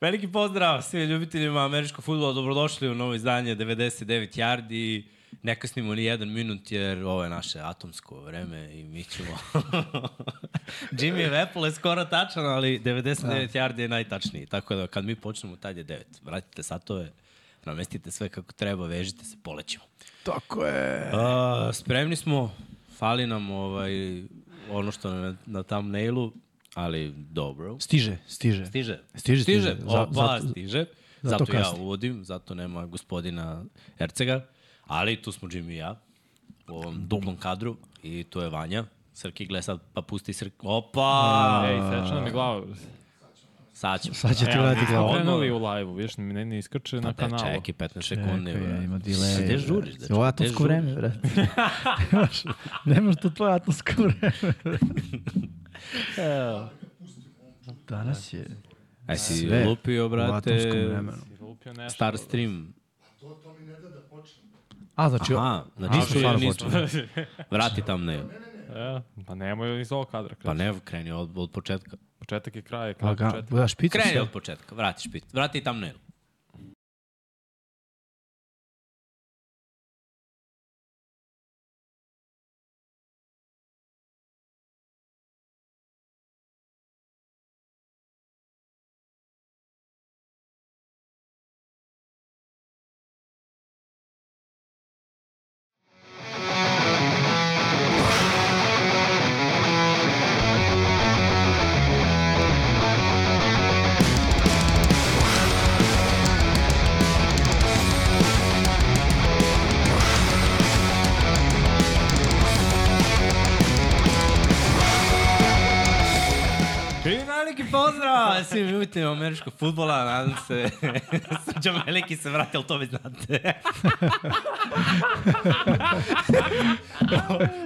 Veliki pozdrav svim ljubiteljima američkog futbola, dobrodošli u novo izdanje 99 Yardi. Ne kasnimo ni jedan minut jer ovo je naše atomsko vreme i mi ćemo... Jimmy Vepple je skoro tačan, ali 99 da. Yardi je najtačniji. Tako da kad mi počnemo, tad je 9. Vratite satove, namestite sve kako treba, vežite se, polećemo. Tako je. A, spremni smo, fali nam ovaj, ono što je na, na thumbnailu, ali dobro. Stiže, stiže. Stiže. Stiže, Stiže, stiže. Za- oba zato- stiže. Zato, zato ja kasni. uvodim, zato nema gospodina Ercega, ali tu smo Jimmy i ja u ovom duplom kadru i tu je Vanja. Srki gle sad, pa pusti Srki. Opa! Ej, sečna mi glava. Sad ćemo. E, Sad će ti vrati glavu. Krenuli u live-u, vidiš, ne, Pa ne iskače Da, na kanalu. čekaj, 15 sekundi. Čekaj, brate. ima delay, Gde brate. žuriš? dečko? Ovo je Gde atomsko žuriš? vreme, brate. Nemaš- Nemaš to tvoje atomsko vreme. Danas je Aj si sve lupio, u brate, atomskom vremenu. Lupio nešto. star stream. A, znači, Aha, znači A, nisu, stvarno nisu. Vrati tam ne. E, pa nemoj iz ovog kadra. Pa Pa ne, kreni od, od početka. Početak je kraj, je kraj Laga, početak. da, špicu Kreni sve. od početka, vrati špit, vrati thumbnail. I veliki pozdrav svim ljubiteljima Pa, američkog futbola, nadam se. Srđan Veliki se vrati, ali to već znate.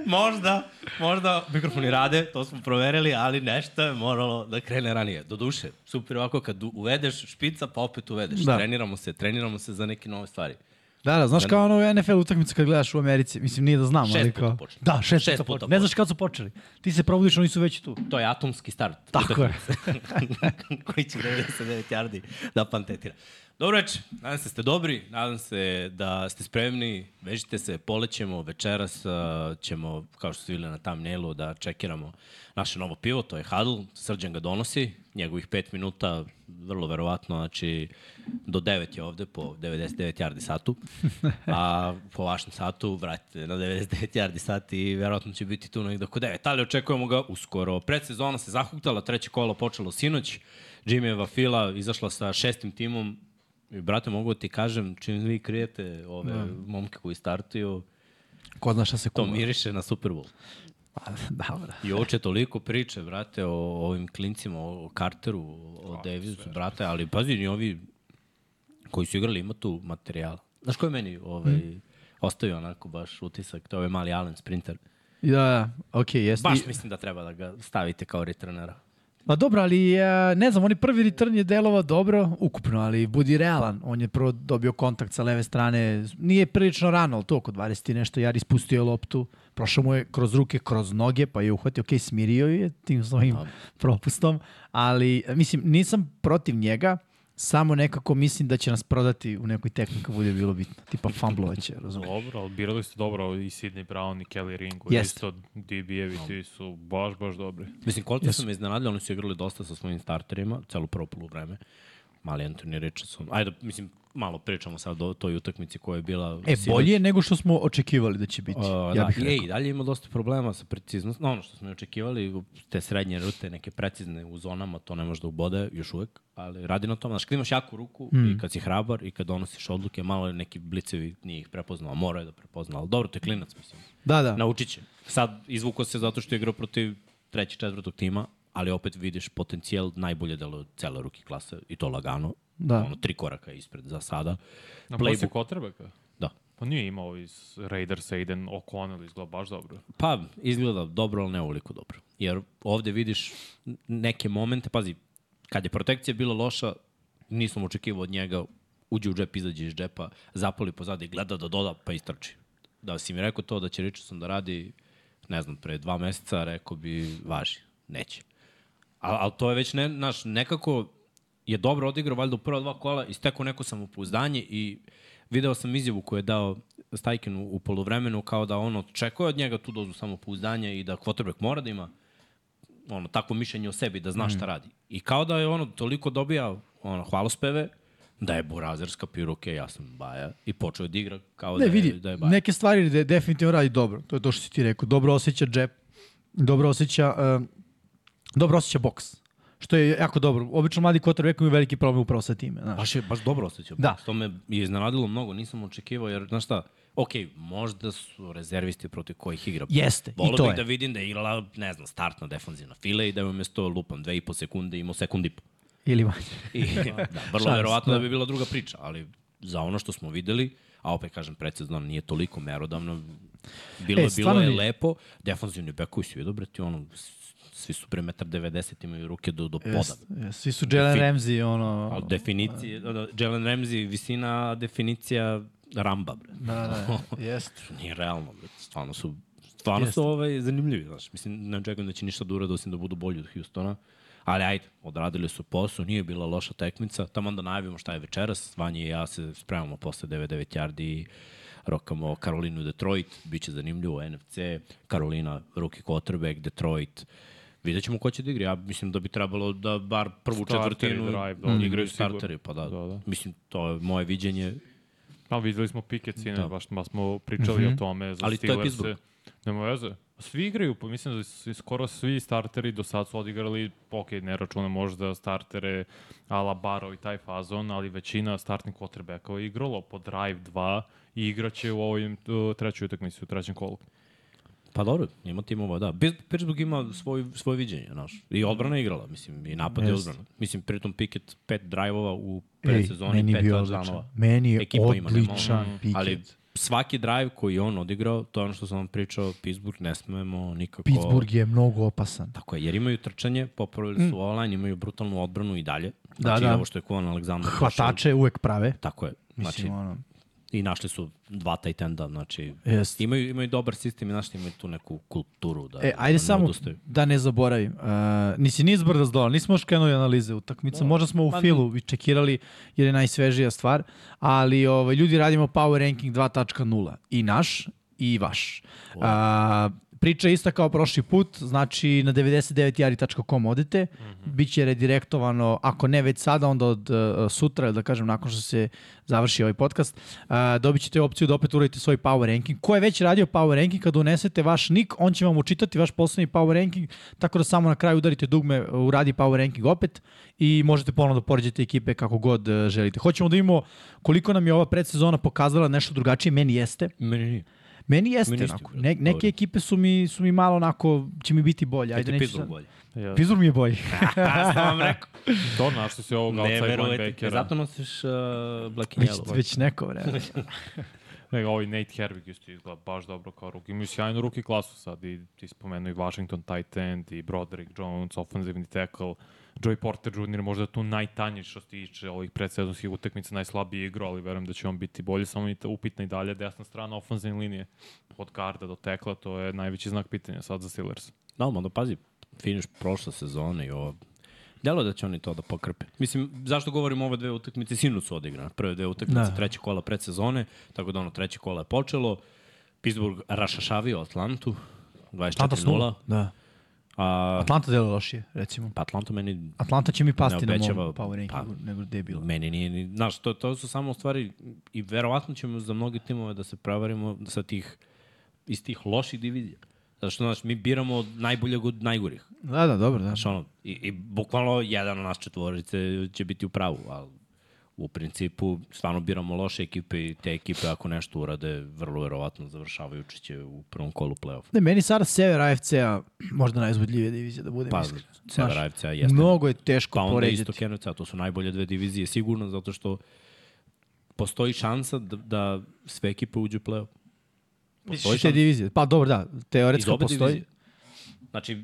možda, možda mikrofoni rade, to smo proverili, ali nešto je moralo da krene ranije. Doduše, super ovako kad u- uvedeš špica, pa opet uvedeš. Da. Da. Treniramo se, treniramo se za neke nove stvari. Da, da, znaš kao ono NFL utakmicu kad gledaš u Americi, mislim nije da znam, Šest ali puta kao... počne. Da, šest, Šest puta, puta počne. Ne znaš kad su počeli. Ti se probudiš, oni su već tu. To je atomski start. Tako je. koji će 99 yardi da pantetira. Dobro večer, nadam se da ste dobri, nadam se da ste spremni, vežite se, polećemo, večeras uh, ćemo, kao što ste videli na thumbnailu, da čekiramo naše novo pivo, to je Huddle, Srđan ga donosi, njegovih 5 minuta, vrlo verovatno, znači do 9 je ovde po 99 yardi satu, a po vašem satu vratite na 99 yardi sat i verovatno će biti tu negde oko 9, ali očekujemo ga uskoro. Predsezona se zahuktala, treće kolo počelo sinoć, Jimmy Vafila izašla sa šestim timom, I, brate, mogu da ti kažem, čim vi krijete ove da. momke koji startuju, Ko zna šta se to kuma. miriše na Super Bowl. Dobro. I oče toliko priče, brate, o ovim klincima, o Carteru, o Davisu, brate, ali pazi, ni ovi koji su igrali ima tu materijala. Znaš ko je meni ovaj, ostavio onako baš utisak, to je ovaj mali Allen Sprinter. I Da, da, okej, okay, jeste. Baš I- mislim da treba da ga stavite kao returnera. Pa dobro, ali e, ne znam, oni prvi return je delovao dobro, ukupno, ali budi realan. On je prvo dobio kontakt sa leve strane, nije prilično rano, ali to oko 20 i nešto, Jar ispustio je loptu, prošao mu je kroz ruke, kroz noge, pa je uhvatio, okej, smirio je tim svojim propustom, ali e, mislim, nisam protiv njega, samo nekako mislim da će nas prodati u nekoj tehnici kad bude bilo bitno, tipa fumblovaće, razumiješ? Dobro, ali birali ste dobro i Sidney Brown i Kelly Ringo. Jeste. Isto DB-evi ti su baš, baš dobri. Mislim, koliko su me iznenadili, oni su igrali dosta sa svojim starterima, celo prvo polu vreme. Mali Anthony Richardson. Ajde, mislim, malo pričamo sad o toj utakmici koja je bila... E, sinoć. bolje je nego što smo očekivali da će biti, Uh, ja da, bih i, rekao. ej, dalje ima dosta problema sa preciznostom. No, ono što smo i očekivali, te srednje rute, neke precizne u zonama, to ne može da ubode još uvek, ali radi na tome. Znaš, kad imaš jaku ruku mm. i kad si hrabar i kad donosiš odluke, malo je neki blicevi nije ih prepoznao, a morao je da prepozna. Ali dobro, to je klinac, mislim. Da, da. Naučit će. Sad izvuko se zato što je igrao protiv trećeg, četvrtog tima, ali opet vidiš potencijal najbolje delo cele ruki klase i to lagano. Da. Ono, tri koraka ispred za sada. Na posle Playbook. Kotrbeka? Da. Pa nije imao iz Raidersa, Aiden O'Connell izgleda baš dobro. Pa, izgleda dobro, ali ne ovoliko dobro. Jer ovde vidiš n- neke momente, pazi, kad je protekcija bila loša, nisam očekivao od njega, uđe u džep, izađe iz džepa, zapali pozadi, gleda da doda, pa istrči. Da si mi rekao to da će Richardson da radi, ne znam, pre dva meseca, rekao bi, važi, neće. A, ali to je već, ne, naš, nekako je dobro odigrao valjda u prva dva kola i stekao neko samopouzdanje i video sam izjavu koju je dao Stajkin u, u polovremenu kao da on očekuje od njega tu dozu samopouzdanja i da quarterback mora da ima ono, takvo mišljenje o sebi, da zna Mhm. šta radi. I kao da je ono toliko dobija ono, hvalospeve, da je Burazer skapirao, ok, ja sam Baja, i počeo je da igra kao Ne, da, vidi, je, da je Baja. neke stvari de, definitivno radi dobro. To je to što si ti rekao. Dobro osjeća džep, dobro osjeća, um, dobro osjeća boks. Što je jako dobro. Obično mladi quarterback imaju veliki problem upravo sa time. Znaš. Baš je baš dobro osjećao. Da. Da. To me je iznenadilo mnogo, nisam očekivao jer, znaš šta, ok, možda su rezervisti protiv kojih igra. Jeste, i Volao to bih je. da vidim da je igrala, ne znam, startna defanzivna file i da je umjesto lupam dve i po sekunde imao sekund i po. Ili manje. I, da, vrlo Šans, verovatno da. da bi bila druga priča, ali za ono što smo videli, a opet kažem, predsezona nije toliko merodavno, bilo, E, e, bilo stvarno je nije. lepo, defanzivni bekovi su vidio, brati, ono, s- svi su pre 1,90 m, imaju ruke do, do poda. Jest, jest. Svi su Jalen Defi- Ramsey, ono... Ali definicija, da, da, Jalen Ramsey, visina, definicija ramba, bre. Da, da, jest. Nije realno, bre. Stvarno su, stvarno su ovaj, zanimljivi, znaš. Mislim, ne očekujem da će ništa da urade, osim da budu bolji od Houstona. Ali ajde, odradili su posao, nije bila loša tekmica. Tamo onda najavimo šta je večeras. Vanje i ja se spremamo posle 9-9 yardi i rokamo Karolinu i Detroit. Biće zanimljivo, NFC, Karolina, ruki quarterback, Detroit. Vidjet ćemo ko će da igra. Ja mislim da bi trebalo da bar prvu Starteri, četvrtinu drive, mm, da, igraju sigurno. starteri. Pa da, Da, da. mislim, to je moje viđenje. Pa videli smo pike cine, da. baš, baš smo pričali o tome. Za Mhm. Ali to je Steelers-e. Pittsburgh. Nema veze. Svi igraju, pa mislim da su skoro svi starteri do sad su odigrali, ok, ne računa možda startere ala Baro i taj fazon, ali većina startnih quarterbackova je igralo po drive 2 i igraće u ovoj uh, trećoj utakmici, u trećem kolu. Pa dobro, ima timova, da. Pit- Pittsburgh ima svoj, svoje viđenje, znaš. I odbrana je igrala, mislim, i napad i Jest. odbrana. Mislim, pritom Pickett pet drajvova u Ej, predsezoni, meni je pet bio touchdownova. odličan. Meni je Ekipa ima, nema- odličan piket. Ali svaki drive koji je on odigrao, to je ono što sam vam pričao, Pittsburgh ne smemo nikako... Pittsburgh je mnogo opasan. Tako je, jer imaju trčanje, popravili su online, imaju brutalnu odbranu i dalje. Znači, da. ovo što je Kovan Aleksandar. došao, Hvatače uvek prave. Tako je. Znači, Mislim, ono, I našli su dva tight enda, znači Jest. imaju, imaju dobar sistem i našli imaju tu neku kulturu da, E, da ajde ne samo odustaju. da ne zaboravim. Uh, nisi ni izbrda zdola, nismo još krenuli analize utakmice. Možda smo u pa- filu i čekirali jer je najsvežija stvar, ali ovaj, ljudi radimo Power Ranking 2.0 i naš i vaš. Uh, priča je ista kao prošli put, znači na 99jari.com odete, Mhm. biće redirektovano, ako ne već sada, onda od uh, sutra, da kažem nakon što se završi ovaj podcast, uh, dobit ćete opciju da opet uradite svoj power ranking. Ko je već radio power ranking, kada unesete vaš nick, on će vam učitati vaš poslednji power ranking, tako da samo na kraju udarite dugme uh, uradi power ranking opet i možete ponovno da poređate ekipe kako god uh, želite. Hoćemo da vidimo koliko nam je ova predsezona pokazala nešto drugačije, meni jeste. Meni nije. Meni jeste Meni isto, onako. brate, Ne, neke dobro. ekipe su mi, su mi malo onako, će mi biti bolje. Ajde, Ajde, ti neću pizdu sad. bolje. Ja, Pizur mi je bolji. Ja sam Pa, vam rekao. to našli se ovog ne, outside verovete. linebackera. Zato nosiš uh, Black and Već, Yellow. već neko vreme. Ne, ovaj Nate Herwig isto izgleda baš dobro kao ruki. Imaju sjajnu ruki klasu sad i ti spomenuo i Washington tight end i Broderick Jones, offensivni tackle. Joey Porter Jr. možda je tu najtanji što se tiče ovih predsezonskih utakmica, najslabiji igro, ali verujem da će on biti bolji, samo je upitna i dalje desna strana ofenzivne linije. Od garda do tekla, to je najveći znak pitanja sad za Steelers. Da, onda pazi, finiš prošle sezone i ovo. Delo je da će oni to da pokrpe. Mislim, zašto govorimo ove dve utakmice? Sinut su odigrane. Prve dve utakmice, Da. da. treće kola predsezone, tako da ono treće kola je počelo. Pittsburgh rašašavio Atlantu, 24-0. Da. A, Atlanta delo lošije, recimo. pa Atlanta meni Atlanta će mi pasti Ne na obećava, pa. mom power rankingu, nego gde je bilo. Meni nije, ni, znaš, to, to su samo stvari i verovatno ćemo za mnogi timove da se prevarimo sa tih, iz tih loših divizija. Zato što, znaš, mi biramo od najboljeg od najgorih. Da, da, dobro, da. Znaš, ono, i, i bukvalno jedan od nas četvorice će biti u pravu, ali u principu stvarno biramo loše ekipe i te ekipe ako nešto urade, vrlo verovatno završavajući će u prvom kolu play-offa. Ne, meni sada sever AFC-a možda najuzbudljivija divizija, da budem Pa, iskren. Znaš, Sever AFC-a jeste. Mnogo je teško Pa pa onda poređati. isto Kenovca, to su najbolje dve divizije sigurno, zato što postoji šansa da, da sve ekipe uđu u play-off. Misliš postoji te šansa. divizije? Pa dobro, da, Iz teoretsko obe postoji. divizije. Znači,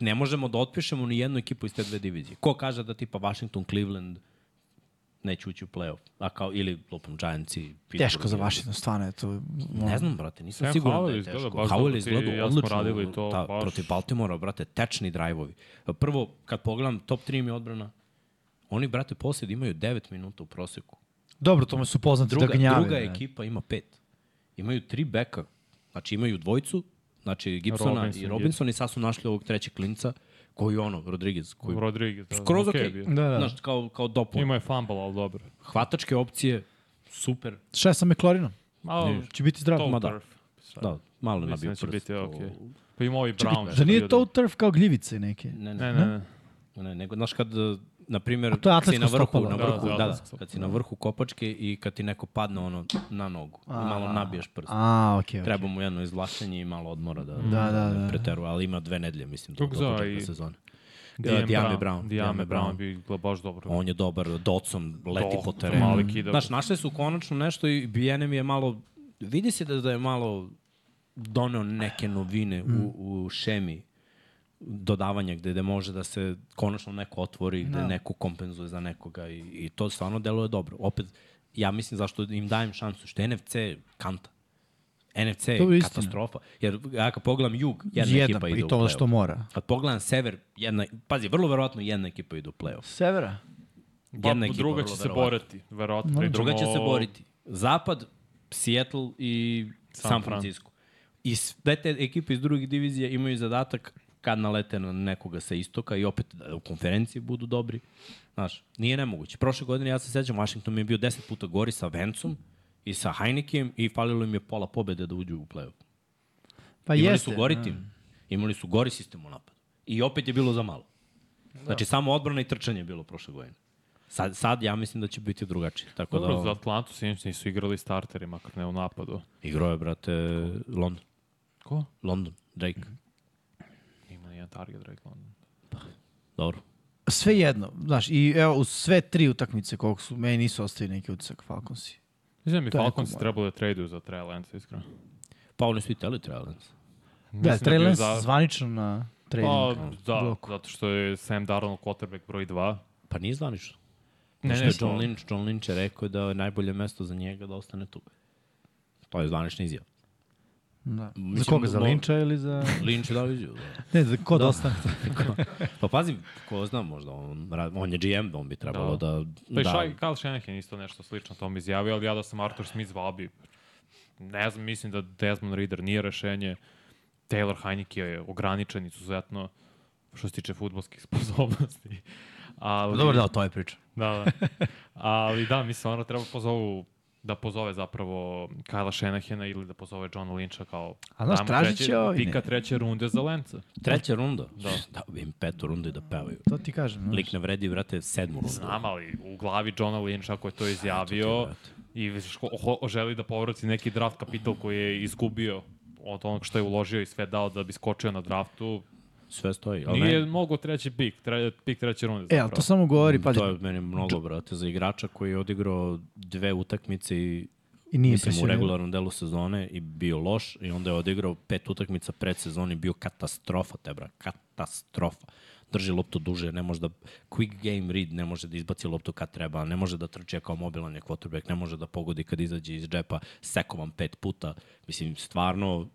ne možemo da otpišemo ni jednu ekipu iz te dve divizije. Ko kaže da tipa Washington, Cleveland neće ući u play-off, a kao, ili lopom Giants i Pittsburgh. Teško za Washington, stvarno je to. Ne znam, brate, nisam Sam siguran da Howell je izgleda teško. baš Howell dobro, je ti i izgledao ja smo odlično radili to, ta, baš. protiv Baltimora, brate, tečni drajvovi. Prvo, kad pogledam, top 3 mi je odbrana, Oni, brate, posljed imaju 9 minuta u proseku. Dobro, tome su poznati Druga, da gnjave. druga ne. ekipa ima pet. Imaju tri beka. Znači imaju dvojicu, znači Gibsona Robinson, i Robinson i sad su našli ovog trećeg klinca koji je ono, Rodriguez, koji je Rodriguez. da, skroz okej. bio. Okay. Da, Da, da. Znaš, kao, kao dopun. Ima je fumble, ali dobro. Hvatačke opcije, super. Šta je sa McLarinom? Malo, Će biti zdrav. to ma da. turf. Sad, Da, malo je Mislim nabio da će prst. biti O, okej. Pa ima ovaj Brown. Da što nije je to dobro. turf kao gljivice neke? Ne, ne, Ne, ne, ne. ne, nego, znaš, kad, eh, na primjer, to je kad si na atletsko vrhu, stopalo. na Da, vrhu, da, da, da, atletsko kad si na vrhu kopačke i kad ti neko padne ono na nogu, i malo nabiješ prst. A, okej, okej. Treba mu jedno izvlačenje i malo odmora da, Da, da, da. ne preteru, ali ima dve nedelje, mislim, do, Kako do zove početka i- sezone. Dijame Dijame Da, Brown. Dijame Dijame Brown Brown. bi izgledao baš dobro. On je dobar, docom, leti Do, po do terenu. mali kid, da. Znaš, našli su konačno nešto i Bijenem je malo, vidi se da, da je malo doneo neke novine Mm. u, u šemi dodavanja gde, gde može da se konačno neko otvori, gde Da. neko kompenzuje za nekoga i, i to stvarno deluje dobro. Opet, ja mislim zašto im dajem šansu, što je NFC kanta. NFC je To je istina. katastrofa. Jer ja kad pogledam jug, jedna, ekipa ide i u to play-off. što mora. Kad pogledam sever, jedna, pazi, vrlo verovatno jedna ekipa ide u play-off. Severa? Jedna ekipa, druga vrlo će se verovatno. boriti, verovatno. Idemo- Da, Druga će se boriti. Zapad, Seattle i San San, Fran. Francisco. I sve te ekipe iz drugih divizija imaju zadatak kad nalete na nekoga sa istoka i opet da u konferenciji budu dobri. Znaš, nije nemoguće. Prošle godine, ja se sećam, Washington mi je bio 10 puta gori sa Vencom i sa Heinekem i falilo im je pola pobede da uđu u play-off. Pa Imali jeste. su gori tim. Imali su gori sistem u napadu. I opet je bilo za malo. Da. Znači, samo odbrana i trčanje je bilo prošle godine. Sad, sad ja mislim da će biti drugačije. Tako da, Dobro, ovo- za Atlantu sinoć nisu igrali starteri, makar ne u napadu. Igrao je, brate, London. Ko? London, Drake. Ima jedan target, rekla. Dobro. Sve jedno, znaš, i evo, u sve tri utakmice koliko su, meni nisu ostavili neki utisak Falconsi. Mislim da mi To je neko Falcons moje. trebalo da traduju za Trey Lance, iskreno. Pa oni su i teli Trailens. Da, da bi Trelens za- zvanično na Pa, trading. da, bloku. zato što je Sam Darnold quarterback broj 2. Pa nije zvanično. Ne, Ne, ne, ne, to- John Lynch, John Lynch je rekao da je najbolje mesto za njega da ostane tu. To je zvanična izjava. Da. Za Mislim, koga, za mo- Linča ili za... Lynch je dao izjavu. da. Ne, za kod ostane. Pa pazi, ko zna možda, on, ra- on je GM, on bi trebalo Da. da... Pa da, i Shai, Kyle Shanahan isto nešto slično tom izjavio, ali ja da sam Arthur Smith zvao bi, ne znam, mislim da Desmond Reader nije rešenje, Taylor Heineke je ograničen izuzetno što se tiče futbolskih sposobnosti. Ali, da, to je priča. Da, da. Ali da, mislim, ono treba pozovu da pozove zapravo Kajla Šenahena ili da pozove Johna Lynch'a kao... A znaš, damo tražit treće- će ovi, ne. Pika treće runde za Lenca. Treća runda. Da. Da. da bi im petu rundu i da pevaju. To ti kažem. da. znaš. Lik ne vredi, brate, sedmu rundu. Znam, ali u glavi Johna Lynch ako je to izjavio brate. i ško- ho- želi da povrati neki draft kapital koji je izgubio od onog što je uložio i sve dao da bi skočio na draftu. Sve stoji. ali Nije ne, mogo treći pik, tre, pik treće runde. E, ali zapravo. to samo govori, pazi, to je meni mnogo, brate, za igrača koji je odigrao dve utakmice i i nije Mislim, u impresioniran. regularnom delu sezone i bio loš i onda je odigrao pet utakmica pred sezoni, bio katastrofa, te bra, katastrofa. Drži loptu duže, ne može da quick game read, ne može da izbaci loptu kad treba, ne može da trče kao mobilan je quarterback, ne može da pogodi kad izađe iz džepa, sekovan pet puta. Mislim, stvarno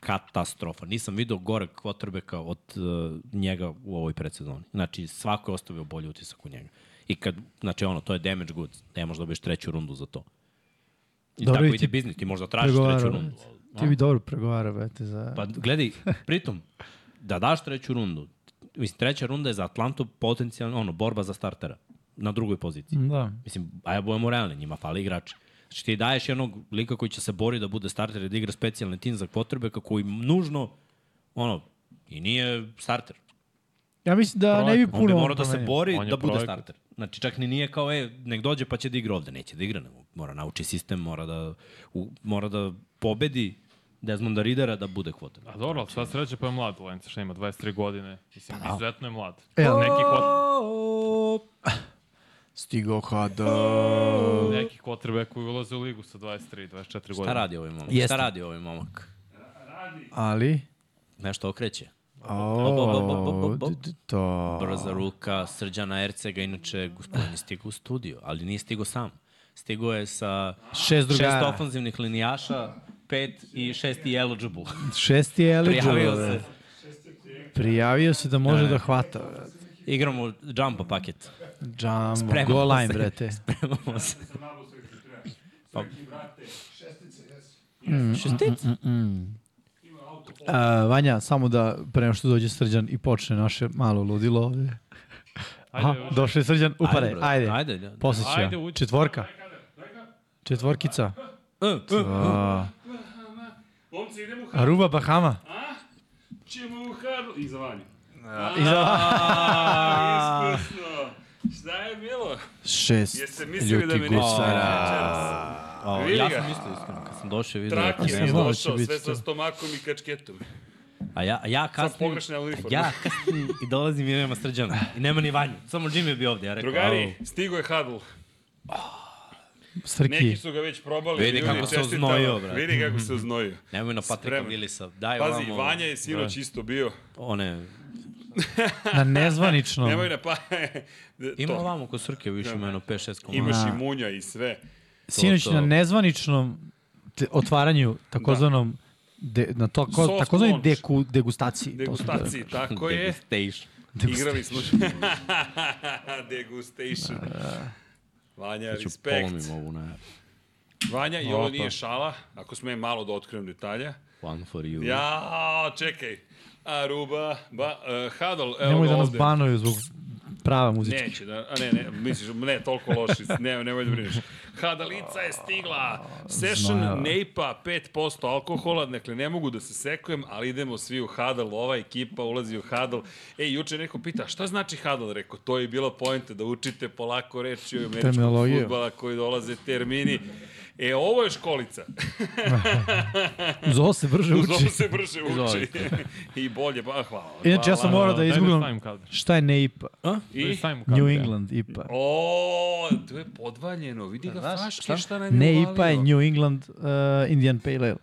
katastrofa. Nisam video gore quarterbacka od uh, njega u ovoj predsezoni. Znači, svako je ostavio bolji utisak u njega. I kad, znači ono, to je damage goods, ne možeš da dobiješ treću rundu za to. I Dobro, Dobro, i tako ide ti biznis, ti možda tražiš treću Pregovarao, rundu. brate. ali- Ti bi dobro pregovarao, brate, za... Pa gledaj, pritom, da daš treću rundu, mislim, treća runda je za Atlantu potencijalno, ono, borba za startera na drugoj poziciji. Da. Mislim, a ja budemo realni, njima fali igrači. Znači ti daješ jednog lika koji će se bori da bude starter i da igra specijalni tim za potrebe kako i nužno, ono, i nije starter. Ja mislim da ne bi Projekat. puno... On bi morao ono da se promenio. bori On je da bude projekat. starter. Znači, čak ni nije kao, e, nek dođe pa će da igra ovde. Neće da igra, nego mora nauči sistem, mora da, u, mora da pobedi Desmonda Ridera da bude kvotan. A dobro, ali sva sreća pa je mlad Lenca, šta ima, 23 godine. Mislim, da. izuzetno je mlad. Pa E, ali- neki, kot, Stigo hada. neki quarterback koji ulaze u ligu sa 23, 24 godine. Šta radi ovaj momak? Jeste. Šta radi ovaj momak? Ali... Nešto okreće. O, d- d- to... Brza ruka Srđana Ercega, inače gospodin je stigao u studio, ali nije stigao sam. Stigao je sa Šest drugara. šest ofanzivnih linijaša, pet i šesti eligible. Šesti je eligible. Prijavio se. da. Prijavio se da može da hvata. brate. Igramo jumpa paket. Džambo, Spremamo go line, se. brate. Spremamo se. A, Vanja, samo da prema što dođe Srđan i počne naše malo ludilo ovde. Aha, Ajde, došao je Srđan, upare, brate, Pa, ajde. ajde, da. Posle Ajde, će. uđi. Četvorka. Četvorkica. E, e, A, Momci, idemo u Har... Aruba Bahama. Čemo u Har... I za vanju. Da. I za... A, iskusno. Šta je bilo? Šest Jeste mislili da me neće Da. večeras? a, vidi ja ga. sam mislio iskreno, kad sam došao i vidio... Trak da- je mi znao da došao, će biti sve sa to. stomakom i kačketom. A ja, a ja kasnim... pogrešne uniforme. Ja kasnim i dolazim i nema srđana. I nema ni vanju. Samo Jimmy je bio ovde. Ja rekao, Drugari, stigo je Hadl. Neki Srki. su ga već probali. Vidi ljudi, kako se čestitam. oznojio, brate. Vidi kako se oznojio. "Au, nemoj na Patrika Spreman. Willisa. Daj Pazi, ovamo Vanja je sinoć isto bio. One, Na nezvanično. Nemoj na pa... ima to. ovamo kod Srke više ima jedno 5-6 komada. Imaš Da. i munja i sve. Sinoć to. na nezvaničnom te- otvaranju, takozvanom, de, na to, ko, Soft takozvanoj launch. deku, degustaciji. To su- Degustaciji, tako je. Degustation. Igrali smo... Degustation. Vanja, Ću respekt. polomim Znači, ovu na Vanja, i ovo Opa. nije šala, ako sme malo da otkrivam detalja. one for you. Ja, čekaj. Aruba, ba, uh, Hadol, evo Nemoj ga da nas ovde. banuju zbog prava muzička. Neće da, a ne, ne, misliš, ne, toliko loši, ne, nemoj da brineš. Hadalica je stigla, session Zmaja. Neipa, 5% alkohola, dakle ne mogu da se sekujem, ali idemo svi u Hadal, ova ekipa ulazi u Hadal. E, juče neko pita, šta znači Hadal? Rekao, to je bila pojenta, da učite polako reći o američkom Terminologiju. futbala koji dolaze termini. E, ovo je školica. Uz ovo se brže Uz ovo uči. se brže uči. Izvolite. I bolje, ba, hvala. Inače, ja sam morao da Daj izgooglam stavim kadar. šta je ne IPA. I I... stavimo kadar. New ja. England IPA. O, to je podvaljeno, vidi ga Znaš, faški šta nam je Ne uvalio. IPA je New England uh, Indian Pale Ale.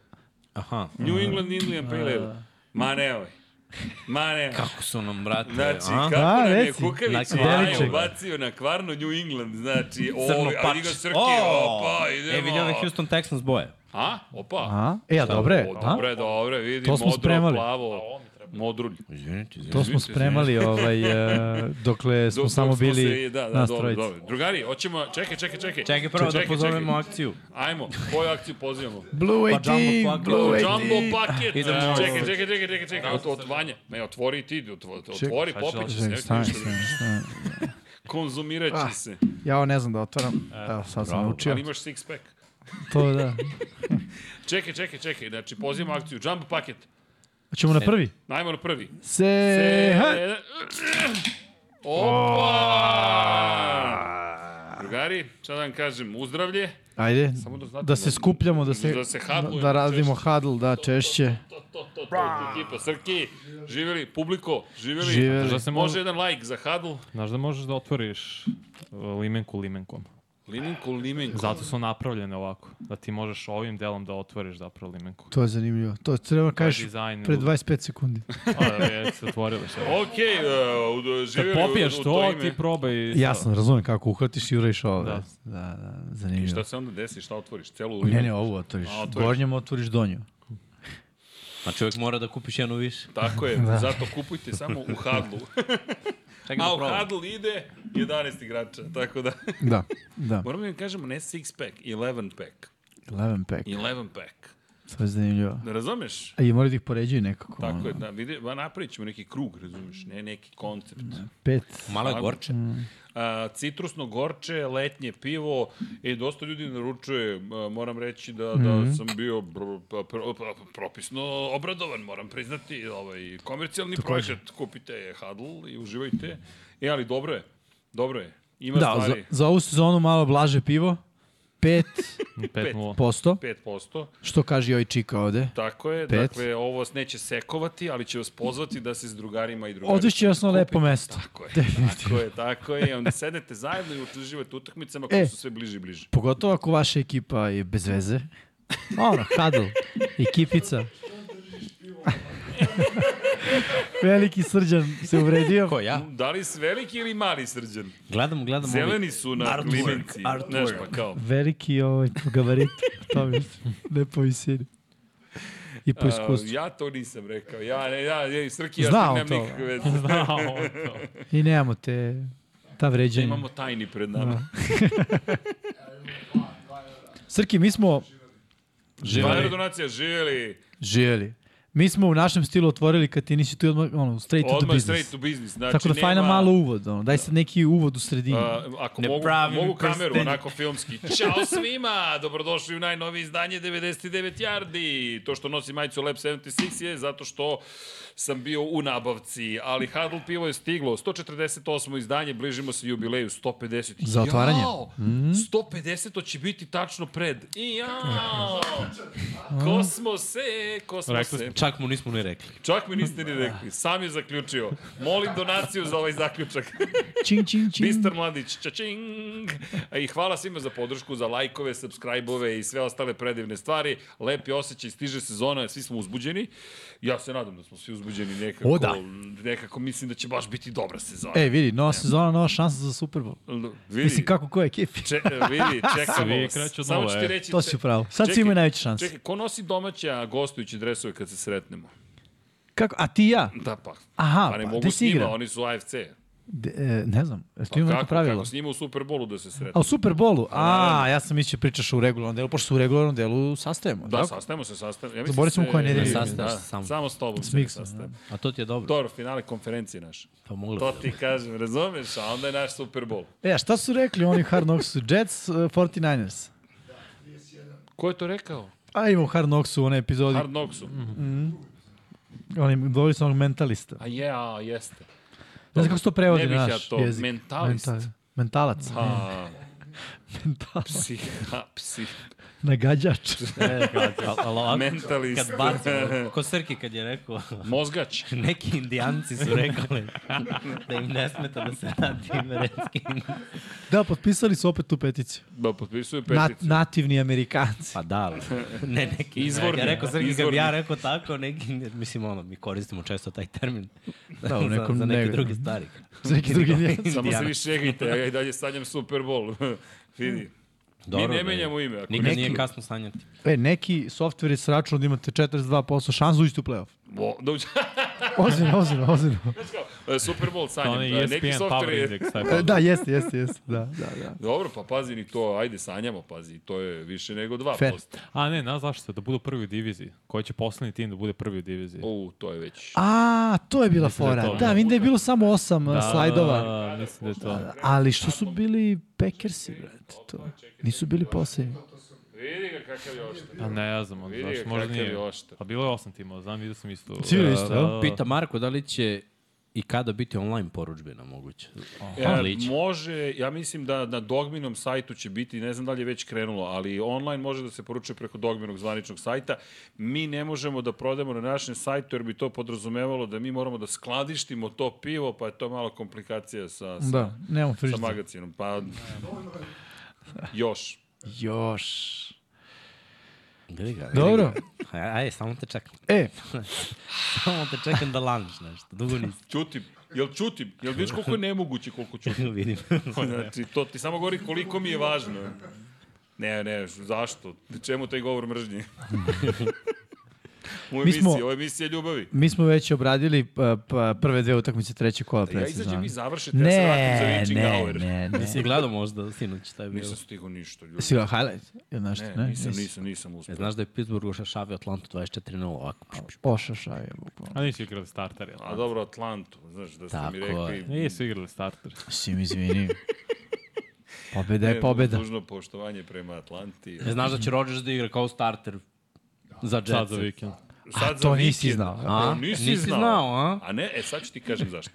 Aha. New England Indian Pale Ale. Ma nemoj. Ma nemoj. da. Kako su nam, brate, Znači, a? kako A, nam je reci. Da, Na Kukavić kvarnu. jaje ubacio na kvarno New England, znači, Crno ovi, a vidi pač. ga Srki, O! opa, idemo. E, vidio ove Houston Texans boje. A, opa. A? E, a dobro je. O, a? dobre, dobre, vidi, To smo modro, spremali. plavo, modrulj. Izvinite, izvinite. To smo Izvinite, spremali ovaj, uh, dokle smo Dok- samo dok smo bili se- da, da, nas dobro, trojica. dobro. Drugari, hoćemo, čekaj, čekaj, čekaj. Čekaj prvo da Čekaj, pozovemo akciju. čekaj. Ajmo, koju akciju pozivamo? Blue Pa Jumbo 18, Packet. Blue 18. Jumbo paket. Idemo. Čekaj, čekaj, čekaj, čekaj, čekaj. Od, otvanja. Ne, otvori i ti, otvo- otvori, Čekaj, popit da će se. Čekaj, ne, stani, ništa, da- stani, stani. Konzumirat Ah, će se. Ja ovo ne znam da otvaram. Evo, sad sam Ali naučio. imaš six pack. To da. Čekaj, čekaj, čekaj. Znači, pozivamo akciju. Jumbo paket. Hoćemo na prvi? Najmo na prvi. Se... ha! E, Opa! Oh. Drugari, šta da vam kažem, uzdravlje. Ajde, Samo da znate da se da- skupljamo, da se, da se hadlujemo da radimo hadl, da, češće. To, to, to, to, to, ekipa. Srki, živeli, publiko, živeli. Živeli. Znaš da se Može može... jedan like za hadl. Znaš da možeš da otvoriš uh, limenku limenkom. Limenko, limenko. Zato su napravljene ovako. Da ti možeš ovim delom da otvoriš zapravo limenku. To je zanimljivo. To je treba kažeš dizajn, pre u- 25 sekundi. A, da je se otvorili šta. je. Okej, okay, uh, živeli Kad popiješ u, u to, ime. ti probaj. to. Jasno, razumem kako uhvatiš i uradiš ovo. Da. Da. da, da, I šta zanimljivo. se onda desi, šta otvoriš? Celu limenku? Ne, ne, ovu otvoriš. A, otvoriš. Gornjom otvoriš donju. Ma čovjek mora da kupiš jednu više. Tako je, zato kupujte samo u hadlu. Čekaj A da u probam. hadl ide 11 igrača, tako da... Da, da. Moramo da im kažemo ne six pack, 11 pack. Eleven pack. 11 pack. To je zanimljivo. Ne razumeš? A i moraju da ih poređuju nekako. Tako ono. je, da, vidi, ba, napravit ćemo neki krug, razumeš, ne neki koncept. Pet. Malo je gorče. A, citrusno gorče, letnje pivo, e, dosta ljudi naručuje, a, moram reći da, Mhm. da sam bio br- pa- pro- pa- propisno obradovan, moram priznati, ovaj, komercijalni projekat, kupite Hadl i uživajte, e, ali dobro je, dobro je, ima Da, za, stvari, za ovu sezonu malo blaže pivo. 5%. 5-0. za... 5%, Što kaže Joj Čika ovde? tako je, Pet. dakle, ovo vas neće sekovati, ali će vas pozvati da se s drugarima i drugarima Odvešće vas na lepo mesto. Tako je, tako je, tako je. I onda sednete zajedno i utuživate utakmicama koje E. su sve bliže i bliže. Pogotovo ako vaša ekipa je bez veze. Ono, hadl, ekipica. Veliki srđan se uvredio. Ko, ja? Da li s veliki ili mali srđan? Gledam, gledam Zeleni su na Artwork, klimenci. Znaš artwork. pa kao. Veliki ovaj po gabaritu, to mislim. Ne po visini. I po a, iskustvu. pa, ja to nisam rekao. Ja, ne, ja, ja, Srki, ja Znao nemam to. nikakve veze. Da, ovo je to. I nemamo te Ta Da vređenja. imamo tajni pred Da, nama. Srki, mi smo Živjeli. Živeli. donacija, živjeli. živjeli. Mi smo u našem stilu otvorili kad ti nisi tu odmah, ono, straight to the Odmah business. straight to business. Znači, Tako da nema, fajna malo uvod, ono. Daj sad neki uvod u sredini. A, Pa, ako Ne mogu, pravim mogu kameru, prstenje. onako filmski. Ćao svima, dobrodošli u najnovije izdanje 99 Yardi. To što nosi majicu Lab 76 je zato što sam bio u nabavci, ali Hadl pivo je stiglo. 148. izdanje, bližimo se jubileju, 150. Za otvaranje. Jao, 150 to će biti tačno pred. I jao, kosmose, Rekli kosmose. smo. Čak mu nismo ni rekli. Čak mi niste ni rekli, sam je zaključio. Molim donaciju za ovaj zaključak. Čing, čing, čing. Bistar Mladić, čačing! E, I hvala svima za podršku, za lajkove, subscribe-ove i sve ostale predivne stvari. Lepi osjećaj, stiže sezona, svi smo uzbuđeni. Ja se nadam da smo svi uzbuđeni nekako. O, da. Nekako mislim da će baš biti dobra sezona. Ej, E, vidi, nova sezona, nova šansa za Super Bowl. L- vidi, Mislim, kako koje ekipi. če, e, vidi, čekamo. Svi vas. kreću od Samo nule, ću ti e. reći... To si če- upravo. Sad svi čekaj, imaju najveće šanse. Čekaj, ko nosi domaća a gostujući dresove kad se sretnemo? Kako? A ti i ja? Da pa. Aha, pa ne pa, mogu gde s si njima, igrao? oni su AFC. De, e, ne znam, jesi ti Pa imao kako, neko pravilo? kako s njima u Superbolu da se sretnemo? A u Super Bowlu? A, ja sam mislio pričaš u regularnom delu, pošto se u regularnom delu sastajemo. Da, tako? sastajemo se, sastajemo. Ja mislim Zaboravio sam se- u kojoj nedelji. Ne sastaješ Da, se sam. samo. Samo s tobom S se ne Mixom, sastajem. A to ti je dobro. Dobro, finale konferencije naše. Pa moglo To bi da ti kažem, razumeš, a onda je naš Super Bowl. E, a šta su rekli oni Hard Knocksu? Jets, e, 49ers. Ko je to rekao? A ima u Hard Knocksu u onoj epizodi, Hard Knocksu. Mhm. oni doveli su onog mentalista. A je, a jeste. Ne znam kako se to prevodi Ne na bih naš ja to, jezik. mentalist. Mental- Mentalac. A, Mhm. Mentalac. psi, a, psi, Nagađač. ali mentalist. kad bacimo, ko Srki kad je rekao, Mozgač. neki indijanci su rekli da im ne smeta da se radi imerenski. Da, potpisali su opet tu peticiju. Da, potpisuju Na, peticu. nativni Amerikanci. Pa da, ali ne neki. Izvorni, Ja rekao Srki, kad izvorni. bi ja rekao tako, neki, mislim ono, mi koristimo često taj termin Da, u nekom za, za neke negu- druge stvari. Za neke druge Indijance. Samo se Indijanac. vi šegajte, ja i dalje sanjam Super Bowl. Vidi. Mi Dobro, ne da je. menjamo ime. Ako Nikad ne... nije kasno sanjati. E, neki softver je sračunao da imate 42% šansu ući u playoff. Bo- Da uđe- Ozirno, ozirno, ozirno. Super Bowl To onaj sanjam. E Neki ESPN software Power je Index. taj E, fazon. Da, jeste, jeste, jeste. Da, da, da. Dobro, pa pazi ni to, ajde sanjamo, pazi, to je više nego 2%. Fair. A ne, znaš zašto? Da budu prvi u diviziji. Koji će poslednji tim da bude prvi u diviziji? U, to je već. A, to je bila Mislim da je fora. to- Da, vidim da je bilo samo osam da, slajdova. Da, mislim da je to. Ali što su bili Packersi, brate, to. Nisu bili poslednji. Vidi ga kakav je oštar. A Pa ne znam, ono, Vidi znaš, ga možda kakav je nije. oštar. A bilo je osam timova, znam, vidio sam isto. Ti vidio isto, jel? da. Pita Marko da li će i kada biti online poručbina moguće. E, Lić. može, ja mislim da na Dogminom sajtu će biti, ne znam da li je već krenulo, ali online može da se poručuje preko Dogminog zvaničnog sajta. Mi ne možemo da prodamo na našem sajtu jer bi to podrazumevalo da mi moramo da skladištimo to pivo, pa je to malo komplikacija sa, sa, Da, nemamo sa frižica. magacinom. Pa, još. Još. Vidi ga, vidi Dobro. ga. Aj, aj, samo te čekam. E, Samo te čekam da laneš nešto. Dugo nisam. Ćutim. Jel čutim? Jel vidiš koliko je nemoguće koliko čutim? Vidim. Znači, to ti samo govori koliko mi je važno. Ne, ne, š- zašto? Čemu taj govor mržnje? U emisiji, smo- ovo je emisija ljubavi. mi smo već obradili pa, pa, prve dve utakmice trećeg kola Ja predsezona. izađem i završite, ja se vratim za Ne, Witching ne, Hour. ne, ne. Nisi gledao možda sinoć šta je bilo. Nisam stigao ništa, ljudi. Si gledao highlight? Ili nešto, Ne, ne? nisam, Nisi. nisam, nisam E, uspio. znaš da je Pittsburgh ušašavio Atlantu 24-0 ovako. Ošašao je, bukvalno. A nisu igrali starter, jel? A dobro, Atlantu, znaš, da ste mi Tako rekli... je. Nisu igrali starter. Si mi izvini. Pobeda Ne, je pobeda. Dužno poštovanje prema Atlanti. E, znaš da će Rodgers da igra kao starter za Jetsa. Sad za vikend. Sad za to nisi vikend. znao, a? A, E, nisi, Nisi znao. znao, a? A ne, e sad ću ti kažem zašto.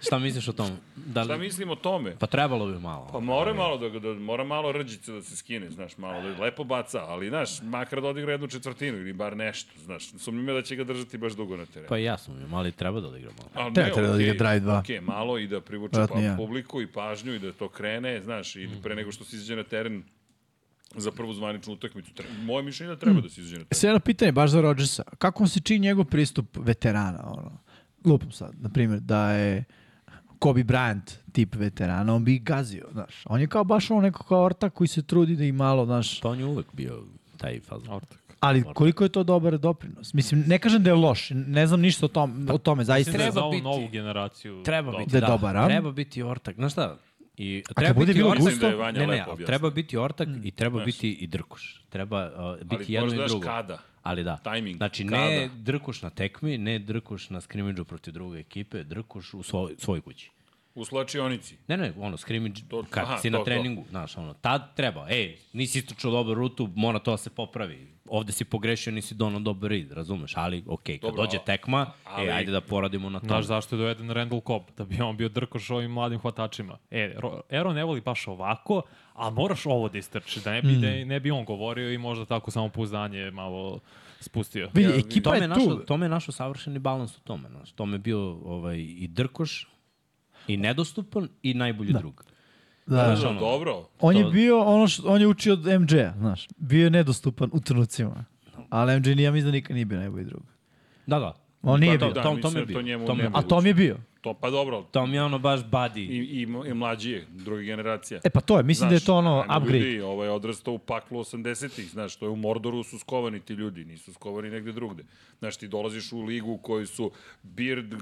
Šta misliš o tom? Da Šta li... mislim o tome? Pa trebalo bi malo. Pa mora malo da, ga- da mora malo rđice da se skine, znaš, malo da lepo baca, ali znaš, makar da odigra jednu četvrtinu ili bar nešto, znaš. Sumnjam ja da će ga držati baš dugo na terenu. Pa i ja sam im, ali treba da igra malo. Ali Treba- treba da okej, odigra drive dva. okej, malo i da privuče Verovatno pa, ja. publiku i pažnju i da to krene, znaš, i pre nego što se izađe na teren za prvu zvaničnu utakmicu. Tre, moje mišljenje je da treba da se izađe na teren. Sve jedno pitanje, baš za Rodgersa. Kako vam se čini njegov pristup veterana? Ono? Lupam sad, na primjer, da je Kobe Bryant tip veterana, on bi ih gazio, znaš. On je kao baš ono neko kao ortak koji se trudi da i malo, znaš, Pa on je uvek bio taj fazon. Ortak. Ali koliko je to dobar doprinos? Mislim, ne kažem da je loš, ne znam ništa o, tom, o tome, zaista. Mislim da je za Treba ovu biti- novu generaciju. Treba biti, Da da. je dobar, a? Treba biti ortak. Znaš šta? I, treba bude Mm. biti bilo ortak- gusto? Da je Vanja ne, ne, lepo ali objasnio. treba biti ortak i treba biti i drkuš. Treba uh, biti Ali jedno možda i daš drugo. kada. Ali da. Timing, Znači, ne drkuš na tekmi, ne drkuš na skrimidžu protiv druge ekipe, drkuš u svoj, svoj kući. U slačionici. Ne, ne, ono, skrimidž, To- kad aha, si to, na to. treningu, znaš, ono, tad treba, ej, nisi istočao dobru rutu, mora to da se popravi. Ovde si pogrešio, nisi donao dobar rid, razumeš, ali, okej, kad Dobro, dođe a- tekma, ali- ej, ajde da poradimo na to. Znaš zašto je doveden Randall Cobb? Da bi on bio drkoš ovim mladim hvatačima. E, Ro- Aaron ne voli baš ovako, a moraš ovo da istrči, da ne bi, da, Hmm. ne bi on govorio i možda tako samo pouzdanje malo spustio. Vidi, Ja, ekipa to me je našo, tu. to me našo savršeni balans u tome, znaš. To me bio ovaj i drkoš i nedostupan i najbolji da. drug. Da. Znaš, Da, ono, dobro. On je To- bio ono što, on je učio od MJ-a, znaš. Bio je nedostupan u trenucima. Ali MJ nije, ja mislim da nikad nije bio najbolji drug. Da, da. On nije to, bio. To, Da, to, to mislim mi je da to bio. njemu To mi je nema. bio. A Tom je bio. To pa dobro. To mi je ono baš I, buddy. i, i mlađi, druga generacija. E pa to je, mislim da je Znaš, to ono ajmo upgrade. Ljudi, ovo je odrastao u paklu 80-ih, znaš, to je u Mordoru su skovani ti ljudi, nisu skovani negde drugde. Znaš, ti dolaziš u ligu u kojoj su Beard, uh,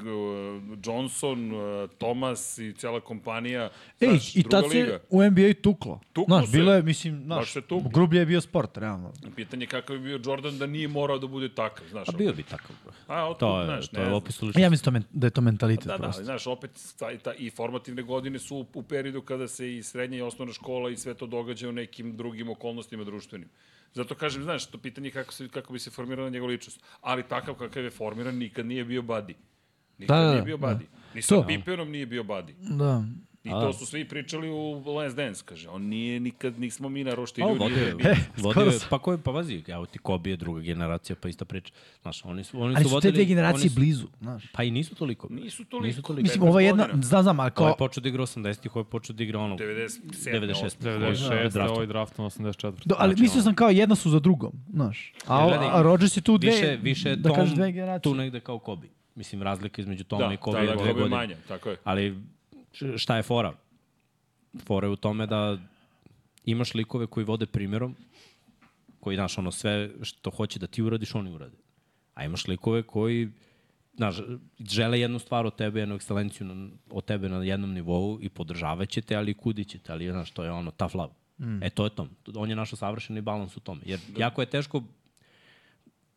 Johnson, uh, Thomas i cela kompanija, Ej, znaš, i druga tad liga. se u NBA tuklo. Tuklo znaš, se. bilo je, mislim, Baš znaš, se tuklo. grublje je bio sport, realno. Pitanje je kakav je bio Jordan da nije morao da bude takav, Pa znaš. A Pa bio bi takav. A, otkud, To je, znaš, to ne je znam. opis ličnosti. Ja mislim to men- da je to mentalitet Da, da, prosto. ali znaš, opet taj, ta, i formativne godine su u, u periodu kada se i srednja i osnovna škola i sve to događa u nekim drugim okolnostima društvenim. Zato kažem, znaš, to pitanje je kako, se, kako bi se formirala njegova ličnost. Ali takav kakav je formiran nikad nije bio buddy. Nikad Da, da, nije bio da. buddy. Ni sa To. Piperom nije bio buddy. Da. I to su svi pričali u Last Dance, kaže. On nije nikad, nismo mi narošti Pa, ljudi. e, vodio je, nije bio. vodio skoro je, sam. pa ko je, pa vazi, evo ti Kobe je druga generacija, pa ista priča. Znaš, oni su, oni Ali su su te vodili... dve generacije oni su- blizu, znaš. Pa i nisu toliko. Nisu toliko. Nisu toliko. Mislim, 15 ovo je jedna, godina. znam, znam, ali Ko je kao, počeo da igra 80-ih, ko je počeo da igra ono... 97. 96. 96, Draftom. ovo je draftom 84. Do, ali Znači, mislio sam kao jedna su za drugom, znaš. A, Gledaj, a Rodgers je tu dve, više, više da Tom kažeš dve generacije. tu negde kao Kobe. Mislim, razlika između Toma Da, i Kobe da, je da, dve Kobe je godine. manja, tako je. Ali š- šta je fora? Fora je u tome da imaš likove koji vode primjerom, koji, znaš, ono, sve što hoće da ti uradiš, oni urade. A imaš likove koji, znaš, žele jednu stvar od tebe, jednu ekscelenciju na- od tebe na jednom nivou i podržavaće te, ali i kudiće te, ali, znaš, to je ono, tough love. Mm. E, to je to. On je našao savršeni balans u tome. Jer jako je teško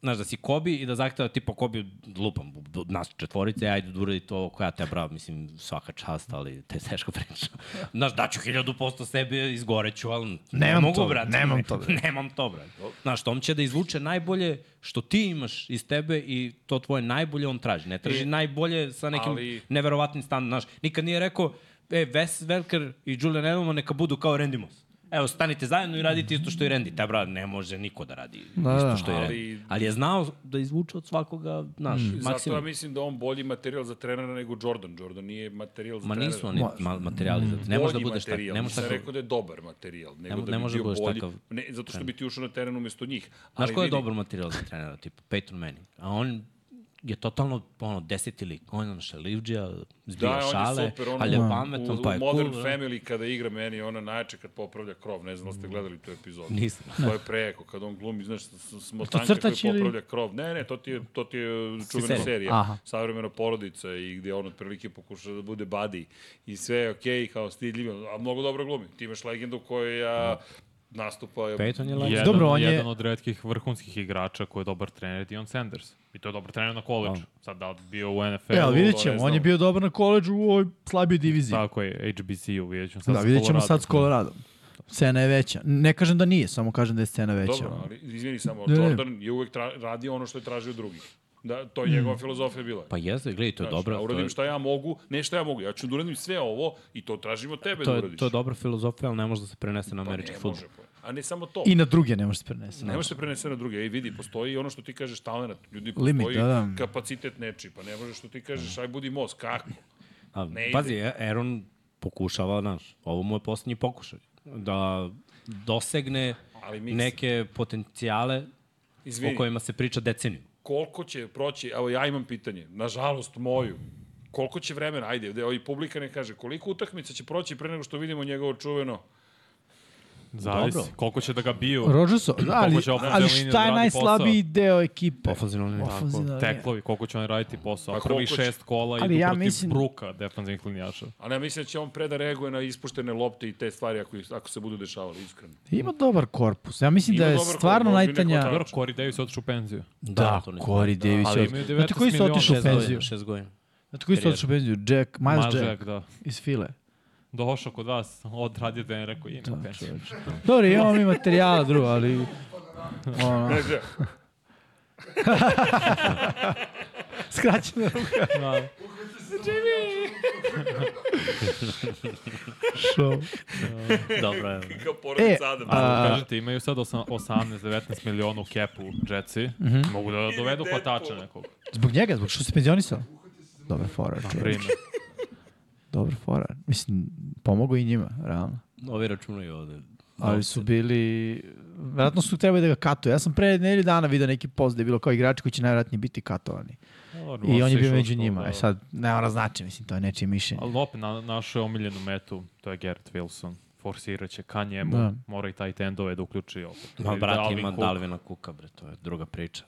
znaš, da si Kobi i da zahteva tipa Kobi, lupam, do- nas četvorice, ajde da uradi to koja te bravo, mislim, svaka čast, ali te je teško priča. Znaš, daću hiljadu posto sebe, izgoreću, ali Nemam ne mogu, to, brate. nemam to, brate. nemam to, brate. Znaš, Tom će da izvuče najbolje što ti imaš iz tebe i to tvoje najbolje on traži. Ne traži I- najbolje sa nekim ali- ali... neverovatnim standom, znaš. Nikad nije rekao, e, Wes Welker i Julian Edelman neka budu kao Randy Moss. Evo, stanite zajedno i radite isto što i Randy. Ta, brate, ne može niko da radi Da, da, da. isto što je Ali- ali, ali je znao da izvuče od svakoga, znaš, mm. Zato ja maksimum. mislim da je on bolji materijal za trenera nego Jordan. Jordan nije materijal za Ma trenera. nisu oni ma, materijali, za to. ne može da budeš tako, ne može tako. tako. rekao da je dobar materijal, nego mo- da ne bi može bio da budeš bolji. takav Ne, zato što bi ti ušao na teren umesto njih. Znaš Ali ko je vidi, dobar materijal za trenera, tipa Peyton Manning, a on je totalno ono, deseti lik, on je ono šalivđija, zbija Da, on šale, je super, ono, ali je u, pametan, pa je u Modern cool. da. Family kada igra meni je ona najče kad popravlja krov, ne znam da li ste gledali tu epizodu. Mm. Nisam. To je prejako, kada on glumi, znaš, s- smotanka koji crtač ili- popravlja krov. Ne, ne, to ti je, to ti je čuvena serija. serija. Aha. savremena porodica i gde on otprilike pokuša da bude buddy i sve je okej, okay, kao stidljivo, a mnogo dobro glumi. Ti imaš legendu koja Da. nastupa... Peyton je legend. Znači, jedan, Dobro, Dobro, on on je- jedan od redkih vrhunskih igrača koji je dobar trener je Dion Sanders. I to je dobar trener na koleđu. Sad da li bio u NFL-u. E, ali vidjet ne ćemo, znam. on je bio dobar na koleđu u ovoj slabijoj diviziji. Da, Tako je, HBCU, vidjet ćemo sad Da, s vidjet ćemo Coloradom. sad s Coloradom. Cena je veća. Ne kažem da nije, samo kažem da je cena veća. Dobro, ali izvini samo, Ne, ne. Jordan je uvek tra, radio ono što je tražio od drugih. Da, to je njegova filozofija bila. Pa jeste, gledaj, to je Znaš, dobro. Ja to uradim je- šta ja mogu, ne šta ja mogu, ja ću da uradim sve ovo i to tražim od tebe To da je, uradiš. to je dobra filozofija, ali ne može da se prenese na Pa ne američki može, futbol. pa. A ne samo to. I na druge ne može se prenesiti. Ne može se prenese na druge. Ej, vidi, postoji ono što ti kažeš talent, ljudi postoji Limit, da, da. kapacitet nečiji, pa ne možeš što ti kažeš aj budi most, kako? A, Ne ide. pazi, A- Aaron pokušava, znaš, ovo mu je poslednji pokušaj, da dosegne Ali mi- neke potencijale Izvini. o kojima se priča deceniju. koliko će proći, evo ja imam pitanje, nažalost moju, koliko će vremena, ajde, da i publika ne kaže, koliko utakmica će proći pre nego što vidimo njegovo čuveno Zavisi. Dobro. Koliko će da ga biju. Rožuso, ali, će ofanzivna ali linija šta da je radi najslabiji deo ekipe? Ofenzivna linija. Tako, Ofanzivna linija. teklovi, koliko će on raditi posao. Pa A prvi koliko će- šest kola da, Ali idu ja protiv mislim- bruka defanzivnih linijaša. Ali ja mislim da će on pre da reaguje na ispuštene lopte i te stvari ako, ih- ako se budu dešavale, iskreno. Ima dobar korpus. Ja mislim Ima da je dobar korpus, stvarno možda i neko najtanja... tako. Dobro, Corey Davis je otišao u penziju. Da, to ne- Corey Davis. ali je imaju otišao. 19 Znate koji su miliona, otišli u Šest penziju? godina, šest godina. Znate koji su karijere. otišli u penziju? Jack, Miles Miles Jack, Jack, da. iz File. Došao kod vas, odradio da je rekao ima da, penziju. Dobro, imamo mi materijala drugo, ali... Ono, Ne znam, skraćena ruka. Da. Show. Dobro, evo. kao porodica E, Adam. a- Kažete, imaju sad osam- 18-19 miliona u kepu Jetsi. Mhm. Mogu da dovedu Ili hvatača Deadpool. nekog. Zbog njega, zbog što se penzionisao? Dobar fora, Na čovječ. primjer. Dobar fora. Mislim, pomogu i njima, realno. Ovi računaju ovde. Ali su bili... Vjerojatno su trebali da ga katuju. Ja sam pre nedelju dana vidio neki post da je bilo kao igrači koji će najvjerojatnije biti katovani. Dobro, I možda on je se bio išao među što- njima. da. E sad, ne ona znači, mislim, to je nečije mišljenje. Ali opet na, našao je omiljenu metu, to je Garrett Wilson. Forsirat će ka njemu, Da. mora i taj tendove da uključi opet. Ma, I brat, Dalvin ima Cook. Dalvina Kuka, bre, to je druga priča.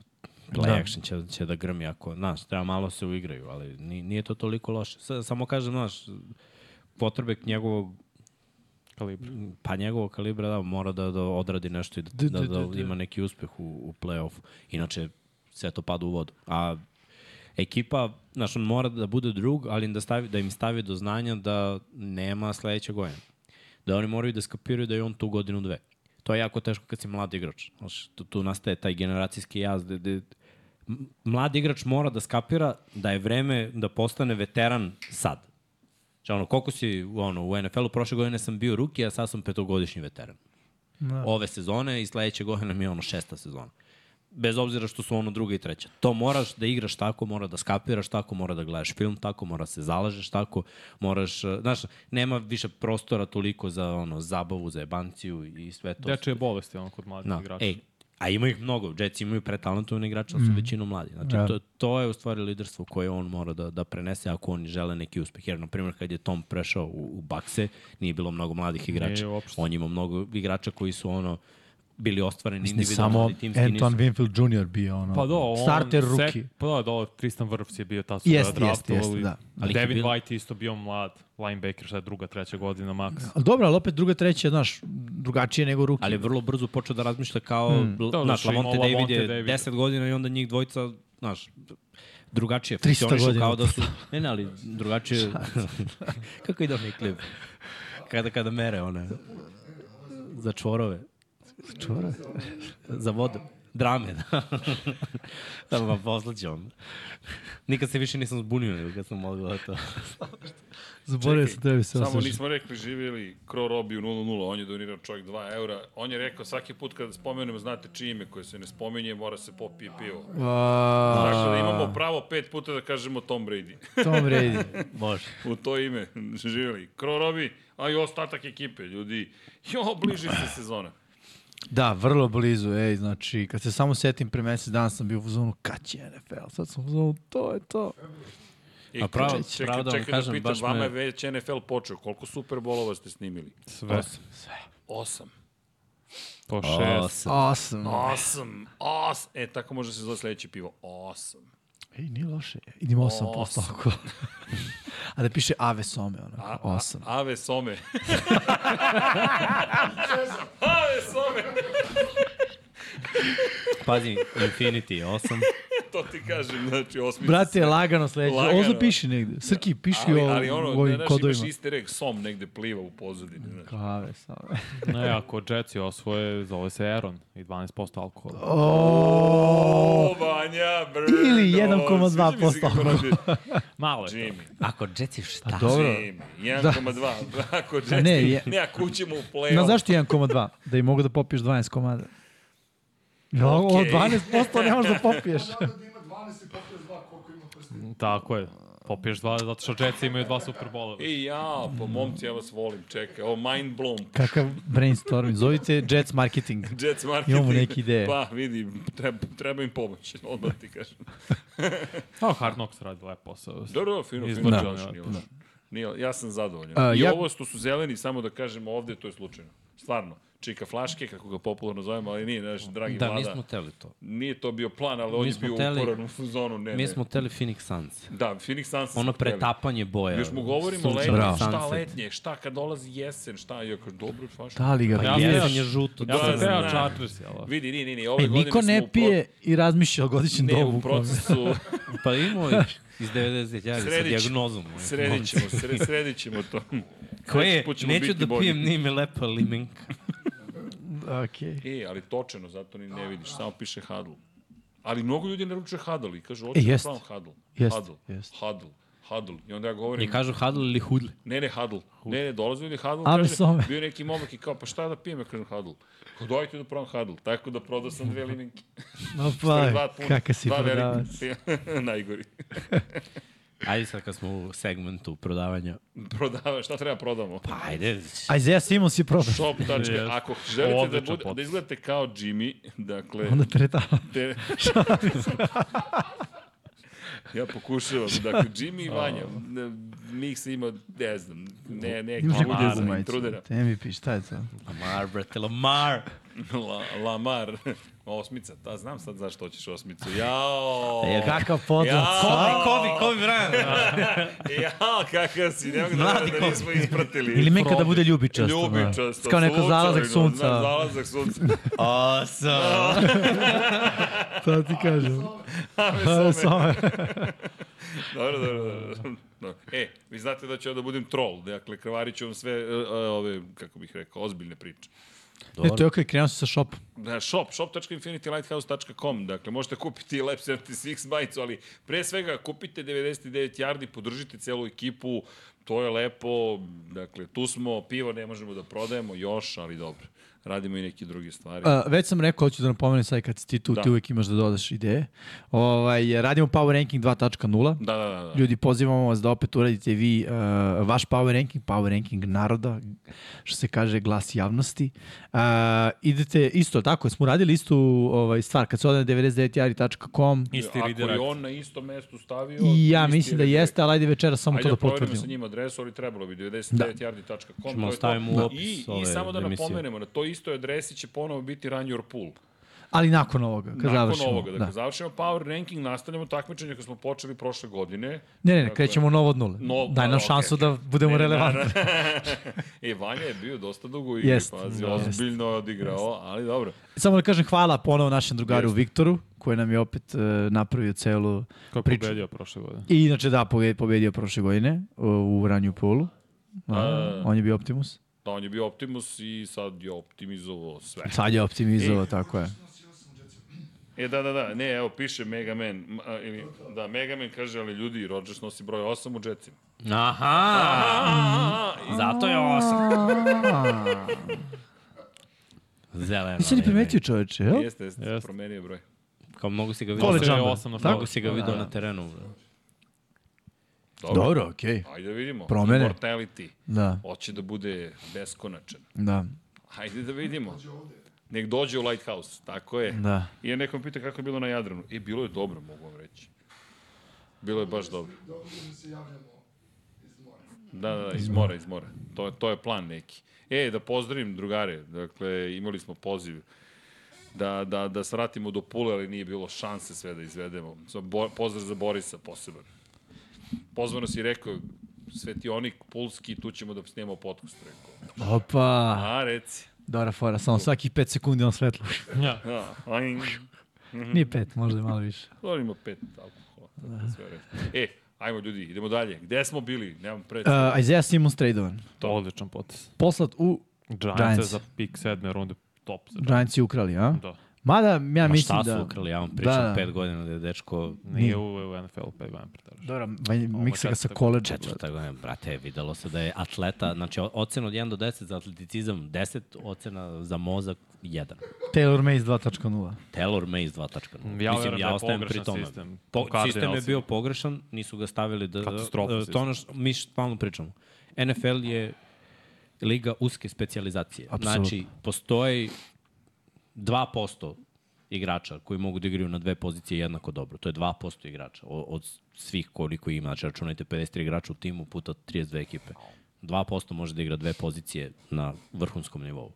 Play Da. action će, će da grmi ako, znaš, treba malo se uigraju, ali ni, nije to toliko loše. Sa, samo kažem, znaš, potrebek njegovog, Kalibra. pa njegovog kalibra da, mora da, da odradi nešto i da, Da, da, da, da, da, da. ima neki uspeh u, u play-offu. Inače, sve to pada u vodu. A ekipa, znaš, on mora da bude drug, ali da, stavi, da im stavi do znanja da nema sledećeg godina. Da oni moraju da skapiraju da je on tu godinu dve. To je jako teško kad si mlad igrač. Znaš, tu, tu nastaje taj generacijski jaz. Da, da, m- mlad igrač mora da skapira da je vreme da postane veteran sad. Znači, ono, koliko si ono, u NFL-u, prošle godine sam bio ruki, a sad sam petogodišnji veteran Da. ove sezone i sledeće godine mi je ono šesta sezona. Bez obzira što su ono druga i treća. To moraš da igraš tako, mora da skapiraš tako, mora da gledaš film tako, mora da se zalažeš tako, moraš, eh, znaš, nema više prostora toliko za ono zabavu, za jebanciju i sve to. Dečije bolesti, ono, kod mladih Da, igrača. ej, a ima ih mnogo, Jetsi imaju pretalentovne igrače, ali su mm. većinom mladi. Znači, Da. to, to je u stvari liderstvo koje on mora da, da prenese ako oni žele neki uspeh. Jer, na primjer, kad je Tom prešao u, u Bakse, nije bilo mnogo mladih igrača. Nije uopšte. on ima mnogo igrača koji su ono bili ostvareni Ni individualno, samo ali timski Anton Winfield Jr. bio ono. da Pa do, on... Starter sek- rookie. Pa da, da, Tristan Vrfs je bio ta su Jeste, ga jeste, jeste, draftovali. da. Ali Devin je bil- White je isto bio mlad, linebacker, sad druga, treća godina, maks. Ali dobro, ali opet druga, treća, znaš, drugačije nego ruki. Ali je vrlo brzo počeo da razmišlja kao, mm. Da, znaš, znači, imao Lavonte David Lavonte je David. 10 godina i onda njih dvojica, znaš, drugačije 300 funkcionišu godina. kao da su... Ne, ne, ali drugačije... Kako ide onaj klip? Kada, kada mere one... Za čvorove. Čore. Za vodu. Drame, da. da vam poslaću vam. Nikad se više nisam zbunio nego kad sam mogao to. Pa Zaboravio sam tebi se Samo osjeća. nismo rekli živjeli Kro Robi u 0-0, on je donirao čovjek 2 eura. On je rekao svaki put kada spomenemo, znate čije ime koje se ne spominje, mora se popije pivo. Tako da imamo pravo pet puta da kažemo Tom Brady. Tom Brady. Može. u to ime živjeli. Kro Robi, a i ostatak ekipe, ljudi. Jo, bliži se sezona. Da, vrlo blizu, ej, znači, kad se samo setim pre mesec dana sam bio u zonu, kad će NFL, sad sam u zonu, to je to. I A pravo- E, čekaj, pravo da vam čekaj, kažem, da pitam, baš me- vama je već NFL počeo. Koliko Superbolova ste snimili? Sve, Osam. po šest. Šest. Awesome. Osam. Osam. E, tako može se zove sledeće pivo. Osam. Ej, nije loše, idemo 8%. Osam. ako. A da piše Ave Some, ono, 8. Ave Some. Ave Some. Pazi, Infinity je osam. To ti kažem, znači osmica. Brate, lagano sledeće, Lagano. ovo zapiši negde, Srki, piši ali, ovo ali ono, u ovim ne, znaš, imaš kodovima. easter egg, som negde pliva u pozadini. Znači. Ave Some. Ne, ako Jetsi osvoje, zove se Aaron i 12% alkohola. O, Vanja, brdo. Ili sviđa mi se kako 1,2%. radi Malo je to. Jimmy. Ako Jetsi Da, šta? Dobro, Da. Jimmy, 1,2. Ako Jetsi, ne, ne, je- ne, ako ućemo u play-off. Na zašto 1,2? Da i mogu da popiješ 12 komada. No, Okej. okay. 12% ne možeš da popiješ. Znate da ima 12 i 52 koliko ima prstiju. Tako je. Popiješ dva, zato što Jetsi imaju dva Superbola. I ja, pa momci, ja vas volim, čekaj, ovo mind blown. Kakav brainstorming. Zovite Jets Marketing. Jets marketing. Imamo neke ideje. Pa, vidim, treba, treba im pomoć, odmah ti kažem. A Hard Knocks radi lep posao. Dobro, dobro, fino, fino, Izbacio da, je, nije loš. Nije, ja sam zadovoljan. A, I ja- ovo što su zeleni, samo da kažem ovde, to je slučajno. Stvarno. čika flaške, kako ga popularno zovemo, ali nije, naš dragi Da, vlada. nismo teli to. Nije to bio plan, ali on je smo bio hteli- uporan u zonu. Ne, Mi ne. smo teli Phoenix Suns. Da, Phoenix Suns. Ono smo hteli. pretapanje boja. Još mu govorimo sunčani letnje, šta sunset. letnje, šta kad dolazi jesen, šta, iako dobro, baš. Da li ga Pa Ja jesen sam- je žuto. Ja sam Da, teo znam. Chargers, jel? da? Vidi, nije, nije, nije, ove E, godine niko smo ne u pije i razmišlja o godišnjem pro... ne, dobu. u procesu, Pa imao je iz 90 ja sa Sredit ćemo. dijagnozom. ovaj, sredit ćemo, momci. sred, sredit ćemo to. Koje, Sledeći put ćemo neću biti da bolji. pijem, nije me lepa limenka. Okej. E, ali točeno, zato ni ne vidiš, samo piše hadl. Ali mnogo ljudi naručuje hadl i kažu, E, hoću da jest. pravim hadl. Jest, Hadl, jest. hadl, hadl. I onda ja govorim, I kažu hadl ili hudl. Ne, ne, Hadl. Ne, ne, dolazi ljudi Hadl, Ali kaže, some. bio je neki momak i kao, pa šta da pijem, ja kažem Hadl. Kao, dojte da provam Hadl. Tako da prodao sam dve limenke. Ma Dva pa, pun- kakav si dva velika. prodavac. Najgori. Ajde sad kad smo u segmentu prodavanja. Prodava, šta treba prodamo? Pa ajde. A Isaiah Simons je prodao. Shop. Jest. Ako želite da, Odličan bude, da potez. izgledate kao Jimmy, dakle, Onda tretava. te, ja pokušavam, dakle, Jimmy i Vanja, ne, mix ima, ne znam, ne, ne, Ima neku Lamar, drugu majicu. intrudera. MVP, šta je to? Lamar, brate, Lamar. La, Lamar, osmica, da, znam sad zašto hoćeš osmicu, jao! Е, E, Kakav podlog. Ja. Kobe, Kobe, Kobe Bryant. Ja, kakav si, ne mogu da, Mladi verujem da kop. nismo ispratili. Ili menka da Probi. bude ljubičasta. da. Ljubičasta, Kao neko zalazak slučajno, sunca. znaš, Zalazak sunca. Awesome. To ti kažem. Ave some. Samo Dobro, dobro, dobro. dobro. E, vi znate da ću ja da budem troll, dakle, krvarit ću vam sve e, e, ove, kako bih rekao, ozbiljne priče. Ne, to je okej, krenuo sam sa shopom. Na Da, shop, shop.infinitylighthouse.com, dakle, možete kupiti i Lab 76 majicu, ali pre svega kupite 99 yardi, podržite celu ekipu, to je lepo, dakle, tu smo, pivo ne možemo da prodajemo još, ali dobro, radimo i neke druge stvari. A, već sam rekao, hoću da napomenem sad kad si ti tu, Da. ti uvek imaš da dodaš ideje. Ovaj, radimo Power Ranking 2.0. Da, da, da. da. Ljudi, pozivamo vas da opet uradite vi uh, vaš power ranking, power ranking naroda, što se kaže glas javnosti. Uh, idete isto, tako, smo uradili istu ovaj, stvar, kad se odane 99jari.com, Isti Ako redirect. je on na isto mesto stavio... i ja isti mislim da redirect. jeste, ali ajde večera samo Ajde, to da da proverimo potvrdimo. sa njim adresu, ali trebalo bi Da. 99yardi.com. Ćemo to je to. stavimo u Da. opis I, ove I samo da emisije. napomenemo, na toj istoj adresi će ponovo biti Run Your Pool. Ali nakon ovoga, kad Nakon završimo. ovoga, dakle, da. završimo Power Ranking, nastavljamo takmičenje koje smo počeli prošle godine. Ne, ne, ne, Tako krećemo novo od nule. No- Daj nam da, šansu okej. da budemo Ne, ne, relevantni. E, Vanja je bio dosta dugo i Jest, pazi, da, jest. ozbiljno je odigrao, ali dobro. Samo da kažem hvala ponovo našem drugaru Jeste. Viktoru, koji nam je opet uh, napravio celu Ko je priču. pobedio prošle godine? I inače da, pobe- pobedio prošle godine u, u ranju polu. A, A. on je bio Optimus. Da, on je bio Optimus i sad je optimizovao sve. Sad je optimizovao, tako je. E, da, da, da, ne, evo, piše Mega Man, m, a, ili, da, Mega Man kaže, ali ljudi, Rodgers nosi broj 8 u Jetsima. Aha. Zato je awesome. Zeleno. Nisi ni primetio čoveče, jel? Jeste, jeste, Jeste. promenio je broj. Kao mnogo si ga To vidio. je College Jumper. osam na Tako? Mnogo si ga vidio Da. na terenu. Bro. Dobro. Dobro, okej. Ajde da vidimo. Promene. Immortality. Da, Hoće da bude beskonačan. da, Ajde da vidimo. Nek dođe u Lighthouse, tako je. da. I ja nekom pita kako je bilo na Jadranu. E, bilo je dobro, mogu vam reći. Bilo je baš dobro. Dobro da mi se javljamo iz mora. Da, da, da, iz mora, iz mora. To, je- to je plan neki. E, da pozdravim drugare. Dakle, imali smo poziv da, da, da se vratimo do pule, ali nije bilo šanse sve da izvedemo. Sa- Bo, pozdrav za Borisa poseban. Pozvano si rekao, Svetionik, Pulski, tu ćemo da snimamo podcast, rekao. Opa, A, reci. dobra fora, samo svakih 5 sekundi on svetlo. Ja. Da, A, ajn. Mhm. Nije 5, možda i malo više. Dobro, ima pet alkohola. tako da Sve u redu. E, ajmo ljudi, idemo dalje. Gde smo bili? Nemam predstavu. Uh, Isaiah Simons tradovan. To je odličan potes. Poslat u Giants, Giants. Giants. za pik sedme runde top za Giants. Giants i ukrali, a? Da. Mada, ja Ma mislim Pa šta da... su ukrali, ja vam pričam Da, da. pet godina da je dečko Nije u, u NFL pet godina pretaraš. Dobro, vanj- miksa ga sa četvrta- koleđa. Četvrta godina, brate, videlo se da je atleta, znači o- ocena od 1 do 10 za atleticizam, 10 ocena za mozak, 1. Taylor Mays 2.0. Taylor Mays 2.0. Ja verujem da je pogrešan sistem. Po, U Cardinalsima. sistem je bio pogrešan, nisu ga stavili da... Katastrofa e, To sistem. ono što mi stalno pričamo. NFL je liga uske specializacije. Apsolutno. Znači, postoji 2% igrača koji mogu da igraju na dve pozicije jednako dobro. To je 2% igrača o- od svih koliko ima. Znači, računajte 53 igrača u timu puta 32 ekipe. 2% može da igra dve pozicije na vrhunskom nivou.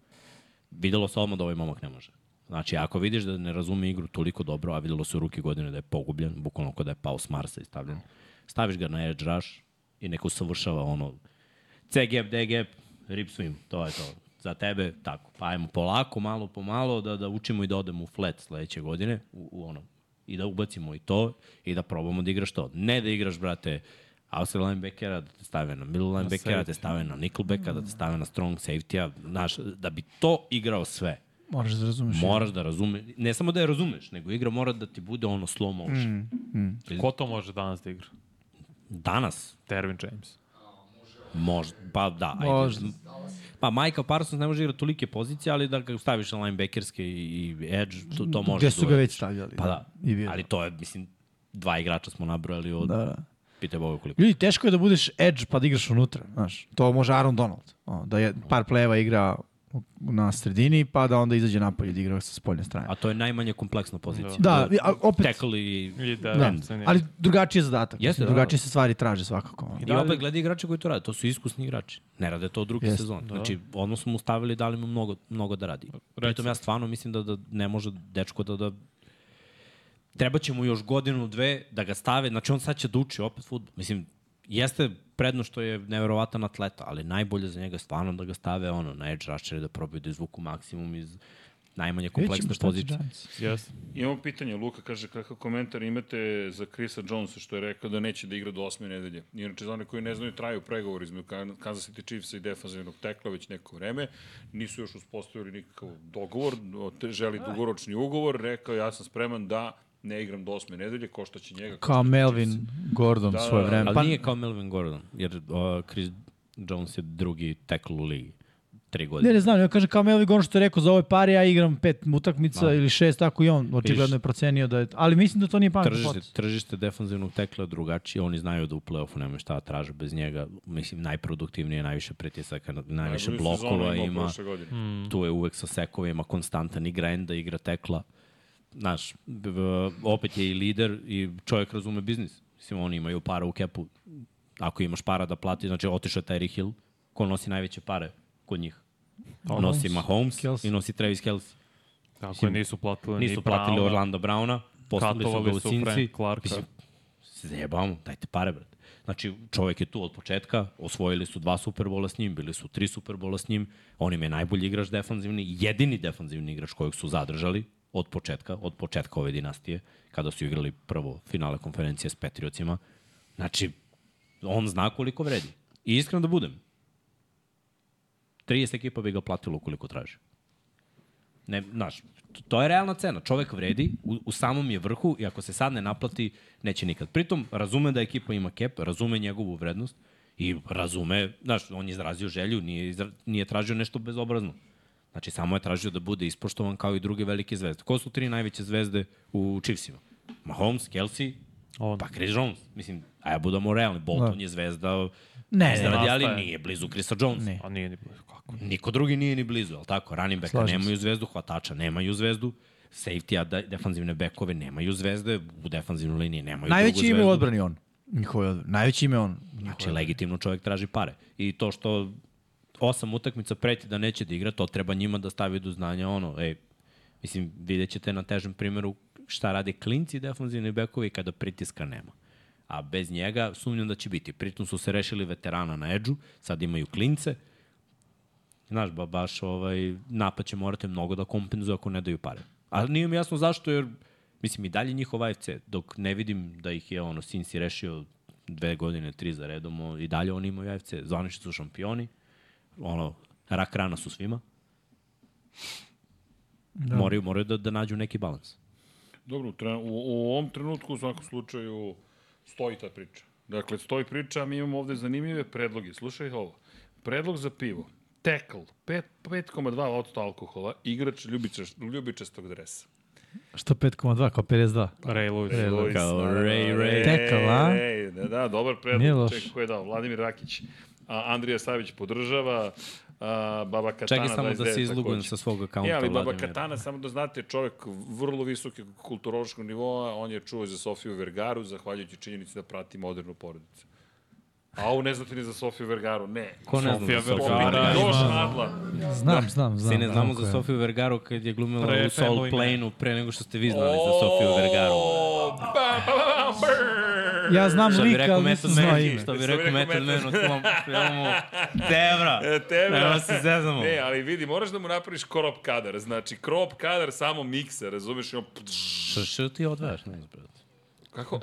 videlo se odmah da ovaj momak ne može. Znači, ako vidiš da ne razume igru toliko dobro, a videlo se u ruke godine da je pogubljen, bukvalno kao da je pao s Marsa i stavljen, staviš ga na edge rush i neko usavršava ono C gap, D gap, rip swim, to je to. Za tebe, tako, pa ajmo polako, malo po malo, da, da učimo i da odemo u flat sledeće godine, u, u ono, i da ubacimo i to, i da probamo da igraš to. Ne da igraš, brate, outside linebackera, da te stave na middle linebackera, da te stave na nickelbacka, Mm. da te stave na strong safety-a, znaš, da bi to igrao sve. Moraš da razumeš. Moraš da razumeš, ne samo da je razumeš, nego igra mora da ti bude ono slow motion. Mm. Ko to može danas da igra? Danas, Dervin James. možda, pa da, ajde. Možda. Pa Michael Parsons ne može igrati tolike pozicije, ali da ga staviš na linebackerske i i edge, to, to može. Gde su da ga uradiš. već stavljali. Pa da, I bio. ali to je, mislim, dva igrača smo nabrojali od, Da, da. da. pitaj Boga koliko. Ljudi, teško je da budeš edge pa da igraš unutra, znaš. To može Aaron Donald. O, da je par pleva igra na sredini, pa da onda izađe napolje da igra sa spoljne strane. A to je najmanje kompleksna pozicija. Da, a, opet, Tackle i... I da, da, ali drugačiji je zadatak. Jeste, Mislim, da, drugačije da. se stvari traže svakako. ono. I opet gleda igrače koji to rade, to su iskusni igrači. Ne rade to drugi Jeste, yes, da. sezon. Znači, odmah smo mu stavili i dali mu mnogo, mnogo da radi. Pritom ja stvarno mislim da, da ne može dečko da, da treba će mu još godinu, dve da ga stave, znači on sad će da uči opet futbol. Mislim, jeste predno što je neverovatan atleta, ali najbolje za njega je stvarno da ga stave ono, na edge rusher i da probaju da izvuku maksimum iz najmanje Vidjet ćemo kompleksne šta će pozicije. Giants. Yes. Imamo pitanje, Luka kaže kakav komentar imate za Krisa Jonesa što je rekao da neće da igra do osme nedelje. Inače, za one koji ne znaju, traju pregovor između Kan- Kansas City Chiefsa i defanzivnog tekla već neko vreme. Nisu još uspostavili nikakav dogovor, o, te- želi dugoročni ugovor. Rekao, ja sam spreman da ne igram do osme nedelje, košta će njega. Kao koštaće Melvin Gordon Da, svoje da, vreme. Ali Pa, nije kao Melvin Gordon, jer uh, Chris Jones je drugi tackle u ligi. Tri godine. ne, ne znam, ja kažem kao Melvin Gordon što je rekao za ove pare, ja igram pet Da. utakmica ili šest, tako i on očigledno je procenio da je... Ali mislim da to nije pametno. tržište, tržište defanzivnog tekla je drugačije, oni znaju da u play-offu nemaju šta da traže bez njega, mislim najproduktivnije, najviše pritisaka, na- najviše Najbolju blokova sezonu imao ima, prošle godine. tu je uvek sa sekovima, konstantan igra enda, igra tekla, znaš, b- b- opet je i lider i čovjek razume biznis, mislim oni imaju para u kepu, ako imaš para da plati, znači otišao je Terry Hill, ko nosi najveće pare kod njih? Nosi Mahomes Kelce. i nosi Travis Kelce Tako je, nisu platili ni nisu da platili Browna. Orlando Browna, poslali su ga Katovali u su Cinci. Frank Clarka. Mislim, Zajebamo, dajte pare, brate. Znači, čovek je tu od početka, osvojili su dva Superbola s njim, bili su tri Superbola s njim, on im je najbolji igrač defanzivni, jedini defanzivni igrač kojeg su zadržali od početka, od početka ove dinastije, kada su igrali prvo finale konferencije s Patriotsima. Znači, on zna koliko vredi. I iskreno da budem, 30 ekipa bi ga platilo koliko traži. Ne, znaš, to- to je realna cena. Čovek vredi, u, u samom je vrhu i ako se sad ne naplati, neće nikad. Pritom, razume da ekipa ima cap, razume njegovu vrednost i razume, znaš, on je izrazio želju, nije, izra, nije tražio nešto bezobrazno. Znači, samo je tražio da bude ispoštovan kao i druge velike zvezde. Ko su tri najveće zvezde u Chiefsima? Mahomes, Kelsey, On. pa Chris Jones. Mislim, a ja budemo realni, Bolton je zvezda, Ne, ne, izradi, ali nastaje. nije blizu Chrisa Jonesa. A nije ni blizu kako. Niko drugi nije ni blizu, al tako? Running backa Slažem se. nemaju zvezdu, hvatača nemaju zvezdu, safety-a, de- defanzivne bekove nemaju zvezde, u defanzivnoj liniji nemaju Najveće drugu ime u zvezdu. odbrani on. Njihove odbrani. Najveće ime on. Znači, legitimno čovjek traži pare. I to što osam utakmica preti da neće da igra, to treba njima da stavi do znanja ono, ej, mislim, vidjet ćete na težem primjeru šta rade klinci i defanzivni bekovi kada pritiska nema. A bez njega sumnjam da će biti. Pritom su se rešili veterana na edžu, sad imaju klince, Znaš, ba, baš ovaj, napad će morati mnogo da kompenzuju ako ne daju pare. Ali nije mi jasno zašto, jer mislim i dalje njihov AFC, dok ne vidim da ih je ono, Sinsi rešio dve godine, tri za redom, o, i dalje oni imaju AFC. Zvanični su šampioni, ono, rak rana su svima. Da. Moraju, moraju da, da nađu neki balans. Dobro, u, tre- u, u ovom trenutku u svakom slučaju stoji ta priča. Dakle, stoji priča, a mi imamo ovde zanimljive predloge. Slušaj ovo. Predlog za pivo. Tekl, 5,2% alkohola, igrač ljubičast, ljubičastog dresa. Šta 5,2 kao 52? Ray Lewis. Lewis, kao naravno. Ray, Ray. Tekl, a? Ray, Da, da, dobar predlog. Nije Nije loš. Čekaj, ko je dao? Vladimir Rakić. A, Andrija Savić podržava. A, Baba Katana Čekaj samo da 29 se izlogujem takođe. sa svog akaunta. E, ali Baba Vladimira. Katana, samo da znate, čovek vrlo visokog kulturološkog nivoa, on je čuo za Sofiju Vergaru, zahvaljujući činjenici da prati modernu porodicu. Au, ne znate ni za Sofiju Vergaru, ne. Ko ne zna Sofija za Sofiju Vergara Vergara? ima- Još nadla. Znam, znam, znam. Svi ne Da. znamo znam ko za Da, je. Sofiju Vergaru kad je glumila Pre u Soul Family Man. Plane-u pre nego što ste vi znali za Sofiju Vergaru. Ba, ba, ba, brr. Ja znam Što bi lika, rekao ali Method nisam znao Man, ime. što bi Što rekao Method Man u tom filmu. Tebra, E, tebe. nema se zezamo. Ne, ali vidi, moraš da mu napraviš krop kadar. Znači, krop kadar samo miksa, razumeš? I on... Što što ti odvajaš, ne znam, brate. Kako?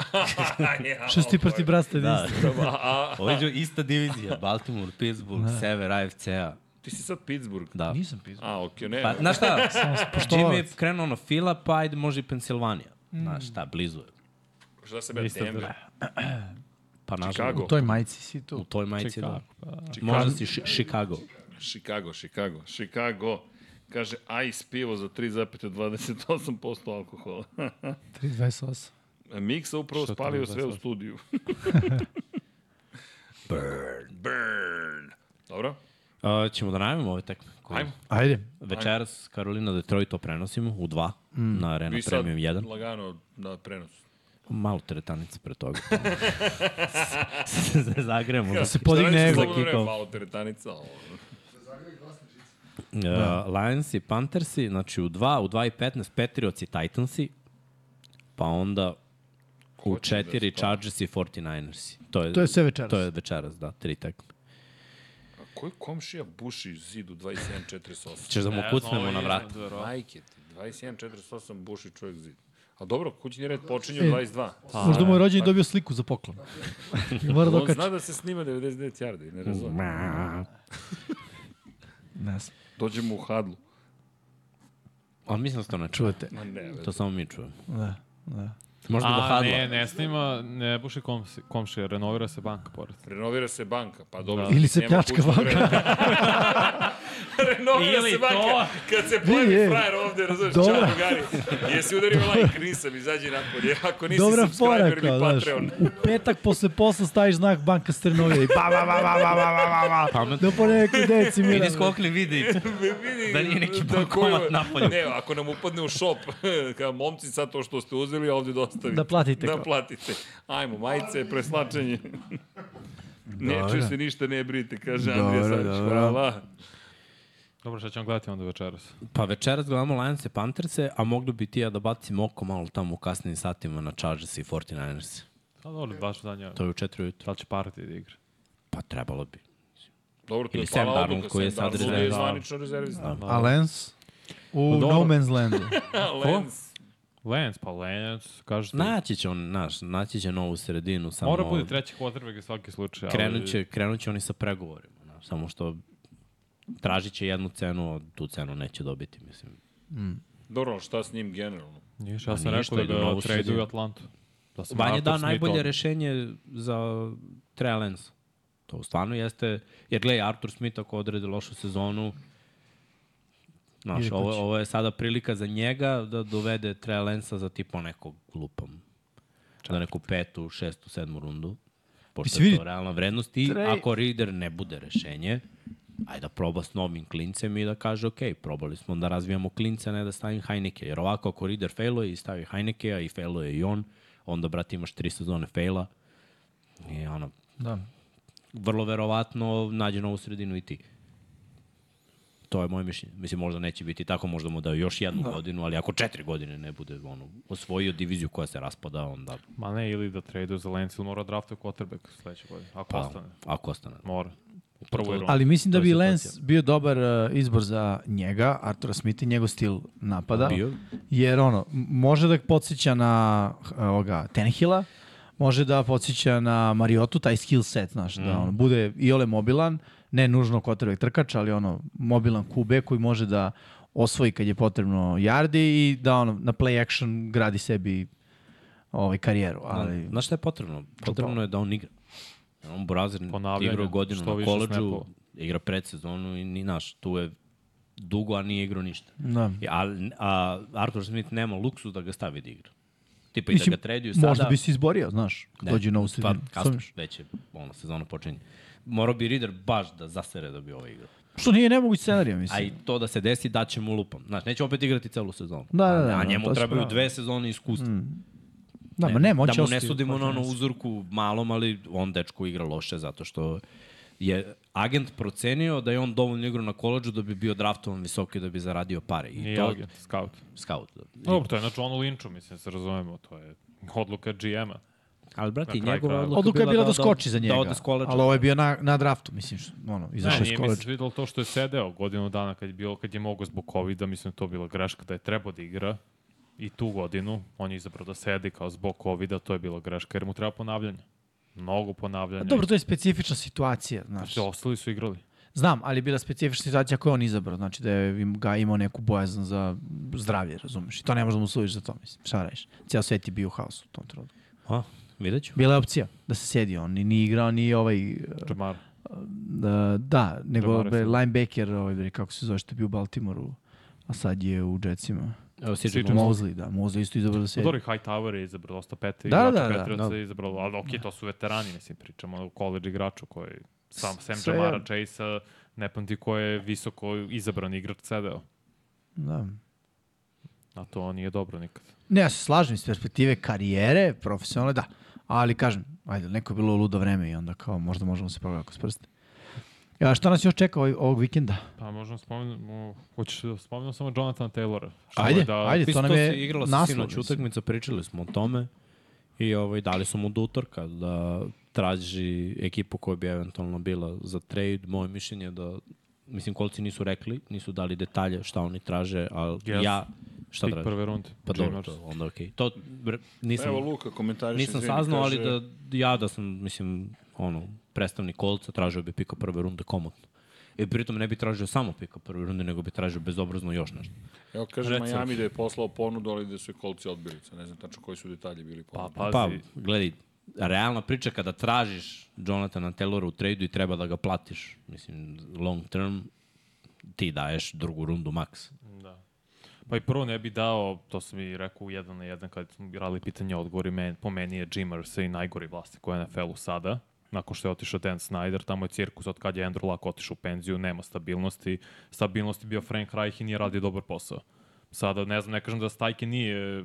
ja, Što si ti proti brasta Da, jedinstvo? A, a, ovo je ista divizija, Baltimore, Pittsburgh, Sever, AFC-a, ti si sad Pittsburgh. da. Da. Nisam pisao. A, okej, ne. Pa, znaš šta, Jimmy je Poštovalac. Mm. krenuo na Fila, pa ajde može i Pensilvanija. Znaš šta, blizu je. Šta sam ja Isto Denver? Pa nažalost, Chicago. U toj majici si u tu. toj majici, da. Chicago, pa- Možda si Chi- Chicago. Chicago, Chicago, Chicago. Kaže, ice pivo za 3,28% alkohola. 3.28. Miksa upravo Što spalio 3,28? sve u studiju. burn. Burn. Dobro? A, ćemo da najavimo ove tekme. Koje... Ajmo. Ajde. Večeras Karolina Detroit to prenosimo u 2 Mm. na Arena Vi sad Premium 1. lagano na prenosu. Malo teretanice pre toga. Da Se Zagremo. Da se Podigne Šta ego. reći slobodno vreme, Kikov. Malo teretanica. ovo. Uh, Da. Lions i Panthers i, znači u 2, u 2 i 15 Patriots i Titans i, pa onda u Hoću da 4 spavam. Chargers i 49ers. To je, To je sve večeras. To je večeras, da, tri tekme. A koji komšija buši zid u 27.48? Češ da mu kucnemo na vrat. Majke ti, 27.48 buši čovjek zid. A dobro, kućni red počinje u 22. Možda Pa, mu je rođen dobio sliku za poklon. I Mora da On okače. zna da se snima 99 yardi, ne razumem. Ne znam. Dođemo u hadlu. A mislim da se to ne čuje. Čujete? Ma ne, To samo mi čujemo. Da, da. Možda do A, hadla. ne, ne snima, ne buši komši, komšija, renovira se banka pored. Renovira se banka, pa dobro. Ili se nema pljačka kućnog banka. reda. Renovira Ili se banka. to. Kad se pojavi je. frajer ovde, razumeš, Dobra. čao drugari. Jesi udario like, nisam, izađi napolje. Ako nisi Dobra fora, subscriber kao, ili znaš. Patreon. U petak posle posla staviš znak banka Strnovija i ba, ba, ba, ba, ba, ba, ba, ba, ba. Do ponedeka u deci, Vidi Miran. s kokli vidi. Vidi, Da nije neki da bankomat koju- napolju. Ne, ako nam upadne u šop, kao momci sad to što ste uzeli, ovde dostavite. Da platite, Da kao. platite. Ajmo, majice, preslačenje. Neće se ništa, ne brite, kaže Andrija Dobro, Savić. dobro. Hvala. Dobro, šta ćemo gledati onda večeras? Pa večeras gledamo Lions i Pantherse, a mogli bi ti ja da bacim oko malo tamo u kasnim satima na Chargers i 49ers. Pa dobro, baš danja, To je u četiri ujutru. da li će parati da igra? Pa trebalo bi. Dobro, to Ili je Sam pala Darnold, odluka. koji je Sam sad Darnold je rezervist. zvanično rezervista. A Lens? U dobro. No Man's Landu. Da, Lens. Lens, pa Lens, kažete. Naći će on, naš, naći će novu sredinu. Samo Mora bude treći quarterback u svaki slučaj. ali- Krenut će, krenut će oni sa pregovorima. Znaš, samo što tražit će jednu cenu, a tu cenu neće dobiti, mislim. Dobro, ali šta s njim generalno? Ništa, ja Pa sam ništa, rekao da idu u novu ga traduju sredinu. u Atlantu. Da sam Vanja da Arthur Smith najbolje odmah. rešenje za Trey Lance. To stvarno jeste, jer gledaj, Arthur Smith ako odredi lošu sezonu, znaš, Ide ovo, kući. ovo je sada prilika za njega da dovede Trey Lance za tipa nekog glupom. Za neku petu, šestu, sedmu rundu. Pošto Mislim, je to vidi, realna vrednost i Trey- ako Reader ne bude rešenje, ajde da proba s novim klincem i da kaže, ok, probali smo da razvijamo klinca, ne da stavim Heineke. Jer ovako, ako Reader failuje i stavi Heinekea i failuje i on, onda, brate, imaš tri sezone faila i ono, Da. vrlo verovatno nađe novu sredinu i ti. To je moje mišljenje. Mislim, možda neće biti tako, možda mu daju još jednu da. godinu, ali ako četiri godine ne bude ono, osvojio diviziju koja se raspada, onda Ma ne, ili da traduju za Lens, ili mora draftuje quarterback sledeće godine. Ako pa, ostane. ako ostane. Mora. U prvoj rundi. Ali mislim da To je bi situacija. Lens bio dobar uh, izbor za njega, Artura Smitha i njegov stil napada. Bio. Jer ono, m- može da podsjeća na uh, ovoga, Tenhila, može da podsjeća na Mariotu, taj skill set, znaš, da Mm. ono, bude i ole mobilan, ne nužno kotrvek trkač, ali ono, mobilan QB koji može da osvoji kad je potrebno yardi i da ono, na play action gradi sebi ovaj, karijeru. Da. Ali, Znaš šta je potrebno? Potrebno je da on igra. Da On Brazir Ponavljanje, igrao godinu što na više koleđu, snapova. igra predsezonu i ni naš, tu je dugo, a nije igrao ništa. da. A, a Arthur Smith nema luksu da ga stavi da igra. Tipa i Mislim, da ga traduju sada. možda bi se izborio, znaš, Ne, ne, dođe na ovu Pa sredinu. kasno, Sumnjaš? već je ono, sezona počinje. Morao bi Reader baš da zasere da bi ovo igrao. Što nije nemoguć scenarij, mislim. A i to da se desi, da će mu lupom. Znaš, neće opet igrati celu sezonu. Da, da, A- da, A da, njemu to si trebaju pravo. dve sezone iskustva. Mm. Da, ma nema, on da će mu ne ostati u sudimo na onu konferenciji. uzorku malom, ali on dečko igra loše zato što je agent procenio da je on dovoljno igrao na koleđu da bi bio draftovan visoko i da bi zaradio pare. I Nije to, agent, scout. Scout. Da. Dobro, to je na Johnu Lynchu, mislim, da se razumemo, to je odluka GM-a. Ali, brate, Na i kraju njegova krajeva. odluka, Odluka je bila da, skoči za njega. Da ode s koleđa. Da, Ali ovo je bio na, na draftu, mislim, što, ono, Ne, izašao iz nije mi se koleđa. svidalo to što je sedeo godinu dana kad je, bilo, kad je mogao zbog COVID-a, mislim da je to bila greška da je trebao da igra i tu godinu, on je izabrao da sedi kao zbog COVID-a, to je bila greška jer mu treba ponavljanje. Mnogo ponavljanja. da- A Pa Dobro, to je specifična situacija, znaš. Znači, ostali su igrali. Znam, ali je bila specifična situacija koju je on izabrao, znači da je im- ga imao neku bojazan za zdravlje, razumeš? I to ne možda mu suviš za to, mislim, šta radiš? Cijel svet je bio u haosu u tom trenutku. A, vidjet ću. Bila je opcija da se sjedi on, ni, ni igrao, ni ovaj, Jamar. da, da nego Jamar je be, fan. linebacker, ovaj, bre, kako se zove, što je bio u Baltimoru, a sad je u Jetsima. Evo, Sjećam siđemo. se. Mosley, da, Mosley isto izabrao da Pa sjedi. Dobro, i Hightower je izabrao dosta pete Da, da, da, igrača, da, da, Patriotsa da. je izabrao, ali okej, to su veterani, mislim, pričamo o college igraču koji sam Sam Sve Jamara, Chase-a, ne pamti ko je visoko izabran igrač sedeo. Da. A to nije dobro nikad. Ne, ja se slažem iz perspektive karijere, profesionalne, da. Ali kažem, ajde, neko je bilo ludo vreme i onda kao možda možemo se progledati kroz prste. Ja, šta nas još čeka ovaj, ovog vikenda? Pa možemo spomenuti, hoćeš da spomenemo samo Jonathan Taylora. Šta Ajde, je da, ajde. Pistos to nam je je igrala sa naslov, sinoć mislim. utakmica, pričali smo o tome i ovaj, dali su mu do utorka da traži ekipu koja bi eventualno bila za trade. Moje mišljenje je da, mislim, kolci nisu rekli, nisu dali detalje šta oni traže, ali Yes. ja šta Pik da tražim? prve runde. Pa dobro, Jamers. to, onda okej. To bre, nisam, Evo Luka komentariš. nisam saznao, ali da ja da sam, mislim, ono, predstavnik kolca, tražio bi pika prve runde komotno. I pritom ne bi tražio samo pika prve runde, nego bi tražio bezobrazno još nešto. Evo kaže Red Miami da je poslao ponudu, ali da su je kolci odbili. Sad Ne znam tačno koji su detalji bili Pa, ponudu. pazi, Pa, gledaj, realna priča kada tražiš Jonathana Taylora u tradu i treba da ga platiš, mislim, long term, ti daješ drugu rundu maks. Da. Pa i prvo ne bi dao, to sam i rekao u jedan na jedan kad smo rali pitanje odgovori, men, po meni je Jim Irsay najgori vlasnik u NFL-u sada, nakon što je otišao Dan Snyder, tamo je cirkus od kad je Andrew Luck otišao u penziju, nema stabilnosti, stabilnosti bio Frank Reich i nije radio dobar posao. Sada, ne znam, ne kažem da Stajke nije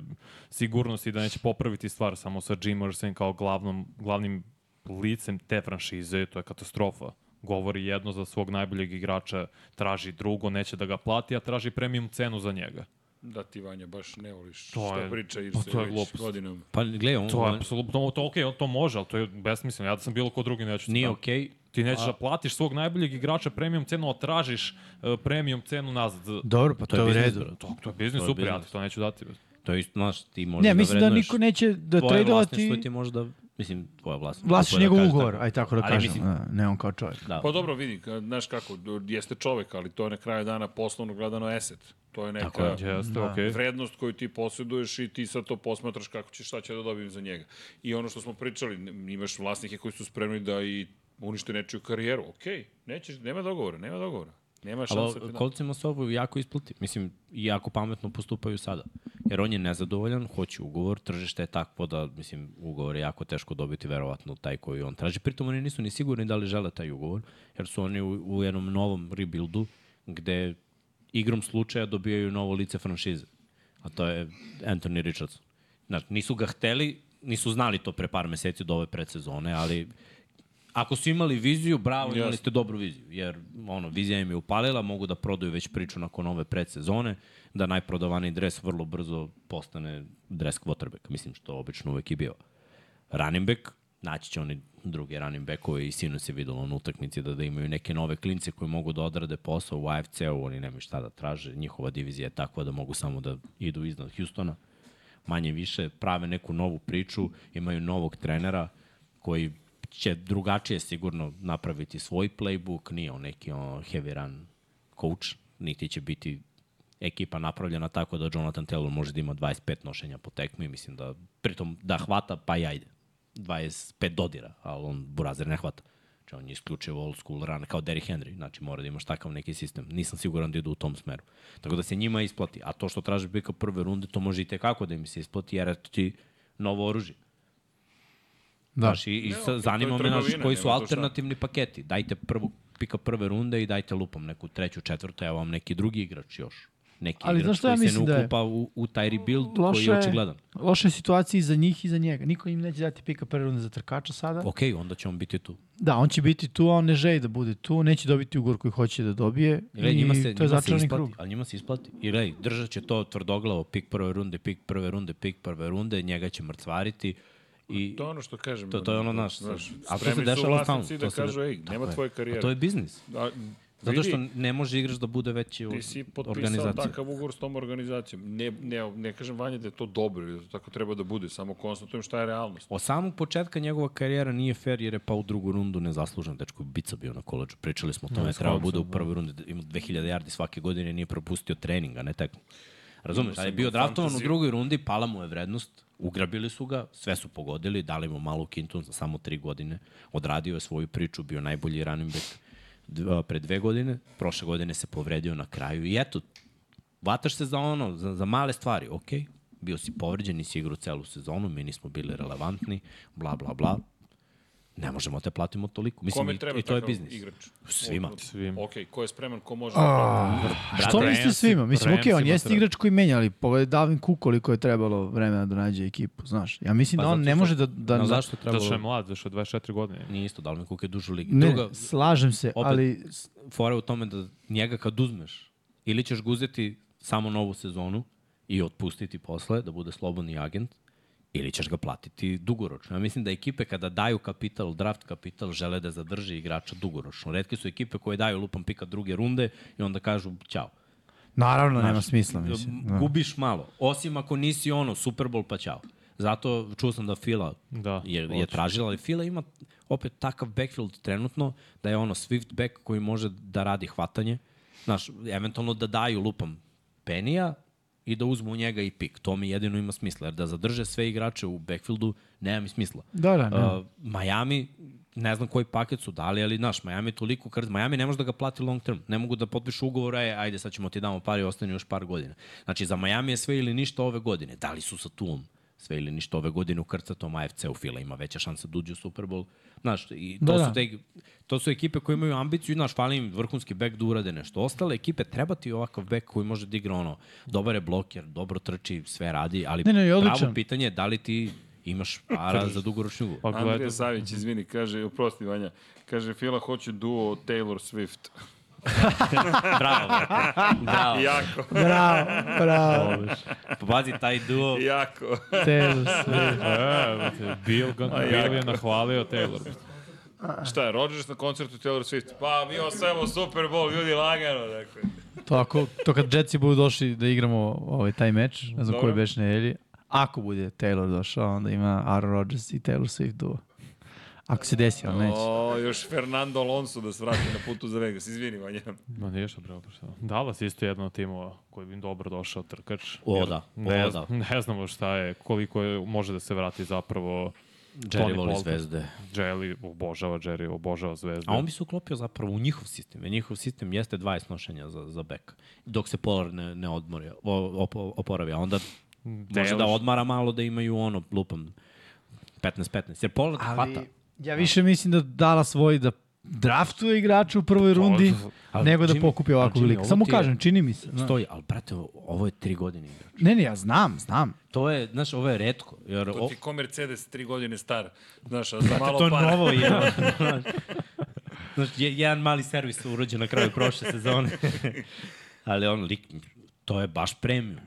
sigurnost i da neće popraviti stvar samo sa Jim Irsay kao glavnom, glavnim licem te franšize, to je katastrofa. Govori jedno za svog najboljeg igrača, traži drugo, neće da ga plati, a traži premium cenu za njega. Da ti Vanja baš ne voliš To šta je- priča pa Irse to je već glupost. godinama. Pa gledaj, on, To je on apsolutno, to, okej, to može, ali to je besmisleno. Ja da sam bilo ko drugi neću. nije da- okej, okay. Ti nećeš da platiš svog najboljeg igrača premium cenu, a tražiš uh, premium cenu nazad. Dobro, pa to, je je u biznis, redu. brate. To, to je biznis, Da, To je super, ja biznis. Da. ti to neću dati. to je isto, znaš, ti možeš Ne, da mislim da vrednuješ niko neće da tvoje tradovati vlasništvo ti možda, mislim, tvoje vlasništvo. vlasniš kako da njegov kažeš, ugovor, tako. aj tako da Ali kažem. mislim- da, ne on kao čovjek. Da. Pa dobro, vidi, ka- znaš kako, d- jeste čovek, ali to je na kraju dana poslovno gledano eset. To je neka... Tako je. Jeste, Da. okej. E. vrednost koju ti posjeduješ i ti sad to posmatraš kako ćeš, šta će da dobijem za njega. I ono što smo pričali, n- imaš vlasnike koji su spremni da i unište nečiju karijeru. Okej, nećeš, nema dogovora, nema dogovora. Nema Ali šansa. ti da- kolcima se ovo jako isplati. Mislim, jako pametno postupaju sada. Jer on je nezadovoljan, hoće ugovor, tržište je takvo da, mislim, ugovor je jako teško dobiti, verovatno, taj koji on traži. Pritom oni nisu ni sigurni da li žele taj ugovor, jer su oni u, u jednom novom rebuildu, gde igrom slučaja dobijaju novo lice franšize. A to je Anthony Richardson. Znači, nisu ga hteli, nisu znali to pre par meseci do ove predsezone, ali ako su imali viziju, bravo, imali Jasno. ste dobru viziju, jer ono, vizija im je upalila, mogu da prodaju već priču nakon ove predsezone, da najprodavaniji dres vrlo brzo postane dres quarterback, mislim što obično uvek i bio. Running back, naći će oni druge running backove i sinu se videlo na utakmici da, da imaju neke nove klince koji mogu da odrade posao u AFC-u, oni nemaju šta da traže, njihova divizija je takva da mogu samo da idu iznad Hustona manje više prave neku novu priču, imaju novog trenera koji će drugačije sigurno napraviti svoj playbook, nije on neki on, heavy run coach, niti će biti ekipa napravljena tako da Jonathan Taylor može da ima 25 nošenja po tekmi, mislim da pritom da hvata, pa i ajde. 25 dodira, ali on burazer ne hvata. Znači on je isključivo old school run kao Derrick Henry, znači mora da imaš takav neki sistem. Nisam siguran da idu u tom smeru. Tako da se njima isplati. A to što traže pika prve runde, to može i tekako da im se isplati, jer eto ti novo oružje. Da. Znaš, i, i to sa, je zanima me trgovina, naš, koji su nema tu šta. alternativni paketi. Dajte prvog pika prve runde i dajte lupom neku treću, četvrtu, evo vam neki drugi igrač još. neki Ali ali znaš igrač šta ja koji se mislim ne da je? ukupa u, u taj rebuild koji Loše, je očigledan. loše je situacija i za njih i za njega. Niko im neće dati pika prve runde za trkača sada. Ok, onda će on biti tu. Da, on će biti tu, a on ne želi da bude tu, neće dobiti ugor koji hoće da dobije. Gledaj, I njima se, to je njima se začarani isplati, krug. ali njima se isplati. I gledaj, držat će to tvrdoglavo, pik prve runde, pik prve runde, pik prve runde, njega će mrcvariti i To je ono što kažem. To- to je ono, znaš, a to se spremni su dešava vlasnici stalno, Da to se de- kažu, ej, nema Tako je. tvoje a karijere. to je biznis. A, Zato što vidi, ne može igrač da bude veći od ti si potpisao organizacije. takav ugovor s tom organizacijom. Ne, ne, ne kažem vanje da je to dobro ili da tako treba da bude, samo konstatujem šta je realnost. Od samog početka njegova karijera nije fair jer je pa u drugu rundu nezaslužen dečko bica bio na koleđu. Pričali smo o tome, treba bude u prvoj rundi, da ima 2000 yardi svake godine, nije propustio treninga, ne tekmo. Razumeš, ali je bio draftovan u drugoj rundi, pala mu je vrednost, ugrabili su ga, sve su pogodili, dali mu malu kintu za samo tri godine, odradio je svoju priču, bio najbolji running back dv- pre dve godine, prošle godine se povredio na kraju i eto, vataš se za ono, za, za male stvari, ok, bio si povređen, nisi igrao celu sezonu, mi nismo bili relevantni, bla, bla, bla, ne možemo da te platimo toliko. Mislim, Kome i, treba i to je takav biznis. igrač? Svima. Svima. Ok, ko je spreman, ko može... da A, Što mislite Ramsey- svima? Mislim, okej, on Ramsey jeste potreba. igrač koji menja, ali pogledaj Davin Cook koliko je trebalo vremena da nađe ekipu, znaš. Ja mislim Pa da on zato ne što- može da... da Na zašto treba... Zato što je mlad, zato što je 24 godine. Nije isto, da li mi Cook je dužu ligi. Ne, Druga, slažem se, opet, ali... ali... fora je u tome da njega kad uzmeš, ili ćeš ga uzeti samo novu sezonu i otpustiti posle, da bude slobodni agent, ili ćeš ga platiti dugoročno. Ja mislim da ekipe kada daju kapital, draft kapital, žele da zadrže igrača dugoročno. Redke su ekipe koje daju lupan pika druge runde i onda kažu ćao. Naravno, nema smisla, mislim. Da. E, Gubiš malo. Osim ako nisi ono, Super Bowl pa ćao. Zato čuo sam da Fila Da, je, je odlično. tražila, ali Fila ima opet takav backfield trenutno da je ono Swift back koji može da radi hvatanje. Znaš, eventualno da daju lupam Penija i da uzmu njega i pik. To mi jedino ima smisla, jer da zadrže sve igrače u backfieldu nema mi smisla. Da, da, ne. Uh, Miami, ne znam koji paket su dali, ali znaš, Miami je toliko krz. Miami ne može da ga plati long term. Ne mogu da potpišu ugovor, aj, ajde sad ćemo ti damo par i ostane još par godina. Znači, za Miami je sve ili ništa ove godine. Da li su sa Tulom sve ili ništa ove godine u krcatom AFC u Fila ima veća šansa da uđe u Super Bowl. Znaš, i to, Da, da, da. su te, to su ekipe koje imaju ambiciju i znaš, fali im vrhunski bek da urade nešto. Ostale ekipe treba ti ovakav bek koji može da igra ono, dobar je bloker, dobro trči, sve radi, ali Ne, ne, odličan. pravo pitanje je da li ti imaš para za dugoročni ugovor. Pa Andrija gledaj, Savić, izvini, kaže, oprosti Vanja, kaže, Fila, hoću duo Taylor Swift. Bravo, brate. Bravo. Ja. jako, Bravo, bravo. Pazi, taj duo. jako. Težo sve. e, Bill, ga, Bill je nahvalio Taylor. Šta je, Rodgers na koncertu Taylor Swift? Pa, mi osvajamo Super Bowl, ljudi, lagano, dakle. To, ako, to kad Jetsi budu došli da igramo ovaj, taj meč, ne znam Dobro. koji beš nedelji, ako bude Taylor došao, onda ima Aaron Rodgers i Taylor Swift duo. Ako se desi, ali neće. O, još Fernando Alonso da svrati na putu za Vegas, izvini Vanja. Ma nije što bravo, što. Dallas je isto jedan od timova koji bi im dobro došao trkač. O, jer da, o, Ne, da. znam- ne znamo šta je, koliko je, može da se vrati zapravo Jerry voli Bolton. zvezde. Jelly, obožava Jerry, obožava zvezdu. A on bi se uklopio zapravo u njihov sistem. Jer njihov sistem jeste 20 nošenja za, za beka. Dok se Polar ne, ne odmori, o, opo, oporavi. A onda može Taylor- da odmara malo da imaju ono, lupam, 15-15. Jer Polar ali, hvata. ja više mislim da Dallas voli da draftuje igrača u prvoj rundi, ali nego da Jimmy- pokupi ovako ali Jimmy, velika. ovo Samo ti je- kažem, čini mi se. Stoji, ali brate, ovo je tri godine igra. Ne, ne, ja znam, znam. To je, znaš, ovo je redko. Jer To o, ti ko Mercedes, tri godine star. Znaš, a za malo to para. novo je. Znaš, je, jedan mali servis urađen na kraju prošle sezone. Ali on, lik, to je baš premium.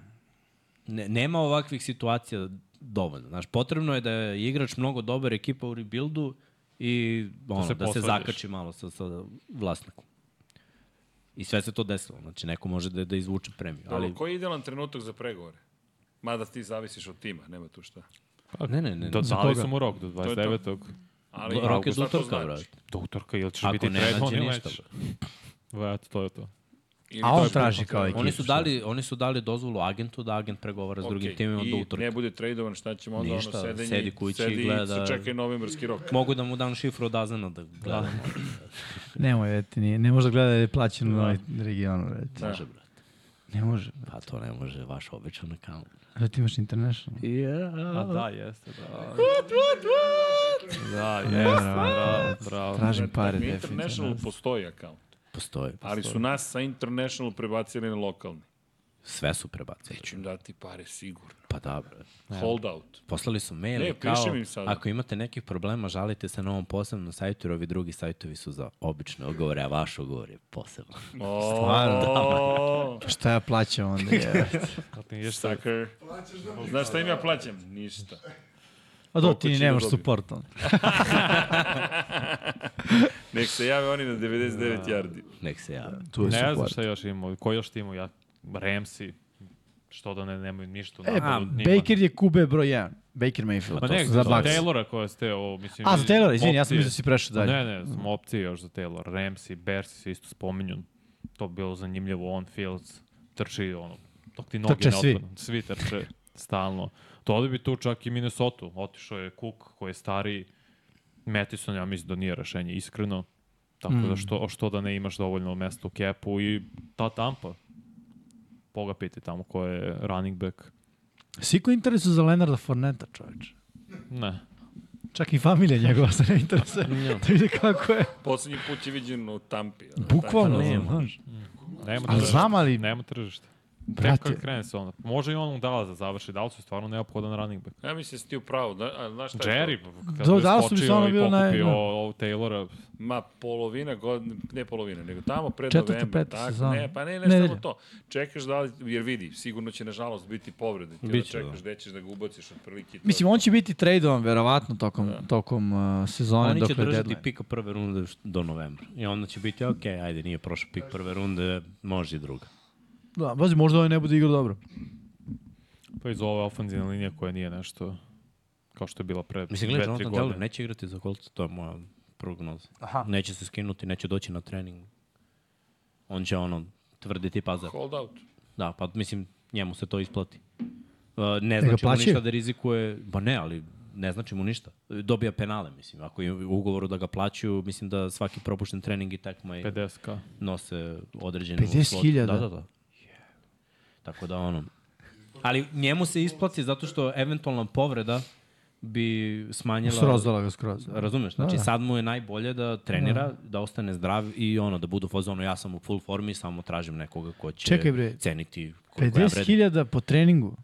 Ne, nema ovakvih situacija dovoljno. Znaš, potrebno je da je igrač mnogo dobar ekipa u rebuildu i ono, se da se posvadiš. zakači malo sa, sa vlasnikom. I sve se to desilo. Znači, neko može da, da izvuče premiju. Ali... Ali, Koji je idealan trenutak za pregovore? Mada ti zavisiš od tima, nema tu šta. ne, ne, ne. Do, ne. dali su Da mu rok do 29. Ali, Rok je šta to zutorka, znači? brate. Do utorka ili ćeš Ako biti ne tredon nađe ili ništa, nećeš. Vrat, to je to. Ili A to on je traži bukvalno kao ekipa. Oni su, dali, oni su dali dozvolu agentu da agent pregovara s drugim Okej, timima da do I utorka. ne bude tradovan, šta ćemo onda Ništa, ono sedenje, sedi kući i sedi gleda. čekaj novembrski rok. Mogu da mu dam šifru od Azena da gledam. Nemoj, veti, nije, ne može da gleda da je plaćen u ovaj regionu, veti. Može, brate. Ne može. Pa to ne može, vaš običan account. Da ti imaš international. A da, jeste, da. Da, Ne, jeste, bravo. da, bravo. Tražim pare, Mi definitivno. International postoji account, Postoje. ali su nas sa International prebacili na lokalni. Sve su prebacili. Ću im dati pare sigurno. Pa da, bre. Hold out. Poslali su mail Ne, i kao, pišem im sada. ako imate nekih problema, žalite se na ovom posebnom sajtu, jer ovi drugi sajtovi su za obične ugovore, a vaš ugovor je poseban. Stvarno, da, O, Šta ja plaćam onda? Je. Kad ti ideš sa... sucker. Znaš šta im ja plaćam? Ništa. A do, Koliko Pa ti ni će da nemaš dobije? support. Onda. Nek se jave oni na 99 yardi. nek se jave. Tu je Ne znam support. šta još imamo. Ko još imamo? Ja, Ramsey. Što da ne, nemaju ništa. u E, napadu, njima. Baker je QB broj 1. Baker Mayfield. Ma Pa ne, za za Bucks. Taylora koja ste ovo, mislim... A, za Taylora, izvini, ja sam opcije. mislio da si prešao dalje. Ne, ne, smo opcije još za Taylor. Ramsey, Bersi se isto spominju. To bi bilo zanimljivo, on Fields trči, ono, dok ti noge Trče ne svi. otpadnu. Svi trče, stalno. To da bi tu čak i Minnesota. Otišao je Cook, koji je stariji. Mattison, ja mislim da nije rešenje, iskreno. Tako Mm. da što, što da ne imaš dovoljno mesta u kepu i ta tampa. Boga piti tamo ko je running back. Siko interesu za Leonarda Fourneta, čoveč. Ne. Čak i familija njegova se ne interesuje. da vidi kako je. Poslednji put je viđen u Tampi. ali Bukvalno, tako da- znaš. Nema Ali tržišta. znam, ali- Nema tržišta. Brate. Brate, Tek kad krene se onda. Može i on Dallas da završi. Dallas je stvarno neophodan running back. Ja mislim da si ti u pravu. Da, a, znaš šta je Jerry, to? kad Do- je Dallasu bi skočio stvarno i bio naj- pokupio da. ovog Taylora, Ma polovina godine, ne polovina, nego tamo pred Četvrta, novembra. peta Tako, sezona. ne, pa ne, ne, Nedelja. samo to. Čekaš da li, jer vidi, sigurno će nažalost biti povrede. Ti onda Biće, čekaš da. gde ćeš da ga ubaciš otprilike. i to Mislim, je on će biti tradovan verovatno tokom, tokom uh, sezone Oni dok će je držati deadline. pika prve runde š- do novembra. I onda će biti, ok, ajde, nije prošao pik prve runde, može i druga. Da, bazi, možda ovaj ne bude igrao dobro. pa iz ove ofenzivne linije koja nije nešto kao što je bila pre Mislim, gledaj, 2-3 Jonathan godine. Taylor neće igrati za Colts, to je moja prognoza. Neće se skinuti, neće doći na trening. On će ono tvrditi pazar. Hold out. Da, pa mislim, njemu se to isplati. Uh, ne ga znači mu plaćaju? ništa da rizikuje, ba ne, ali ne znači mu ništa. Dobija penale, mislim. Ako je u ugovoru da ga plaćaju, mislim da svaki propušten trening i tekma je 50k. nose određenu 50.000? Da, da, da. Tako da ono. Ali njemu se isplati zato što eventualna povreda bi smanjila... Srozala ga skroz. Razumeš? Znači, Da, da. sad mu je najbolje da trenira, da ostane zdrav i ono, da budu fazonu, ja sam u full formi, samo tražim nekoga ko će Čekaj, bre. ceniti koliko ja vredim. 50.000 po treningu?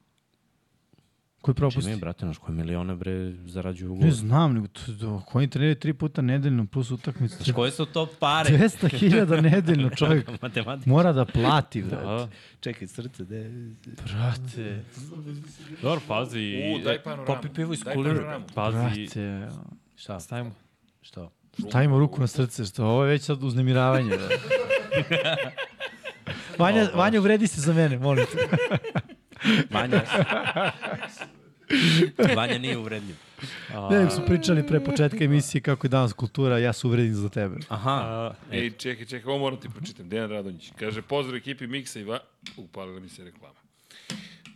Koji Čime je, propusti? brate, naš koje milione, bre, zarađuju Ne ugovor. znam, nego to, do, koji treniraju tri puta nedeljno plus utakmicu. Znaš, koje su to pare? 200.000 nedeljno čovjek Matematika. mora da plati, Da, brate. da. Čekaj, srce, de... Brate, Dobro, pazi. e, i- U, daj panoramu. Popi pivo iz Daj kulira. panoramu. Pazi, brate. Šta? stavimo. Šta? Stavimo ruku na srce, što ovo je već sad uznemiravanje. brate. Vanja, Vanja, uvredi se za mene, molim te. Vanja. Vanja nije uvredljiv. Ne, nego su pričali pre početka emisije kako je danas kultura, ja se uvredim za tebe. Aha. Ej, čekaj, čekaj, ovo moram ti pročitam. Dejan Radonjić. Kaže, pozdrav ekipi Miksa i Va... Upalila mi se reklama.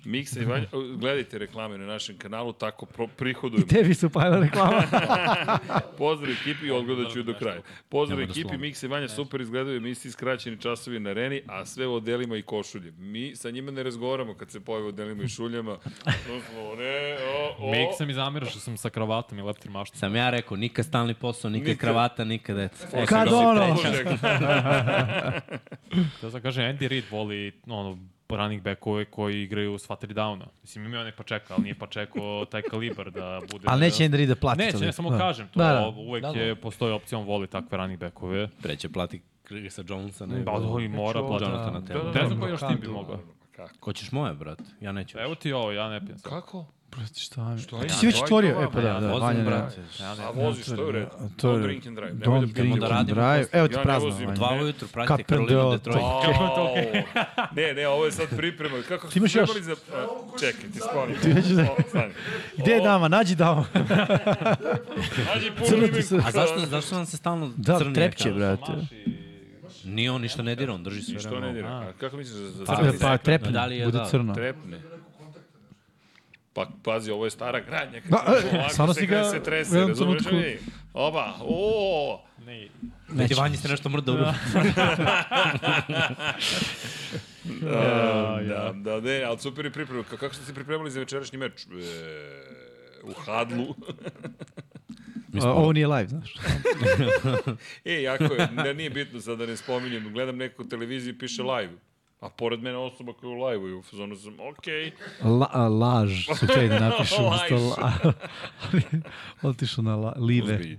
Miksa i Vanja, gledajte reklame na našem kanalu, tako pro- prihodujemo. Tebi se upajala reklama. Pozdrav ekipi i odgledat ću do kraja. Pozdrav Nema da ekipi, slomi. Miksa i Vanja super izgledaju emisiji skraćeni časovi na areni, a sve u odelima i košulje. Mi sa njima ne razgovaramo kad se pojave u odelima i šuljama. Doslovno, ne, o, o. Miksa mi zamira što sam sa kravatom i leptir maštom. Sam ja rekao, nikad stalni posao, nikad Nikad. kravata, nikad deca. E, Kad si ono? treća. Da, Da sam kaže, Andy Reid voli ono, running backove koji igraju sva tri downa. Mislim, imao je onaj Pačeka, ali nije Pačeko taj kalibar da bude... Ali neće Andri da plati. Neće, ne, toliko. samo Da. kažem to. Da, Da, da. Uvek Da, da. je, postoji opcija, on voli takve running backove. Da, Treće plati Krisa Jonesa. Pa to i mora Jonathan platiti. na temu. Da, Ne da, znam koji još tim bi Brokadu. mogao. Kako? Ko ćeš moje, brat? Ja neću. Evo ti ovo, ja ne pijem sad. Kako? Brate, šta? Što Ti je? si već Ja, stvorio. to je E, pa da, Ja da, vozim, Vanja. ne. brate. Ja ne, A voziš, to je u redu. da, To je- Don't drink and drive. Nemoj da Don't piješ. drink da and radimo drive. Evo ti Ja ne prazno, vozim. Vanja. Dva ujutru pratite Kapel Karolinu deo, Detroit. to. Au. ne, ne, ovo je sad priprema. Kako Ti imaš smo još? trebali Za... a, Čekaj, ti skloni. Gde je dama? Nađi damu. Nađi puno Crno ime. ti se- A zašto, zašto nam se stalno Da, crni trepće, ekran? brate. Nije on ništa ne dira, on drži sve Što vreme. ne ovo. dira? A kako misliš da za Pa, pa trepne, Da li je, bude da, crno. Trepne. Pa pazi, ovo je stara gradnja. Kad Da, se e, ovako stvarno se si krene, ga se u trese, jednom razumeš trenutku- li? Oba, o, ne, Pa Da ti vanji se nešto mrda u ruku. da, da, da, ne, ali super je priprema. Ka- Kako ste se pripremali za večerašnji meč? E, u hadlu. A, Ovo nije live, znaš. E, jako je, ne, nije bitno sad da ne spominjem. Gledam neko televiziju i piše live. A pored mene osoba koja je u live i u fazonu sam, okej, La, a, laž su hteli da napišu. Laž. umesto la, ali otišao na la, live. okay,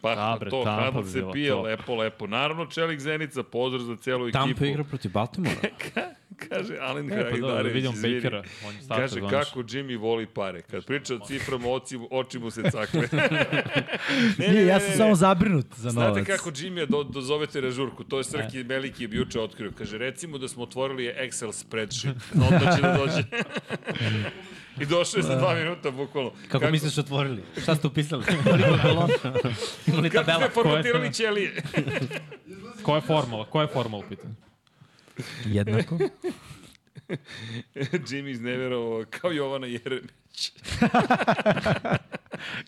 Pa Da, bre, to, Tampa Hadl bi se bila, pije, to. lepo, lepo. Naravno, Čelik Zenica, pozdrav za celu ekipu. Tampa igra protiv Baltimora. Kaže Alen E, pa dobro, da Kragdarević, vidimo izvini. Bakera. On je starter, Kaže, znaš. kako Jimmy voli pare. Kad priča o ciframa, oci, oči mu se cakle. ne, Nije, ja sam samo zabrinut za novac. Znate kako Jimmy je do, dozovete režurku, E. to je Srki Meliki je juče otkrio. Kaže, recimo da smo otvorili Excel spreadsheet, onda će da dođe. I došao je Da. za dva minuta, bukvalno. Kako, misliš otvorili? Šta ste upisali? Koliko kolona? Ima li Kako tabela? ste formatirali ćelije? Koja je formula? Koja je formula u pitanju? Jednako. Jimmy izneverovao kao Jovana Jeremić.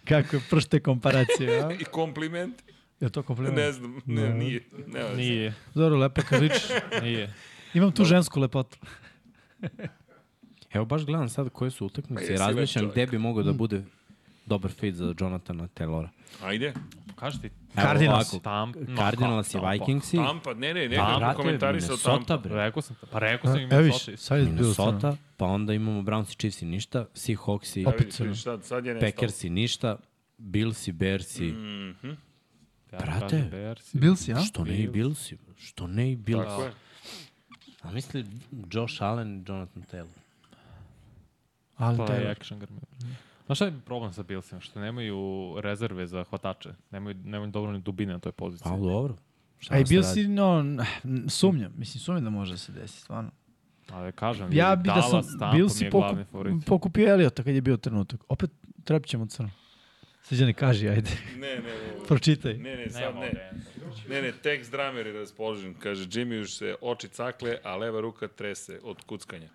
Kako je pršte komparacije, a? I kompliment? Je to kompliment? Ne znam, ne, nije. Ne, nije. Da. Nije, Dobro, lepo kad ličiš. nije. Imam tu žensku lepotu. Evo baš gledam sad koje su jesi utakmice i lep razmišljam čovjek. gde bi mogao da Mm. bude dobar fit za Jonathana Taylora. Ajde. Kaži ti, Evo Cardinals. ovako, Tampa. No, Cardinals i Tampa. Vikingsi. Tampa, ne, ne, ne, Tampa, kako Brate, komentarisao Minnesota, Tampa. bre. Rekao sam, pa rekao sam im E, Evo Minnesota. viš, sad je bilo sam. Minnesota, pa onda imamo Browns i Chiefs i ništa, Seahawks i Evo vidiš, opet sam. sad, sad je nestalo. Packers i ništa, Bills i Bears i... Mm, Ja, Brate. kažem, Bears i- Bil si, a? što ne i Bills i... Što ne i Bills. Tako je. A misli Josh Allen i Jonathan Taylor. Ali Pa je taj action grmi. Znaš šta je problem sa Billsima? Što nemaju rezerve za hvatače. Nemaju, nemaju dovoljno dubine na toj poziciji. Pa dobro. Šta A i da se bil radi? si, no, n- sumnjam. Mislim, sumnjam da može da se desi, stvarno. Ali kažem, Ja ljudi, bi da sam Dallas, Tampa bil mi si je pokup, glavni favorit. pokupio Eliota kad je bio trenutak. Opet trepit ćemo crno. Srđane, kaži, ajde. Ne, ne, ovo- Pročitaj. Ne, ne, sad ne. Ne, ne, tekst dramer je raspoložen. Kaže, Jimmy už se oči cakle, a leva ruka trese od kuckanja.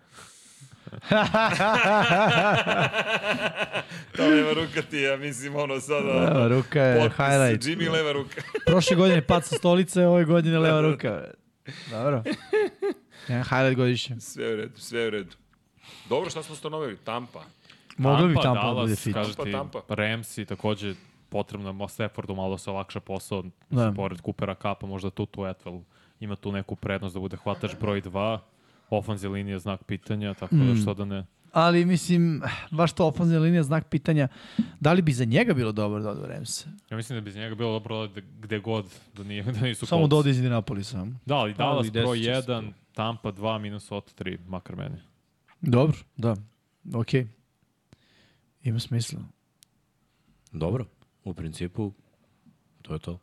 Ta leva ruka ti je, ja mislim, ono sada... Leva ruka e, je potpis, highlight. Jimmy leva ruka. Prošle godine pad sa stolice, ove godine leva ruka. Dobro. Jedan highlight godišnje. Sve u redu, sve u redu. Dobro, šta smo stanovili? Tampa. Mogao bi Tampa da Dallas, bude fit. Kažu Tampa, ti, Tampa. Ramsey takođe potrebno Mo Staffordu malo da se olakša posao. Da. Da. Pored Coopera Kapa, možda tu tu Etwell ima tu neku prednost da bude hvatač broj 2. Ofanzi linija znak pitanja, tako Mm. da što da ne. Ali mislim, baš to ofenzivna linija znak pitanja, da li bi za njega bilo dobro da ode u Remse? Ja mislim da bi iz njega bilo dobro da- gde god da, nije, da nisu Samo Colts. da ode iz Indianapolisa. Da, ali Ali Dallas gde su broj često? 1, Tampa 2, Minnesota 3, makar meni. Dobro, da. Okej. Ima smisla. Dobro, u principu to je to.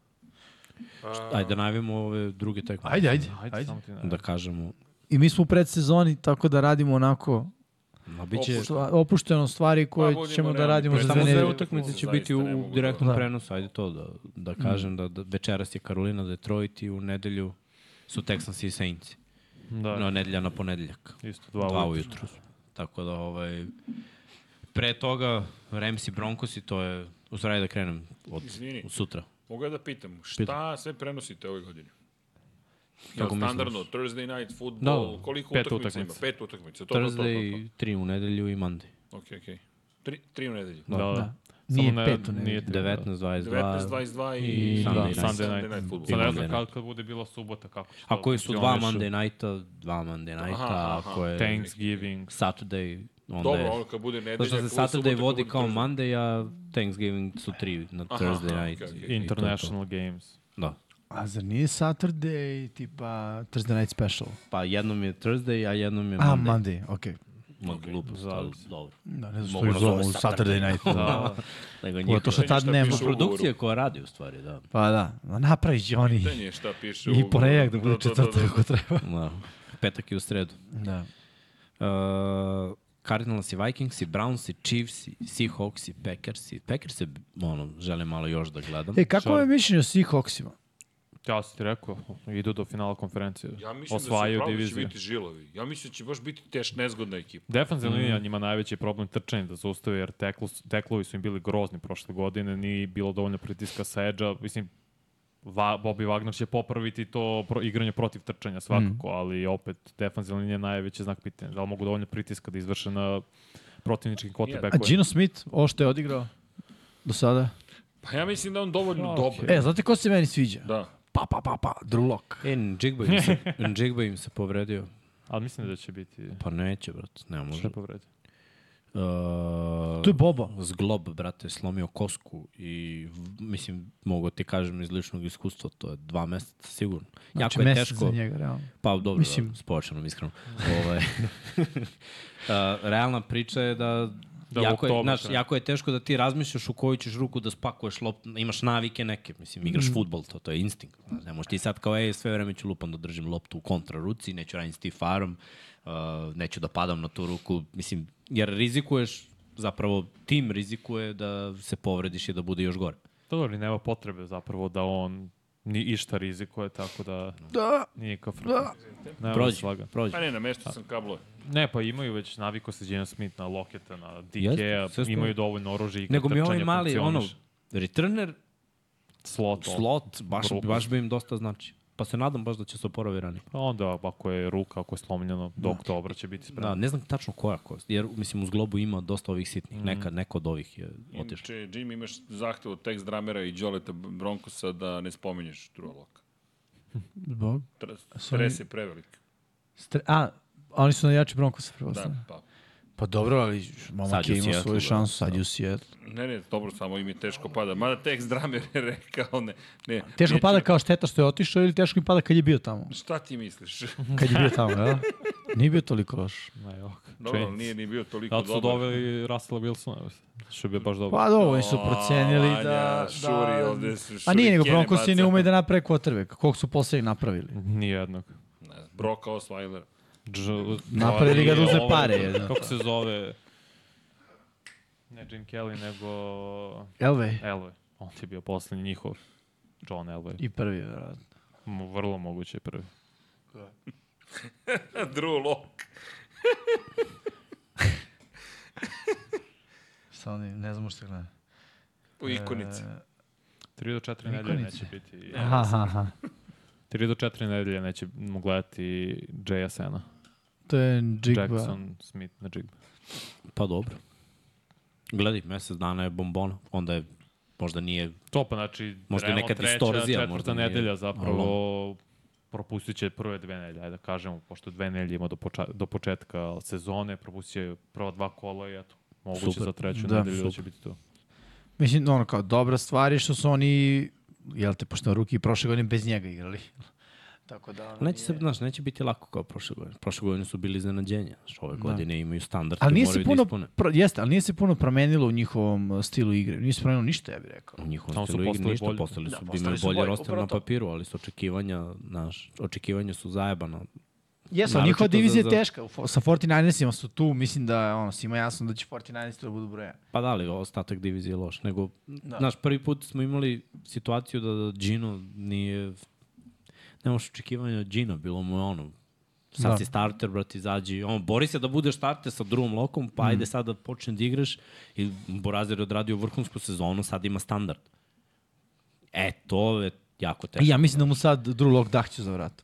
Ajde da najavimo ove druge tekme. Ajde, ajde. Ajde, ajde. samo ti ne. Da kažemo, I mi smo u predsezoni, tako da radimo onako ma bit će... Opušta- stva- opušteno stvari koje budimo ćemo da realni, radimo za Samo Ne, dve ne, dve utakmice će zaista biti ne u mogu direktnom da- Mm. prenosu, ajde to da, da kažem, da, da večeras je Karolina Detroit i u nedelju su Texans i Saints. Da, No, nedelja na ponedeljak. isto 2 Dva ujutru. ujutru. Tako da, ovaj, pre toga Rams i Broncos i to je, u stvari da krenem od, Izvini. od sutra. Mogu ja da pitam, šta sve prenosite ove godine? Ja, Kako misliš? standardno, Thursday night football, Da. koliko Pet utakmica, ima? utakmica. Pet utakmica, to, to, to, to, to. Thursday, tri u nedelju i Monday. Ok, ok. Tri, tri u nedelju. Da, da. Da. da. Nije Samo pet u nedelju. nije tri, da. 19, 22. 19, 22 i, i Da, Sunday Sunday, night. Sunday night. night football. Sad ne Sunday znam night. kad, kad bude bila subota, kako će Ako su dva Monday Monday nighta, dva Monday aha, nighta, aha. ako je Thanksgiving. Saturday, onda Dobro, je... ono kad bude nedelja, Zato što se ako bude subota, Saturday ako vodi bude kao Thursday. Monday, a Thanksgiving su tri na Aha, Thursday aha, night. okej, i- okej. i to je to. International Games. Da. A zar nije Saturday tipa Thursday Night Special? Pa jednom je Thursday, a jednom je A, Monday. Monday, okej. Mogu glupo, ali dobro. Da, ne znam Mogu što da ih zove zovu Saturday Saturday. Night. Da, Nego Ovo je to njihova što tad Šta nema. piše u- produkcija koja radi u stvari, da. Pa da, ma napravit će oni Pitanje šta piše i ponedjeljak da bude četvrtak. četvrtak ako treba. da. Petak i u sredu. Da. Uh, Cardinals i Vikings i Browns i Chiefs i Seahawks i Packers i Packers je, ono, želim malo još da gledam. E, kako je mišljenje o Seahawksima? ja sam ti rekao, idu do finala konferencije. Ja mislim Osvajaju da se divizije. diviziju. će biti žilovi. Ja mislim da će baš biti teš nezgodna ekipa. Mm. Defensivna linija njima najveći problem trčanje da zaustave, jer teklu, teklovi su im bili grozni prošle godine, nije bilo dovoljno pritiska sa edge mislim, Va, Bobby Wagner će popraviti to pro, igranje protiv trčanja svakako, Mm. ali opet defensivna linija je najveći znak pitanja. Da li mogu dovoljno pritiska da izvrše na protivničkim A quarterbackovima? Gino Smith, ovo što je odigrao do sada? Pa ja mislim da je on Pa, dovoljno dobar. okej. E, znate ko se meni sviđa? Da. pa, pa, pa, pa, drulok. E, Njigba im, se, Njigba im se povredio. Ali mislim da će biti... Pa neće, brate, ne može. Šta je povredio? Uh, pa? To je Bobo. Zglob, brate, slomio kosku i v- mislim, mogu ti kažem iz ličnog iskustva, to je dva meseca sigurno. Znači, jako je mesec teško. za njega, realno. Pa dobro, Mislim- mislim... da, spočanom, iskreno. Ovaj, uh, realna priča je da Da Da, u jako, je, oktobru znaš, treba. jako je teško da ti razmišljaš u koju ćeš ruku da spakuješ lop, imaš navike neke, mislim, igraš mm. futbol, to, to je instinkt. Znaš, ne možeš ti sad kao, ej, sve vreme ću lupam da držim loptu u kontra ruci, neću raditi s tifarom, uh, neću da padam na tu ruku, mislim, jer rizikuješ, zapravo tim rizikuje da se povrediš i da bude još gore. Da, dobro, nema potrebe zapravo da on ni išta rizikuje, tako da Da, nije kao frka. Da. Prođi, prođi. Pa ne, nameštao sam kablove. Ne, pa imaju već naviko se Gina Smith na Loketa, na DK-a, Jeste, sve stoji. imaju dovoljno oružja i Nego mi ovaj trčanja mali, ono, funkcioniše. returner, slot, slot, baš, Brukus. baš bi im dosta znači. Pa se nadam baš da će se oporavi ranije. A Pa onda ako je ruka, ako je slomljeno, do oktobra će biti Da, spreman. ne znam tačno koja kost, jer mislim u zglobu ima dosta ovih Mm. sitnih, neka, neko od ovih je otišao. Inače, Jim, imaš zahtev od tekst dramera i Đoleta Bronkosa da ne spominješ Druloka. zbog. Sorry. Stres je prevelik. Stre... A, oni su najjači Broncosa prvo. Da, Da. pa. Pa dobro, ali Sad momak je je u imao Seattlu, svoju da. šansu, sad je u Seattle. Ne, ne, dobro, samo im je teško pada. Mada tekst dramer je rekao, ne, ne. Teško neću- pada kao šteta što je otišao ili teško im pada kad je bio tamo? Šta ti misliš? Kad je bio tamo, da? Nije bio toliko loš. Da. Ne, evo ga. Dobro, Činjenica. ali nije ni bio toliko Zato su dobar. doveli Russella Wilsona, evo, što je bio baš dobro. Pa dobro, oni su A, procenili da... Vanja, šuri da... ovde su A nije, nego šurikene Broncosi ne baca. umeju da naprave quarterback. Koliko su poslednjih napravili? Nijednog. Ne, Broka Osweiler. Dž- Napravili ga da uze Ovaj, pare, je, da. Kako se zove? Ne Jim Kelly, nego Elvej. Elway. On ti je bio poslednji njihov. John Elway. I prvi, verovatno. Mu vrlo moguće je prvi. Drew Lock. Sa onim, ne znam što gleda. U E. ikonici. 3 do 4 Nikonice. nedelje neće biti. E, Aha, aha, aha. 3 do 4 nedelje neće mu gledati JSN-a. To je Jigba. Jackson Smith na Jigba. Pa dobro. Gledaj, mesec dana je bombona, onda je, možda nije, To pa znači, Možda realno neka treća, distorzija, četvrta možda nije- nedelja zapravo propustit će prve dve nedelje, ajde da kažemo, pošto dve nedelje ima do, poča, do početka sezone, propustit će prva dva kola i eto, moguće Super. za treću Da, nedelju da će super. biti to. Mislim, ono kao dobra stvar je što su oni, jel te, pošto ruki prošle godine bez njega igrali. Tako da... Ono, neće se, znaš, neće biti lako kao prošle godine. Prošle godine su bili iznenađenja, znaš, ove Da. godine imaju standard Ali koji nije se moraju da puno, ispune. pro, jeste, ali nije se puno promenilo u njihovom uh, stilu igre. Nije se promenilo ništa, ja bih rekao. U njihovom Samo su stilu igre postali ništa, bolji. postali Da, su, da, postali imaju su bolje bolji, roster upravo na to. papiru, ali su očekivanja, znaš, očekivanja su zajebana. Jesu, ali Naročito njihova divizija za- je za- teška. U fo- Sa 49ersima su tu, mislim da ono, svima je jasno da će 49ers da budu broja. Pa da li, ostatak divizije je loš, nego, da. znaš, prvi put smo imali situaciju da, da Gino nije, nemaš očekivanja od Gina, bilo mu je ono, sad Da. da. si starter, brati, izađi, on, bori se da budeš starter sa drugom lokom, pa mm. ajde sad da počne da igraš, i Borazer je odradio vrhunsku sezonu, sad ima standard. E, to je jako I teško. ja mislim da mu sad Drew Lock dahću za vrat.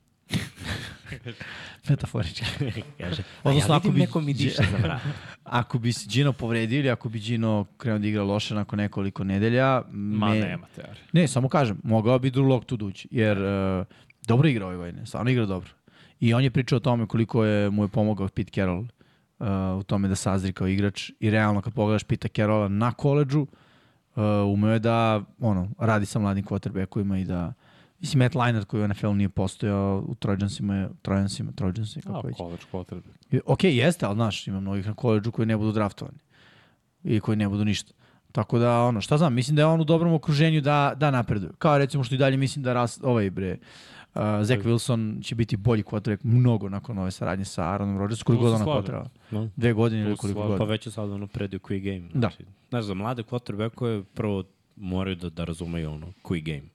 Metaforički. Kaže, a ja Odnosno, ako vidim bi- nekom i diše za vrat. Ako bi se Gino povredio ili ako bi Gino krenuo da igra loše nakon nekoliko nedelja... Ma me- nema teorije. Ne, samo kažem, mogao bi Drew Lock tu dući, jer uh, dobro igra ove godine, stvarno igra dobro. I on je pričao o tome koliko je, mu je pomogao Pete Carroll uh, u tome da sazri kao igrač i realno kad pogledaš Pita Carrolla na koleđu, uh, umeo je da ono, radi sa mladim quarterbackovima i da Mislim, Matt Leinart koji u NFL nije postojao, u Trojansima je, Trojansima, Trojansima, A, kako već. college potrebe. I- Ok, jeste, ali znaš, ima mnogih na koleđu koji ne budu draftovani i koji ne budu ništa. Tako da, ono, šta znam, mislim da je on u dobrom okruženju da, da napreduje. Kao recimo što i dalje mislim da ras, ovaj bre, uh, Zach Wilson će biti bolji quarterback mnogo nakon ove saradnje sa Aaronom Rodgersom, koliko Tu god se ona slažem. potreba. No. Dve godine Tu ili se koliko slažem. Pa god. već je sad ono predio quick game. Da. Znači, znaš, za mlade quarterbackove prvo moraju da, da razumeju ono quick game.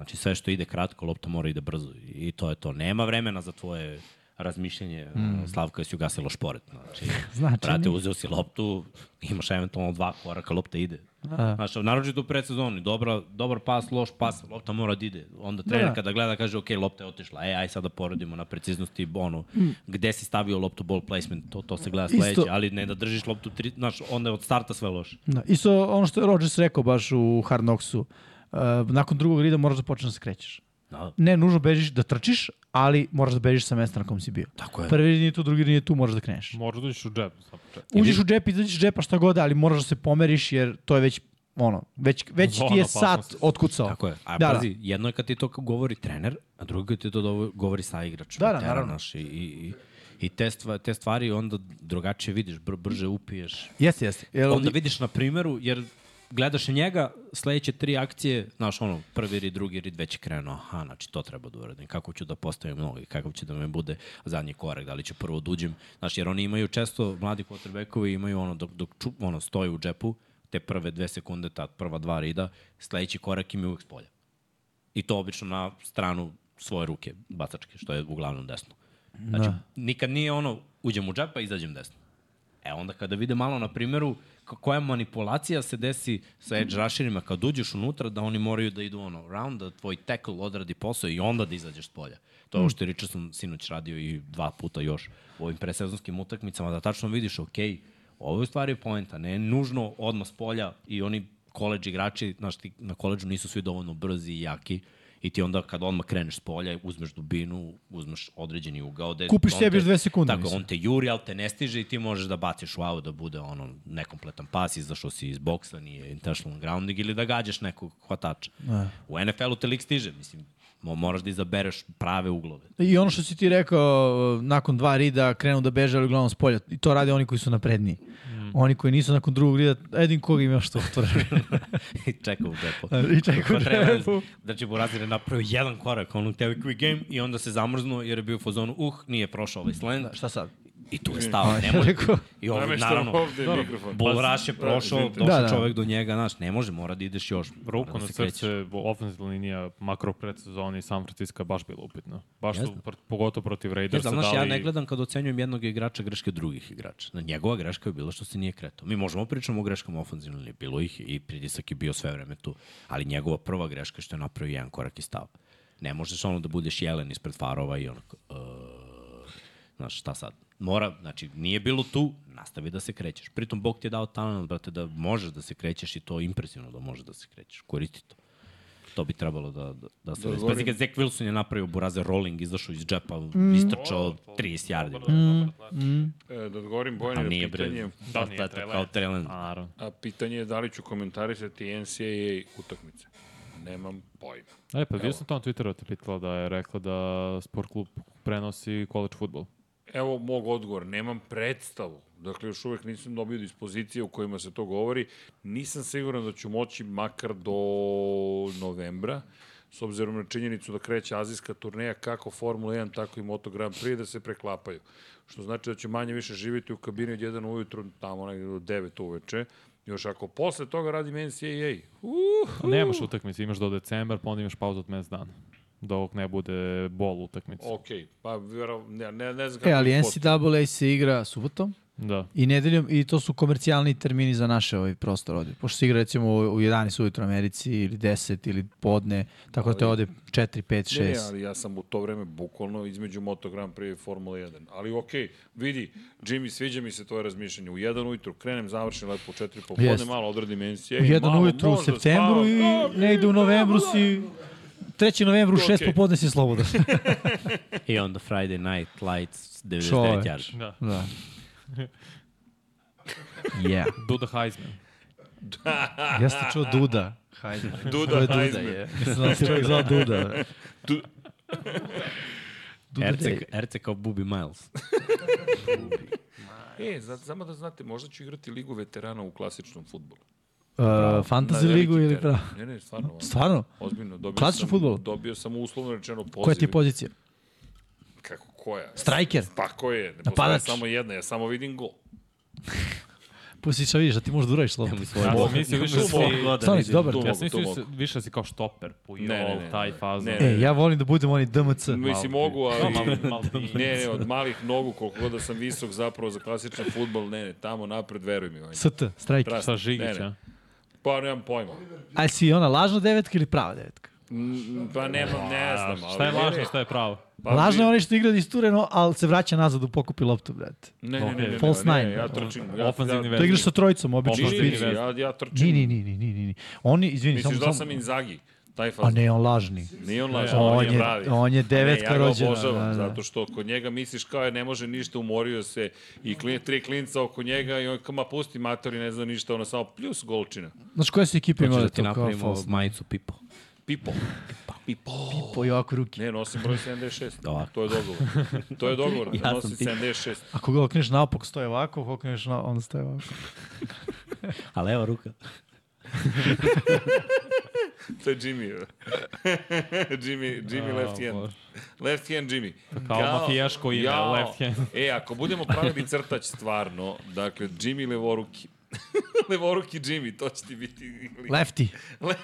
Znači sve što ide kratko, lopta mora ide brzo. I to je to. Nema vremena za tvoje razmišljanje. Mm. Slavka, jesi ugasilo šporet. Znači, Znači, brate, uzeo si loptu, imaš eventualno dva koraka, lopta ide. Da. Znaš, naročito u predsezoni, dobra, dobar pas, loš pas, lopta mora da ide. Onda trener da. da. kada gleda kaže, ok, lopta je otišla, e, aj sad da poradimo na preciznosti, ono, mm. gde si stavio loptu, ball placement, to, to se gleda Isto- sledeće, ali ne da držiš loptu, tri, znaš, onda je od starta sve loše. Da. Isto ono što je Rodgers rekao baš u Hard Knocksu, uh, nakon drugog rida moraš da počneš da se krećeš. Da. ne nužno bežiš da trčiš, ali moraš da bežiš sa mesta na kom si bio. Tako je. Prvi nije tu, drugi nije tu, moraš da kreneš. Možda dođeš u džep za početak. Uđeš u džep, izađeš iz džepa šta god, ali moraš da se pomeriš jer to je već ono, već, već ti Zona je sat opasnosti. otkucao. Tako je. A Da, da. da, pazi, da. jedno je kad ti to govori trener, a drugo kad ti to dovo- govori sa igrač. Da, da, naravno. Naš, i, i, i- I te, stva, te stvari onda drugačije vidiš, br brže upiješ. Jeste, jeste. Jel, Onda vidiš na primeru, jer gledaš njega, sledeće tri akcije, znaš ono, prvi rid, drugi rid već je krenuo, aha, znači to treba da uradim, kako ću da postavim noge, kakav će da me bude zadnji korak, da li ću prvo da uđem, znaš, jer oni imaju često, mladi quarterbackovi imaju ono, dok, dok čup, ono, stoji u džepu, te prve dve sekunde, ta prva dva rida, sledeći korak im je uvek s polja. I to obično na stranu svoje ruke, bacačke, što je uglavnom desno. Znači, da. nikad nije ono, uđem u džepa, izađem desno. E onda kada vide malo na primjeru k- koja manipulacija se desi sa edge rusherima kad uđeš unutra da oni moraju da idu ono round, da tvoj tackle odradi posao i onda da izađeš s polja. To je ovo što je Richardson sinoć radio i dva puta još u ovim presezonskim utakmicama, da tačno vidiš, ok, ovo je u stvari poenta, ne nužno odmah s polja i oni koleđ igrači, znaš ti na koleđu nisu svi dovoljno brzi i jaki i ti onda kad odmah kreneš s polja, uzmeš dubinu, uzmeš određeni ugao. Gde Kupiš on sebi te- još dve sekunde, Tako, mislim. on te juri, ali te ne stiže i ti možeš da baciš u wow, da bude ono nekompletan pas, izašao si iz boksa, nije intentional grounding ili da gađaš nekog hvatača. U NFL-u te lik stiže, mislim, mo- moraš da izabereš prave uglove. I ono što si ti rekao, nakon dva rida krenu da beže, ali uglavnom s polja. I to rade oni koji su napredniji. Mm. Oni koji nisu nakon drugog rida, jedin koga ima što otvore. I čeka u džepu. E, I čeka u Pa treba džepu. Da će Burazir je napravio jedan korak, ono tebe quick game i onda se zamrznuo jer je bio u fazonu, uh, nije prošao ovaj slant. Da, Šta sad? I tu je stao, nemoj. Rekao, I ovdje, Nameštam naravno, ovde mikrofon. Bulraš je prošao, došao Da, da. čovek do njega, znaš, ne može, mora da ideš još. Ruku mora da na se krećeš. srce, ofenzivna linija makro predsezoni San Francisco baš bila upitna. Baš su, Jasno. pr- pogotovo protiv Ne Raidersa, da znam, znaš, dali... ja ne gledam kad ocenjujem jednog igrača greške drugih igrača. Na njegova greška je bilo što se nije kretao. Mi možemo pričamo o greškama ofenzivno, ali bilo ih je i pritisak je bio sve vreme tu. Ali njegova prva greška je što je napravio jedan korak i stav. Ne možeš ono da budeš jelen ispred farova i onako, uh, znaš, šta sad? Mora, znači, nije bilo tu, nastavi da se krećeš. Pritom, Bog ti je dao talent, brate, da možeš da se krećeš i to je impresivno da možeš da se krećeš. Koristi to. To bi trebalo da, da, da se... Da Dozvolim. Pazi kad Zach Wilson je napravio buraze rolling, izašao iz džepa, mm. istrčao 30 yardi. E, da odgovorim A Bojanu nije na bre. pitanje. Da, Da, da, nije da, Trey kao Lance. Trelen. A, naravno. A pitanje je da li ću komentarisati NCAA utakmice. Nemam pojma. E, pa bio sam to na Twitteru te pitala da je rekla da sport klub prenosi college futbol. Evo mog odgovor, nemam predstavu. Dakle, još uvek nisam dobio dispozicije u kojima se to govori. Nisam siguran da ću moći makar do novembra, s obzirom na činjenicu da kreće azijska turneja kako Formula 1, tako i Moto Grand Prix da se preklapaju. Što znači da ću manje više živjeti u kabini od 1 ujutru, tamo negde do 9 uveče. Još ako posle toga radim NCAA, uh, Pa Nemaš utakmice, imaš do decembar, pa onda imaš pauzu od mesec dana. Dok ne bude bol utakmice. ok, pa vjerov, ne, ne, ne znam e, kako ali je sport. NCAA se igra subotom Da. i nedeljom i to su komercijalni termini za naše ovaj prostor ovde. Pošto se igra recimo u u 11 ujutro u Americi ili 10 ili podne, tako da te ode 4, 5, Ne, ne, 6. ali ja sam u to vreme bukvalno između Moto Grand Prix i Formula 1. Ali okej, vidi, Jimmy, sviđa mi se tvoje razmišljanje. U jedan ujutru krenem, završim lepo u četiri popodne, Jeste. malo odradim NCAA. U jedan malo ujutru u možda septembru spavam. i Da, negde u novembru si... 3. novembru u 6 Okej. popodne si slobodan. I onda Friday Night Lights 99 Čoveč. yardi. da. da. Yeah. Duda Heisman. Ja sam čuo Duda. Hajde. Duda, To je Duda, Heisman. je. Mislim da se čovjek zvao Duda. Du- Duda Erce, Day. Erce kao Bubi Miles. E, za, samo da znate, možda ću igrati Ligu veterana u klasičnom futbolu. Uh, Na fantasy veliki ligu ili teren. pravo? Ne, ne, stvarno. Stvarno? Ozbiljno, dobio Klasičnom sam, fudbalu? Dobio sam uslovno rečeno poziv. Koja ti je pozicija? Kako, koja? Striker? Tako je, ne postoje Napadač. samo jedna, ja samo vidim gol. Pusti šta vidiš, da ti možeš da uradiš slovo. Nemoj Pa svoj Ja bog. sam mislio više da si... Svoj bog da Stani, vidim. dobar. Tu Ja mogu, sam tu mislio mogu. da si- više da si kao štoper, pujol, Ne, ne, ne, taj ne. fazon. Ne, ne, E, ja volim da budem onaj DMC. Mislim, mogu, ali... Malo, malo, Ne, ne, od malih nogu, koliko god da sam visok zapravo za klasičan futbol, ne, ne, tamo napred, veruj mi. Ovaj. ST, strajker. Prast, Sa ne, ne. Žigića. Pa nemam pojma. A si ona lažna devetka ili prava devetka? Mm, Pa nemam, ne znam. Ali, Šta je ne, lažno, ne, šta je pravo? Pa, Lažna je ne, onaj što igra distureno, ali se vraća nazad u pokupi loptu, brate. ne, ne, ne, ne, False ne, nine. ja trčim. Ja, Ofanzivni ja, veznik. To igraš sa trojicom, obično. Čini mi Ofanzivni se, veznik. ja, ja trčim. Ni, ni, ni, ni, ni, ni. Oni, izvini, Misliš samo... da samo- sam Inzaghi? Taj A fazon. ne, on lažni. Nije on lažan, On on, je- je pravi. on je devetka Ne, ja ga rođena, obožavam, da, da. zato što kod njega misliš kao je ne može ništa, umorio se i klin, tri klinca oko njega i on kao ma pusti matori, ne zna ništa, ono samo pljus golčina. Znaš koje su ekipe Hoćeš imale da ti to kao napravimo false? majicu Pipo. Pipo. Pipo. Po Jovaku ruki. Ne, nosim broj 76. Da Ovako. To je dogovor. To je dogovor, Ja ja nosim sam ti. 76. Ako ga okreneš naopako, stoje ovako, ako okreneš na, onda stoje ovako. A leva ruka. To je Jimmy. Jimmy, Jimmy left hand. Bože. Left hand Jimmy. kao mafijaško ime, Jao. left hand. E, ako budemo pravili crtač stvarno, dakle, Jimmy levoruki. levoruki Jimmy, to će ti biti... Lefty. Le-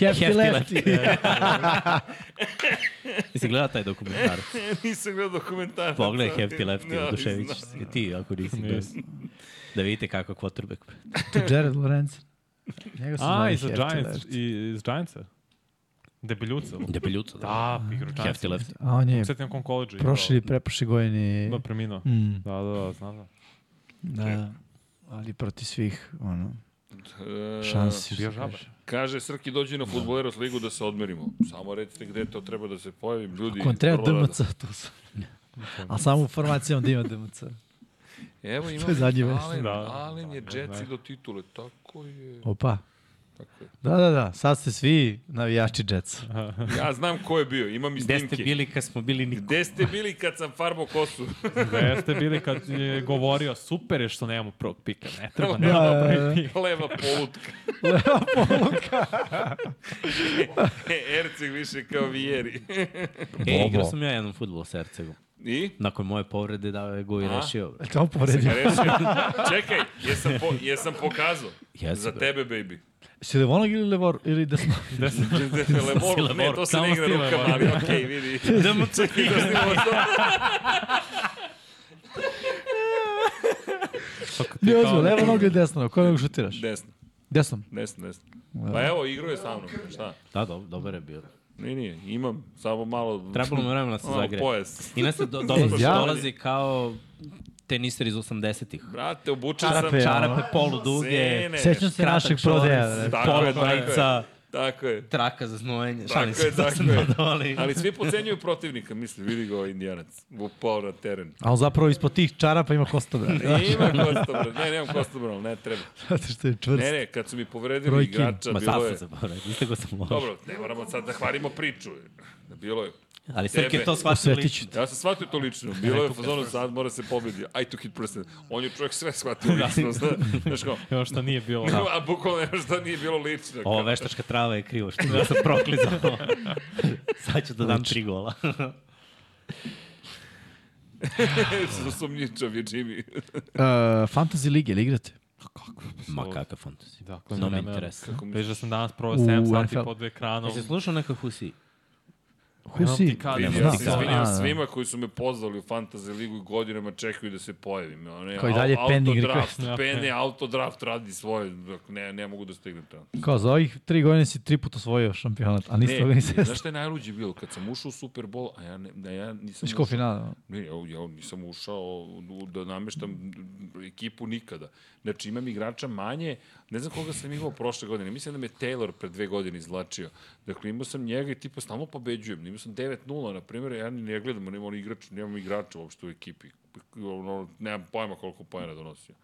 Hefty, Hefty lefty. Jesi gledao taj dokumentar? Nisam gledao dokumentarac. Pogledaj Hefty Lefty, Da, da, Dušević. znam. I ti, ako nisi. Da, da vidite kako je quarterback. To Jared Lorenz. Njega su A, zvali i za Hefty Giants, lefty. i iz Giantsa. Debeljuca. Debeljuca, da. Da, igrač. Hefty Lefty. A on je Sad na kom koleđu. igrao. prošli, Mm. preprošli godini. Da, preminuo. Da, da, da, znam da. Da, ali proti svih, ono, E, šansi. Bio žabar. Kaže, Srki, dođi na futboleros ligu da se odmerimo. Samo recite gde to treba da se pojavi. Ljudi, Ako vam treba vrlo rado. DMC, to su. A samo u formacijama da ima DMC. Evo imamo, je zadnji vest. Alen, Da. Alen je Jetsi do titule. Tako je. Opa. Tako je. Da, da, da, sad ste svi navijači Jetsa. Ja znam ko je bio, imam i Gde ste snimke. bili kad smo bili niko? Gde ste bili kad sam farbo kosu? Gde ste bili kad je govorio, super je što nemamo prvog pika, ne treba, Da, ne da, treba da. prvog pika. Leva polutka. Leva polutka. E, Erceg više kao Vijeri. E, igrao sam ja jednom futbol sa Ercegom. I? Nakon moje povrede dao je go i A? rešio. bre. To povredio. Rešio. Čekaj, jesam, po, jesam pokazao. Jesi, Za bre. Da tebe, baby. Si Levonog ili Levor, ili desno? Lemor, ne, E, to se Samo ne igra si rukama, Lemor. ali okej, vidi. Da mu čak Vidio si ovo to? Ne, ozbiljno, levo noga ili desno, koje nogu šutiraš? Desno, Desnom. desno, desno. Pa evo, igro je sa mnom, šta? Da, do, dobar je bio. Nije, nije, imam, samo malo... Trebalo mu vremena da se Ono, zagreje. pojas. Inače se do, dolazi, E, ja- dolazi kao teniser iz 80-ih. Brate, obučen sam... Čarape, Čarape polu duge, Sene. Sećam se kratak našeg čorac, prodaja. Tako je, polo tako je. majica, Tako je. traka za znojenje. Tako Šalim je, se da tako se je. dodavali. Ali svi pocenjuju protivnika, misli, vidi ga ovaj indijanac. Upao na teren. A on zapravo ispod tih čarapa ima kosta, Da. brate. Ima Kostobran, ne, nemam Kostobran, ne treba. Zato što je čvrst. Ne, ne, kad su mi povredili Broj kin. igrača, Ma sad bilo sam je... se bavio, isto ga sam ložio. Dobro, ne moramo sad da hvarimo priču. Da, Bilo je. Ali Srk je tebe. to shvatio Osvetit ću lično. Ja sam shvatio to lično. Bilo je u fazonu, sad mora se pobedi. I took it personal. On je čovjek sve shvatio Da. lično. zna- Znaš kao, da. Još što nije bilo. a bukvalno je što nije bilo lično. Ova kao. veštačka trava je krivo, što ja sam proklizao. Sad ću da dam tri gola. Sumnjičav je Jimmy. Uh, fantasy lige, ili igrate? Ma kakav fantasy. Dakle, No me vremena. interesa. Kako mi- Već da sam danas provao U 7 sati NFL. pod ekranom. Jesi slušao neka Husi? Husi? kad- Vidim, Nema ja se veze. izvinjam A, da. svima koji su me pozvali u Fantasy ligu i godinama čekaju da se pojavim. One, Kao i dalje pending autodraft, request. Pene, autodraft radi svoje. dok Ne, ne mogu da stignem tamo. Kao za ovih tri godine si tri puta osvojio šampionat, a niste ga ni Ne, svesni. znaš šta je najluđe bilo? Kad sam ušao u Super Bowl, a ja, ne, a ja nisam Znaš ko finala? Ne, ja, ja nisam ušao u- da nameštam ekipu nikada. Znači, imam igrača manje, ne znam koga sam imao prošle godine, mislim da me Taylor pre dve godine izlačio. Dakle, imao sam njega i tipa stalno pobeđujem. Imao sam 9-0, na primjer, ja ni ne gledam, nemam on igrač, nemam igrača uopšte u ekipi. Ono, nemam pojma koliko pojena donosio.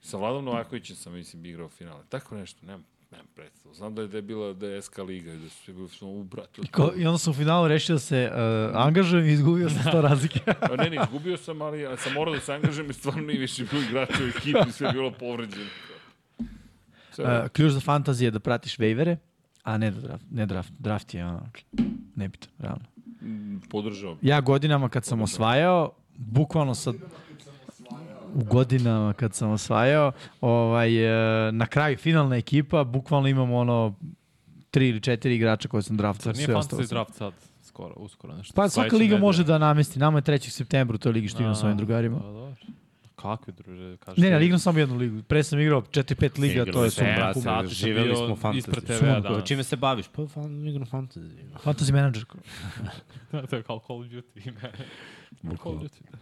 Sa Vladom Novakovićem sam, mislim, igrao finale. Tako nešto, nemam, nemam predstavu. Znam da je, da je bila da je SK Liga i da su svi bili u ubrati. Ko, I onda sam u finalu rešio da se uh, angažujem i izgubio sam sto razlike. A ne, ne, izgubio sam, ali a sam morao da se angažujem i stvarno nije više bilo igrača u ekipi, sve je bilo povređeno. Sve, Uh, ključ za fantazije je da pratiš waivere, a ne, da draft, ne draft. Draft je ono, nebitno, realno. m, podržavam. Ja godinama kad sam osvajao, bukvalno sad u godinama kad sam osvajao, ovaj, e, na kraju finalna ekipa, bukvalno imam ono tri ili četiri igrača koje sam draftao, Zar nije sve ostalo. fantasy sam. draft sad? Skoro, uskoro nešto. Pa svaka Sledeće liga nedelje. može da namesti, nama je 3. septembra u toj ligi što imam A, svojim drugarima. Pa dobro. Kakve druže, kažeš? Ne, ne, ali igram samo jednu ligu. Pre sam igrao 4-5 liga, to je sam, sumrak. brate, živeli smo fantasy. Ispred Sumrak, TV-a danas. danas. Čime se baviš? Pa fan, igram fantasy. Fantasy manager. to je kao Call of Duty ime. Call of Duty. da.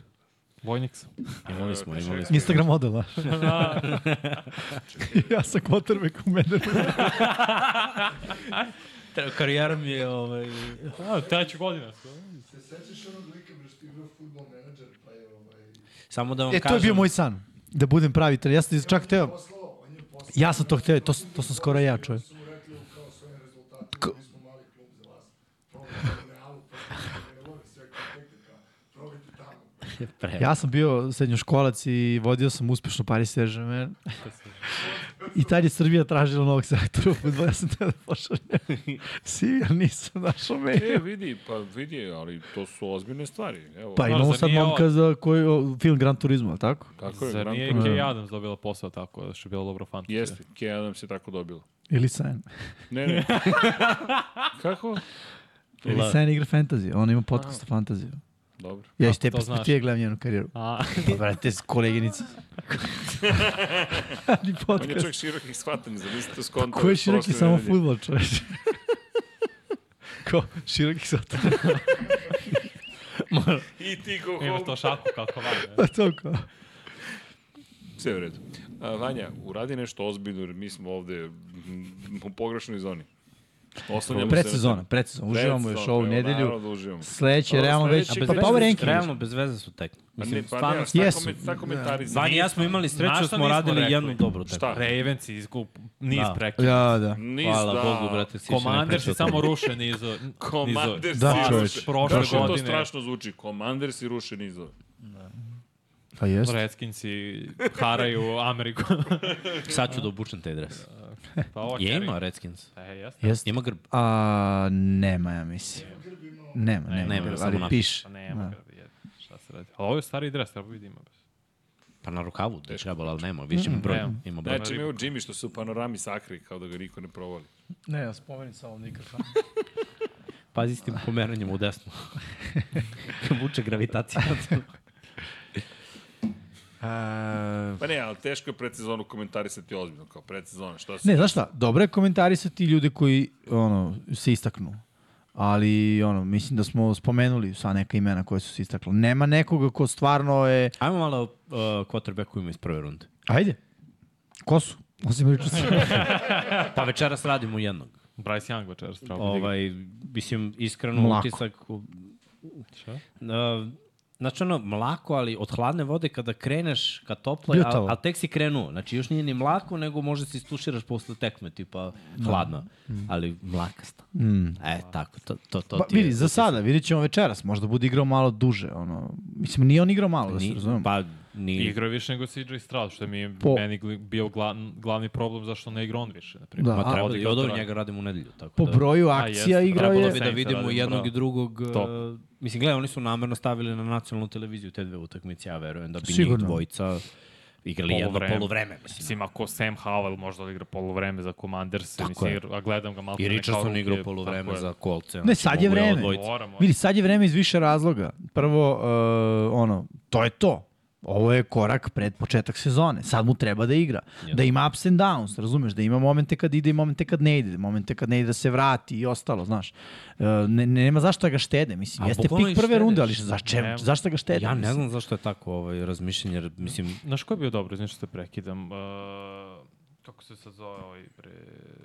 Vojnik sam. Imali smo, imali smo. Instagram model, znaš. Da, ja sam quarterback u mene. Treba, karijera mi je ovaj... Da, A, treća godina. Se sećaš onog lika bre što je igrao futbol menadžer, pa je ovaj... Samo da vam E, to kažem... je bio moj san. Da budem pravi trener. Ja sam čak teo... Poslao, on je poslao, Ja sam to hteo, to, to sam skoro ja čuo. su mu rekli kao svojim rezultatima, mi smo mali klub za vas. Probajte u realu, probajte u realu, sve kontakte, kao, probajte tamo. Pre. E. Ja sam bio srednjoškolac i vodio sam uspešno Paris Saint-Germain. I tad je Srbija tražila novog sektora u fudbalu. Ja sam teo da pošaljem. Sivija nisam našao E, mail. vidi, pa vidi, ali to su ozbiljne stvari. Evo, Pa imamo Dobro, sad zar nije momka za koji, o, film Gran Turismo, ali tako? Tako je, Zar Gran nije Turismo. Kay Adams dobila posao tako, da što je bila dobro fantasija? Jeste, Kay Adams je tako dobila. Ili Sen. Ne, ne. Kako? Ili La- Sen igra fantasy. Ona ima podcast o fantaziju. Dobro. Ja iz te to znaš. perspektive gledam njenu karijeru. A, Pa, brate, s koleginici. Ni On je podcast. čovjek širokih shvatanja, za niste skonto. Ko je široki samo futbol, čoveč? Ko? Široki satan. I ti ko imaš ko... to šaku kako vada. Pa to kao. Sve u redu. A, Vanja, uradi nešto ozbiljno, jer mi smo ovde mm, u pogrešnoj zoni. Oslanjamo se na- Predsezona, predsezona. Uživamo još Predsezona, ovu evo, nedelju. Naravno da uživamo. Sledeće, Ovo realno već... sledeći Pa bez veze- power ranking. Realno, bez veze su tek. Pa Mislim, ne, pa stvarno, ne, šta jesu. koment- šta komentariš? Vanja i ja smo imali Znaš sreću, da šta smo nismo radili rekli? jednu dobru. Tako. Šta? Ravens izgub, niz Da. prekida. Ja, da. Nis, Hvala da. Bogu, brate, si Komander si samo ruše nizo. Komander Da, si čoveč. ruše. Prošle Kako to godine. strašno zvuči? Komander si ruše nizove. Pa jest. Redskinsi haraju Ameriku. Sad ću da obučem taj dres. pa ovo Je Kerry. ima Redskins. E, jeste. Jest. Ima grb. A, nema, ja mislim. Nema, nema, Nema, nema samo ali napis. piše. Pa nema Da. ga, je, šta se radi. Ali ovo je stari dres, treba vidim. Pa na rukavu ti je trebalo, ali nema. Više ima broj. nema. Ima broj. Znači, imaju Jimmy što su u panorami sakri, kao da ga niko ne provali. Ne, ja spomenim samo mikrofon. Pazi Pa s tim pomeranjem u desnu. Vuče gravitacija. Pa ne, ali teško je predsezonu komentarisati ozbiljno, kao predsezona, šta se... Ne, znaš šta, dobro je komentarisati ljude koji ono, se istaknu. Ali, ono, mislim da smo spomenuli sva neka imena koja su se istakla. Nema nekoga ko stvarno je... Ajmo malo uh, quarterbackovima iz prve runde. Ajde. Ko su? Osim Richardsona. Pa večeras radimo jednog. Bryce Young večeras treba vidim. Ovaj, mislim, iskreno Pa Mlako. utisak... u- Šta? Uh, znači ono, mlako, ali od hladne vode kada kreneš ka tople, Bljutavo. ali al tek si krenuo. Znači još nije ni mlako, nego možda se istuširaš posle tekme, tipa hladno. Da. Mm. Ali mlakasta. E, tako, to, to, to Pa, ti je. Mm. vidi, za sada, vidit ćemo večeras. Možda bude igrao malo duže. Ono. Mislim, nije on igrao malo, da se Ni- razumemo. Pa, ni... Igrao je više nego CJ Stroud, što mi je Po- meni gl- bio glavn- glavni problem zašto ne igra on više, na Da, primjer. Ma a- treba da i odobro Odigrao njega radimo u nedelju. Tako po da, broju A, akcija jeste, igrao Trebalo je... bi da Saints vidimo radimo, jednog bravo. i drugog. Top. e, mislim, gledaj, oni su namerno stavili na nacionalnu televiziju te dve utakmice, ja verujem da bi Sigurno. Sigurno. njih dvojica igrali jedno Polovreme. polovreme. Mislim. Mislim, ako Sam Howell možda odigra polovreme za Commanders, Tako mislim, je. jer- a gledam ga malo... I pre kao da. Richardson ruke, igrao tako polovreme je. za kolce. Ne, znači, sad je mogu i ova vreme. dvojica. Moramo. Vidi, sad je vreme iz više razloga. Prvo, uh, ono, to je to. Ovo je korak pred početak sezone. Sad mu treba da igra. Da ima ups and downs, razumeš? Da ima momente kad ide i momente kad ne ide. Momente kad ne ide da se vrati i ostalo, znaš. Uh, ne, nema zašto da ga štede, mislim. A Jeste bukvalno pik i prve štedeš. runde, ali zače, Nema. zašto da ga štede? Ja ne mislim? znam zašto je tako ovaj, razmišljanje, jer mislim, Znaš ko je bio dobro, znaš što te prekidam? Uh, kako se sad zove ovaj pre...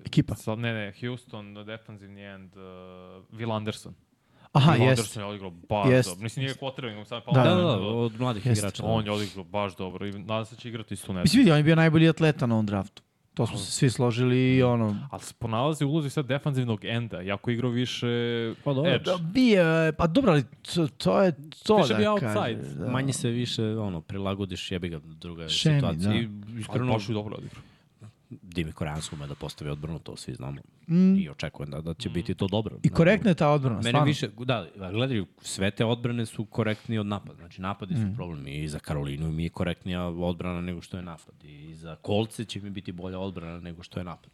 Ekipa. Sad, ne, ne, Houston, defanzivni end, uh, Will Anderson. Aha, Will jeste. Anderson je odigrao baš Jest. dobro. Mislim, nije quarterback, sam pa Da, da, on, da, da, od mladih Jeste. igrača. on je odigrao baš dobro i nadam se da će igrati su Mislim, vidi, on je bio najbolji atleta na ovom draftu. To smo se svi složili i ono... Ali se ponalazi u ulozi sad defanzivnog enda, jako igrao više pa, dobro. edge. Da, bio je, pa dobro, ali to, to je to Više da bio kažem, outside, da. Da. Manje se više ono, prilagodiš, jebi ga, druga je Šemi, situacija. da. I Ali iskreno, baš je dobro odigrao. Dimi Koransko ume da postavi odbranu, to svi znamo. Mm. I očekujem da, da će biti to dobro. Da. I korektna je ta odbrana, Mene stvarno. više, da, gledaj, sve te odbrane su korektnije od napada. Znači, napadi su Mhm. problem i za Karolinu mi je korektnija odbrana nego što je napad. I za Kolce će mi biti bolja odbrana nego što je napad.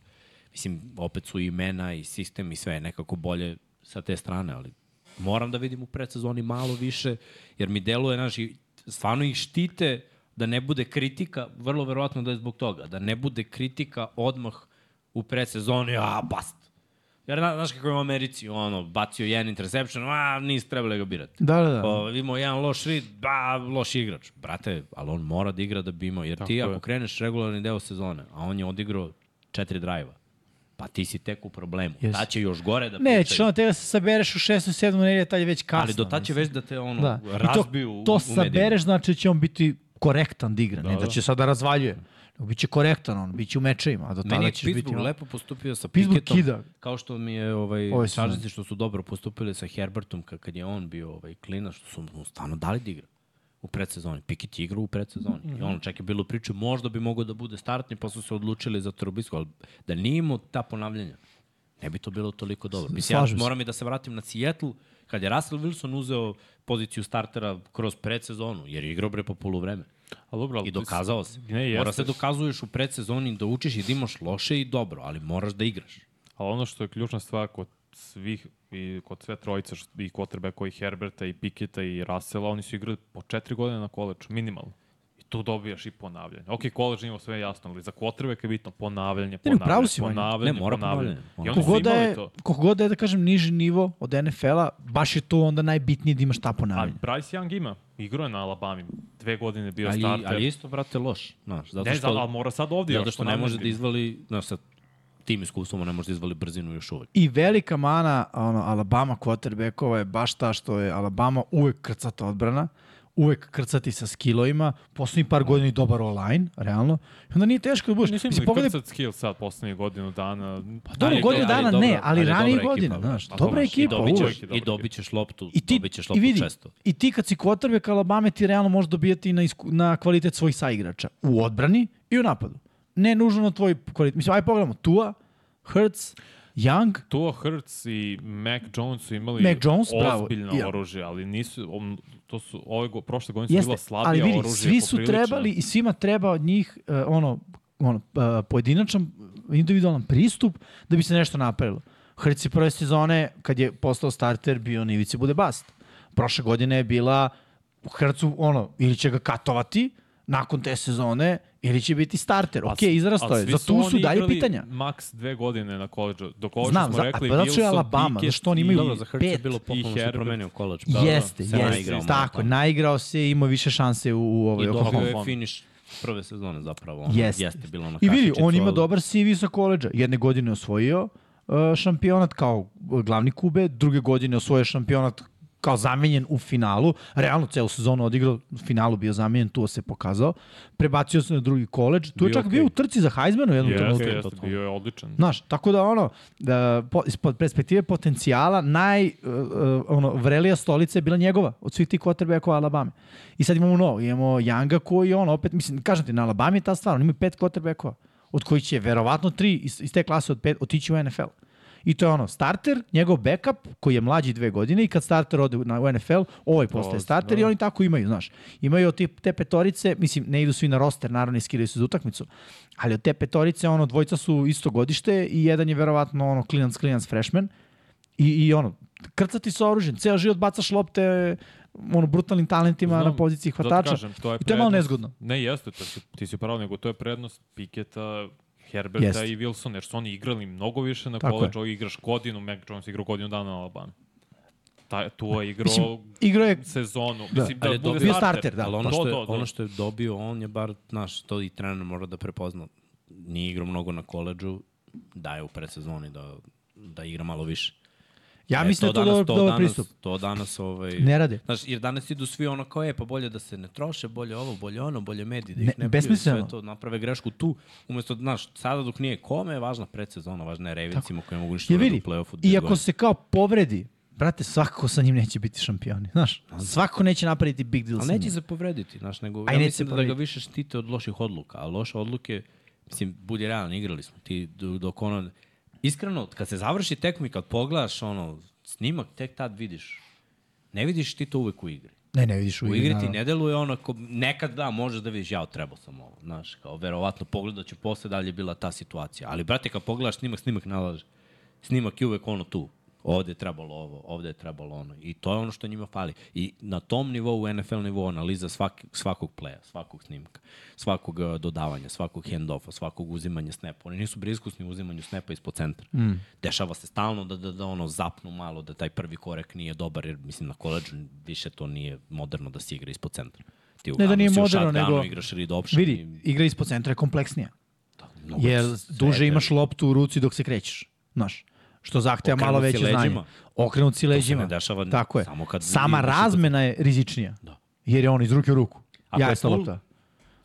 Mislim, opet su i imena i sistem i sve je nekako bolje sa te strane, ali moram da vidim u predsezoni malo više, jer mi deluje, znaš, i stvarno ih štite da ne bude kritika, vrlo verovatno da je zbog toga, da ne bude kritika odmah u predsezoni, a, bast, Jer, zna- znaš kako je u Americi, ono, bacio jedan interception, a, niste trebali ga birati. Da, da, da. O, imao jedan loš read, ba, loš igrač. Brate, ali on mora da igra da bi imao, jer Tako ti je. ako kreneš regularni deo sezone, a on je odigrao četiri drajva, pa ti si tek u problemu. Jeste. Ta će još gore da Ne, ćeš pričaju. ono tega se sabereš u 6. 7. nedelje, tad je već kasno. Ali do tad će mislim. već da te ono, da. da. I to, razbiju u- to u medijima. sabereš, znači da će on biti korektan da igra, da, ne da će sada razvaljuje. Nego biće korektan on, biće u mečevima, a do Meni tada je ćeš biti... Pittsburgh ono- lepo postupio sa Pittsburgh Piketom, kida. kao što mi je ovaj, Ovo je ovaj sve. sažnici što su dobro postupili sa Herbertom ka- kad je on bio ovaj, klina, što su mu stvarno dali da igra u predsezoni. Piket je igrao u predsezoni. Mm -hmm. I ono čak je bilo priče, možda bi mogao da bude startni, pa su se odlučili za Trubisku, ali da nije imao ta ponavljanja, ne bi to bilo toliko dobro. Mislim, ja slažem se. moram i da se vratim na Seattle, kad je Russell Wilson uzeo poziciju startera kroz predsezonu, jer je igrao bre po poluvreme. A dobro, ali I ti si- dokazao si. Ne, Ne, jeste. Mora se da dokazuješ u predsezoni da učiš i da imaš loše i dobro, ali moraš da igraš. Ali ono što je ključna stvar kod svih i kod sve trojice što- i quarterbacka koji Herberta i Piketa i Rasela, oni su igrali po četiri godine na koleđu, minimalno. I tu dobijaš i ponavljanje. Ok, koleđ ima sve jasno, ali za quarterbacka je bitno Ne, ponavljanje, ne, u ponavljanje, pravu si, Vanja. ponavljanje, Ne, mora ponavljanje. ponavljanje. I oni su Kogod da imali je, to. kogod da je, da kažem, niži nivo od NFL-a, baš je tu onda najbitnije da imaš ta A ponavljanja. Bryce Young ima, igrao je na Alabama, dve godine je bio Ali, starter. ali je isto, brate, loš. Znaš, zato ne, što, znam, ali mora sad ovdje zato još što ne može da ponavljati. izvali, znaš, sa tim iskustvom on ne može da izvali brzinu još uvek. I velika mana ono, Alabama quarterbackova je baš ta što je Alabama uvek krcata odbrana, uvek krcati sa skillovima, poslednji par godina i dobar online, realno. I onda nije teško da budeš. Mislim, Mislim, Mislim pogledaj, krcat skill sad, poslednje godinu dana. pa dobro, Ali godinu do- ali dana dobra- ne, ali, ali dobra ranije ekipa, godine, brate. znaš, Pa dobra dobro, i I ekipa, dobit dobićeš- uvek. ćeš, uvek je i dobar dobit ćeš loptu, I ti, dobit ćeš i loptu vidi, često. i ti kad si quarterback Alabama ti realno možeš dobijati i na, isku, na kvalitet svojih saigrača. U odbrani i u napadu. Ne nužno na tvoj kvalitet. Mislim, aj pogledamo, Tua, Hurts, Young, Tua Hurts i Mac Jones su imali Mac Jones, bravo, ozbiljno ja. oružje, ali nisu, on, to su, ove go, prošle godine su Jeste, bila slabija ali vidi, oružja. svi su poprilično. trebali i svima treba od njih uh, ono, ono uh, pojedinačan, individualan pristup da bi se nešto napravilo. Hrci prve sezone, kad je postao starter, bio na ivici bude bast. Prošle godine je bila u Hrcu, ono, ili će ga katovati nakon te sezone, ili će biti starter. A Ok, s- izrasto a je. svi Za su tu su oni dalje igrali pitanja. Maks dve godine na koleđu. Do koleđa Znam, smo za- a rekli pa zato što je Wilson, Alabama, Pickett zašto oni imaju i- Dobro, za Hrča je pet bilo i pohvalno što je Herbert. promenio kolač. pa Da, da, jeste, se jeste. naigrao malo Tako, tamo. naigrao se i imao više šanse u, u I ovoj dobio Oklahoma. je finiš prve sezone zapravo. Ono, Jeste. jeste. jeste bilo na I vidi, kašičicu, on ima ali- dobar CV sa koleđa. Jedne godine osvojio uh, šampionat kao uh, glavni kube, druge godine osvojio šampionat kao zamenjen u finalu. Realno celu sezonu odigrao, u finalu bio zamenjen, tu se pokazao. Prebacio se na drugi koleđ. Tu je Bio čak okej. bio u trci za Heismanu u jednom Jeste, trenutku. jeste, bio je odličan. Znaš, tako da ono, da, po, ispod perspektive potencijala, naj, uh, uh, ono, vrelija stolica je bila njegova, od svih tih quarterbackova Alabama. I sad imamo novo, imamo Younga koji on opet, mislim, kažem ti, na Alabama je ta stvar, on ima pet quarterbackova, od koji će verovatno tri iz, iz te klase od pet otići u NFL. I to je ono, starter, njegov backup, koji je mlađi dve godine i kad starter ode na u NFL, ovaj postaje Dolazi, starter da. i oni tako imaju, znaš. Imaju od te, te petorice, mislim, ne idu svi na roster, naravno, iskiraju se za utakmicu, ali od te petorice, ono, dvojica su isto godište i jedan je verovatno, ono, klinac, klinac, freshman i, i ono, krcati sa oružjem, ceo život bacaš lopte, ono, brutalnim talentima Znam, na poziciji zato hvatača. kažem, to je I to je malo prednost. nezgodno. Ne, jeste, to, si- ti si pravo, nego to je prednost Piketa, Herberta Jeste. i Wilsona, jer su oni igrali mnogo više na Tako je. koleđu, ovi igraš godinu, Mac Jones igrao godinu dana na Alabama. Ta, tu je igrao Mislim, igra je sezonu. Mislim, da, Ali je bude dobio- starter, da. Ali ono To, što, je, to, to. ono što je dobio, on je bar, znaš, to i trener mora da prepozna. Nije igrao mnogo na koleđu, daje u predsezoni da, da igra malo više. Ja E, mislim da je to danas- dobar, dobar danas, pristup. To danas, ovaj... Ne rade. Znaš, jer danas idu svi ono kao je, pa bolje da se ne troše, bolje ovo, bolje ono, bolje mediji, da Ne, ih ne, ne besmisleno. sve to, naprave grešku tu. Umesto, znaš, sada dok nije kome, važna predsezona, važna je Ravensima koji ne mogu ništa Je da rade vidi, u play-offu. dve iako godine. se kao povredi, brate, svakako sa njim neće biti šampioni, znaš. Svako neće napraviti big deal sa Da, Ali neće njim. se povrediti, znaš, nego A i ja neće mislim se da, da ga povrediti. više štite od loših odluka, a loše odluke, mislim, budi realan, igrali smo ti do- dok ono... Iskreno, kad se završi tekma i kad pogledaš ono, snimak, tek tad vidiš. Ne vidiš ti to uvek u igri. Ne, ne, vidiš u, U igri, igri ti naravno. ne deluje ono, ko, nekad da, možeš da vidiš, jao, trebao sam ovo, znaš, kao, verovatno, pogledat ću posle da li je bila ta situacija. Ali, brate, kad pogledaš snimak, snimak nalaže. Snimak je uvek ono tu. Ovde je trebalo ovo, ovde je trebalo ono. I to je ono što njima fali. I na tom nivou, NFL nivou, analiza svaki, svakog pleja, svakog snimka, svakog eh, dodavanja, svakog handoffa, svakog uzimanja snapa. Oni nisu briskusni u uzimanju snapa ispod centra. Mm. Dešava se stalno da, da, da ono zapnu malo, da taj prvi korek nije dobar, jer mislim na koleđu više to nije moderno da se igra ispod centra. Ti Ne da uglavnom nije si u moderno, shotgunu, nego- Igraš read option Vidi, i igra ispod centra je kompleksnija. Da, mnogo Jer sve duže je imaš loptu u ruci dok se krećeš. Znaš, što zahteva malo Okrenut si veće znanje. leđima. Okrenut si leđima. dešava Tako je. samo kad Sama imaš- razmena je rizičnija. Da. Jer je on iz ruke u ruku. Ako ja je je full, lopta.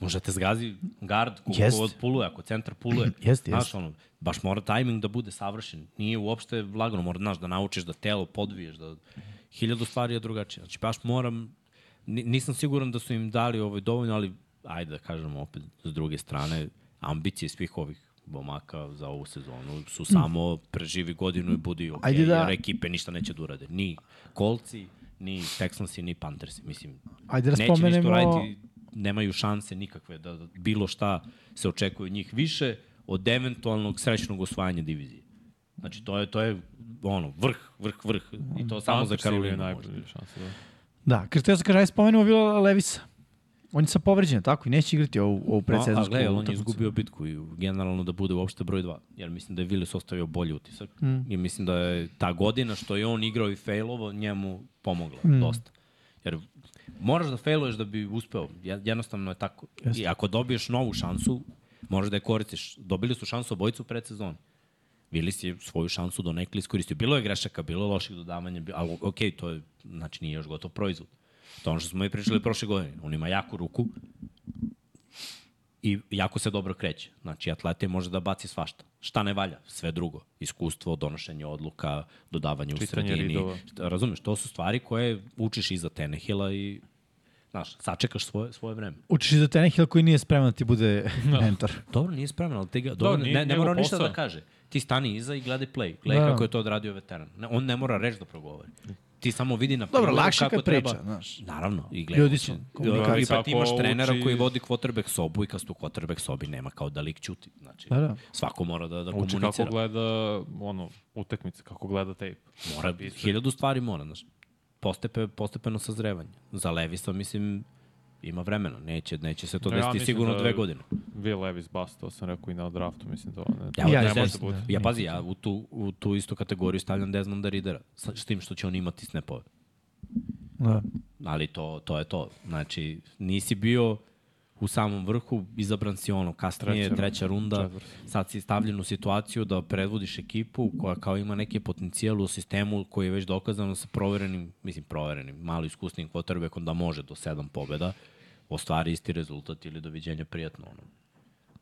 Možda te zgazi gard koliko Jest. yes. god puluje, ako centar puluje. Jest, znaš, jest. Ono, baš mora tajming da bude savršen. Nije uopšte lagano, mora znaš, da naučiš da telo podviješ, da hiljadu stvari je drugačije. Znači baš moram, ni- nisam siguran da su im dali ovaj dovoljno, ali ajde da kažem opet s druge strane, ambicije svih ovih bomaka za ovu sezonu su samo preživi godinu i budi ok, Mm. Ajde da- jer ekipe ništa neće da urade. Ni Kolci, ni Texansi, ni Panthersi. Mislim, Ajde da neće ništa spomenemo- raditi, nemaju šanse nikakve da da bilo šta se očekuje od njih više od eventualnog srećnog osvajanja divizije. Znači, to je, to je ono, vrh, vrh, vrh. I to samo za Panthers imaju Karolinu. možda. najbolje šanse, da. Da, kad ja sam kaže, ajde spomenuo Vila Levisa. On je sad povređen, tako? I neće igrati ovu, ovu A, a predsezonsku gledaj, ali on je utakmicu. izgubio bitku i generalno da bude uopšte broj 2. Jer mislim da je Willis ostavio bolji utisak. Mm. I mislim da je ta godina što je on igrao i failovo njemu pomogla mm. dosta. Jer moraš da failuješ da bi uspeo. Jed- Jednostavno je tako. Jeste. I ako dobiješ novu šansu, možeš da je koristiš. Dobili su šansu obojicu pred sezoni. Willis je svoju šansu donekle iskoristio. Bilo je grešaka, bilo je loših dodavanja, bi- ali ok, to je, znači nije još gotov proizvod. To je ono što smo i pričali prošle godine. On ima jaku ruku, i jako se dobro kreće. Znači, atlete može da baci svašta. Šta ne valja? Sve drugo. Iskustvo, donošenje odluka, dodavanje Čitanje u sredini. ridova. Šta- Razumeš, to su stvari koje učiš iza Tenehila i znaš, sačekaš svoje, svoje vreme. Učiš i za Tenehill koji nije spreman da ti bude mentor. Dobro, nije spreman, ali te ga, dobro, nije ne, ne njegov mora on ništa posao. da kaže. Ti stani iza i gledaj play. Gledaj Da. kako je to odradio veteran. Ne, on ne mora reći da progovori. Ti samo vidi na Dobro, primjeru lakše kako kad treba. priča, da. znaš. Naravno. I gledaj, Ljudi su, komunikacija. I pa Ako ti imaš trenera uči- koji vodi quarterback sobu i kad su u quarterback sobi nema kao da lik ćuti. Znači, Da, da. svako mora da, da Uči kako komunicira. gleda ono, utekmice, kako gleda tape. Mora, hiljadu stvari mora, znaš. Postepe, postepeno sazrevanje. Za Levisa, mislim, ima vremena. Neće, neće se to Ja desiti mislim sigurno da- dve godine. Will Levis bust, to sam rekao i na draftu, mislim da to ne, Ja, ne ja, Ja, može desno, da bude. da. ja pazi, ja u tu, u tu istu kategoriju stavljam da Desmonda Ridera, sa, s tim što će on imati snapove. Da. Ali to, to je to. Znači, nisi bio u samom vrhu, izabran si ono, kasnije, Treća treća, runda, treća runda, četvrta. sad si stavljen u situaciju da predvodiš ekipu koja kao ima neki potencijal u sistemu koji je već dokazano sa proverenim, mislim proverenim, malo iskusnim quarterbackom da može do sedam pobjeda, ostvari isti rezultat ili doviđenja prijatno. Ono.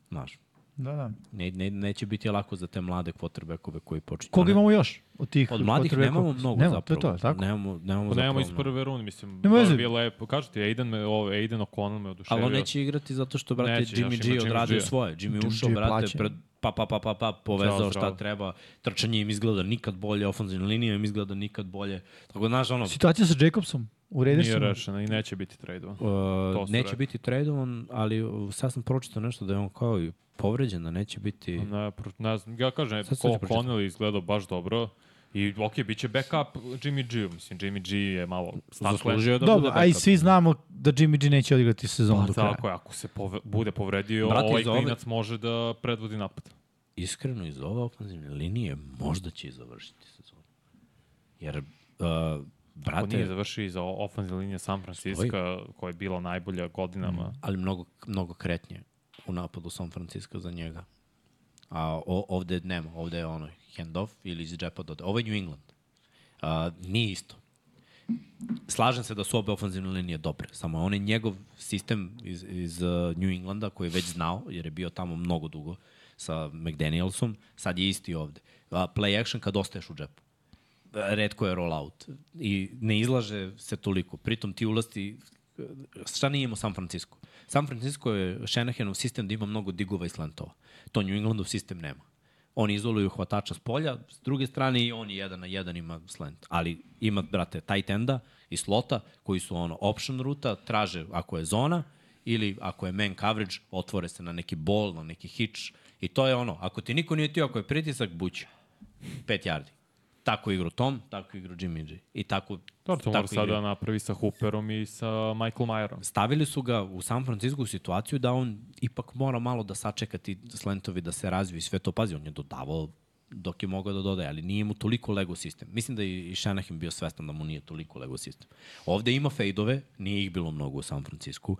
Znaš, Da, da. ne, ne, neće biti lako za te mlade quarterbackove koji počinju. Koga imamo još od tih? Od mladih quarterbacka? nemamo mnogo Nemamo, zapravo. To je to, tako? Nemamo, nemamo, Pa nemamo iz zapravo prve runde, mislim, Nema Nema veze. da bi je lepo. Kažu ti, Aiden, me, ovo, Aiden O'Connell me oduševio. Ali on neće igrati zato što, brate, Neće, neće, znaš, Jimmy ima G Jimmy odradio G. svoje. Jimmy Jimmy je ušao, G brate, plaćen. pred, pa, pa, pa, pa, pa, povezao Zdravo, šta zdravo. treba. Trčanje im izgleda nikad bolje, ofenzivna linija im izgleda nikad bolje. Tako, da, znaš, ono, Situacija sa Jacobsom u Nije Raidersima. rešena i neće biti trade-ovan. uh, su neće rekli. biti tradovan, ali uh, sad sam pročitao nešto da je on kao i povređen, da neće biti... Ne, pro- ne znam, ja kažem, Sad sam ko ti pročitao. Connell je izgledao baš dobro. I okej, bit će backup Jimmy G. Mislim, Jimmy G je malo staklen. Zaslužio da Dobro, bude a i backup. svi znamo da Jimmy G neće odigrati sezonu Pa do kraja. tako je, ako se pove, bude povredio, Brate, ovaj iz ove- klinac može da predvodi napad. iskreno iz ove ofenzivne linije možda će i završiti sezonu. Jer, uh, Ako nije brate, završio iza ofenzivne linije San Francisca, koja je bila najbolja godinama. ali mnogo, mnogo kretnje u napadu San Francisco za njega. A o, ovde nema, ovde je ono handoff ili iz džepa dode. Ovo je New England. A, nije isto. Slažem se da su obe ofenzivne linije dobre, samo on je njegov sistem iz, iz uh, New Englanda koji je već znao, jer je bio tamo mnogo dugo sa McDanielsom, sad je isti ovde. A, play action kad ostaješ u džepu redko je rollout i ne izlaže se toliko. Pritom ti ulasti, šta nije imao San Francisco? San Francisco je Shanahanov sistem da ima mnogo digova i slantova. To New Englandov sistem nema. Oni izoluju hvatača s polja, s druge strane i oni jedan na jedan ima slant. Ali ima, brate, tight enda i slota koji su ono option ruta, traže ako je zona ili ako je man coverage, otvore se na neki ball, na neki hitch i to je ono, ako ti niko nije tio, ako je pritisak, bući. 5 yardi. Tako igru Tom, tako igru Jimmy G. I tako, Dobro, to mora tako sada igraju. napravi sa Hooperom i sa Michael Mayerom. Stavili su ga u San Francisco u situaciju da on ipak mora malo da sačeka ti slentovi da se razviju i sve to. Pazi, on je dodavao dok je mogao da dodaje, ali nije mu toliko Lego sistem. Mislim da je i Shanahan bio svestan da mu nije toliko Lego sistem. Ovde ima fejdove, nije ih bilo mnogo u San Francisco.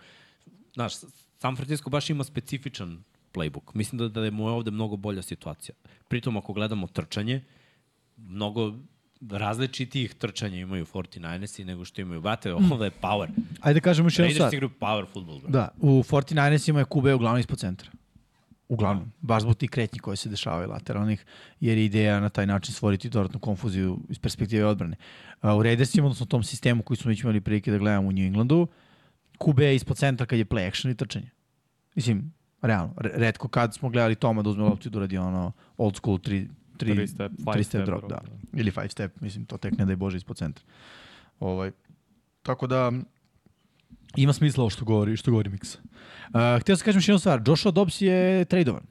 Znaš, San Francisco baš ima specifičan playbook. Mislim da, da je mu je ovde mnogo bolja situacija. Pritom, ako gledamo trčanje, mnogo različitih trčanja imaju 49ersi nego što imaju Vate. Ovo je power. Ajde da kažemo još jednu Raiders stvar. igraju power futbol. Da. Da, u 49ersima je Kube uglavnom ispod centra. Uglavnom, baš zbog tih kretnji koje se dešavaju lateralnih, jer je ideja na taj način stvoriti dodatnu konfuziju iz perspektive odbrane. A, u Raidersima, odnosno tom sistemu koji smo već imali prilike da gledamo u New Englandu, Kube je ispod centra kad je play action i trčanje. Mislim, realno, re- retko kad smo gledali Toma da uzme loptu i da uradi ono old school 3 Three step, five step drop, drop, da. Ili 5 step, mislim, to tek ne da je Bože ispod centra. Ovaj, tako da, ima smisla ovo što govori, što govori Miksa. Uh, htio sam kažem još jednu stvar, Joshua Dobbs je tradovan,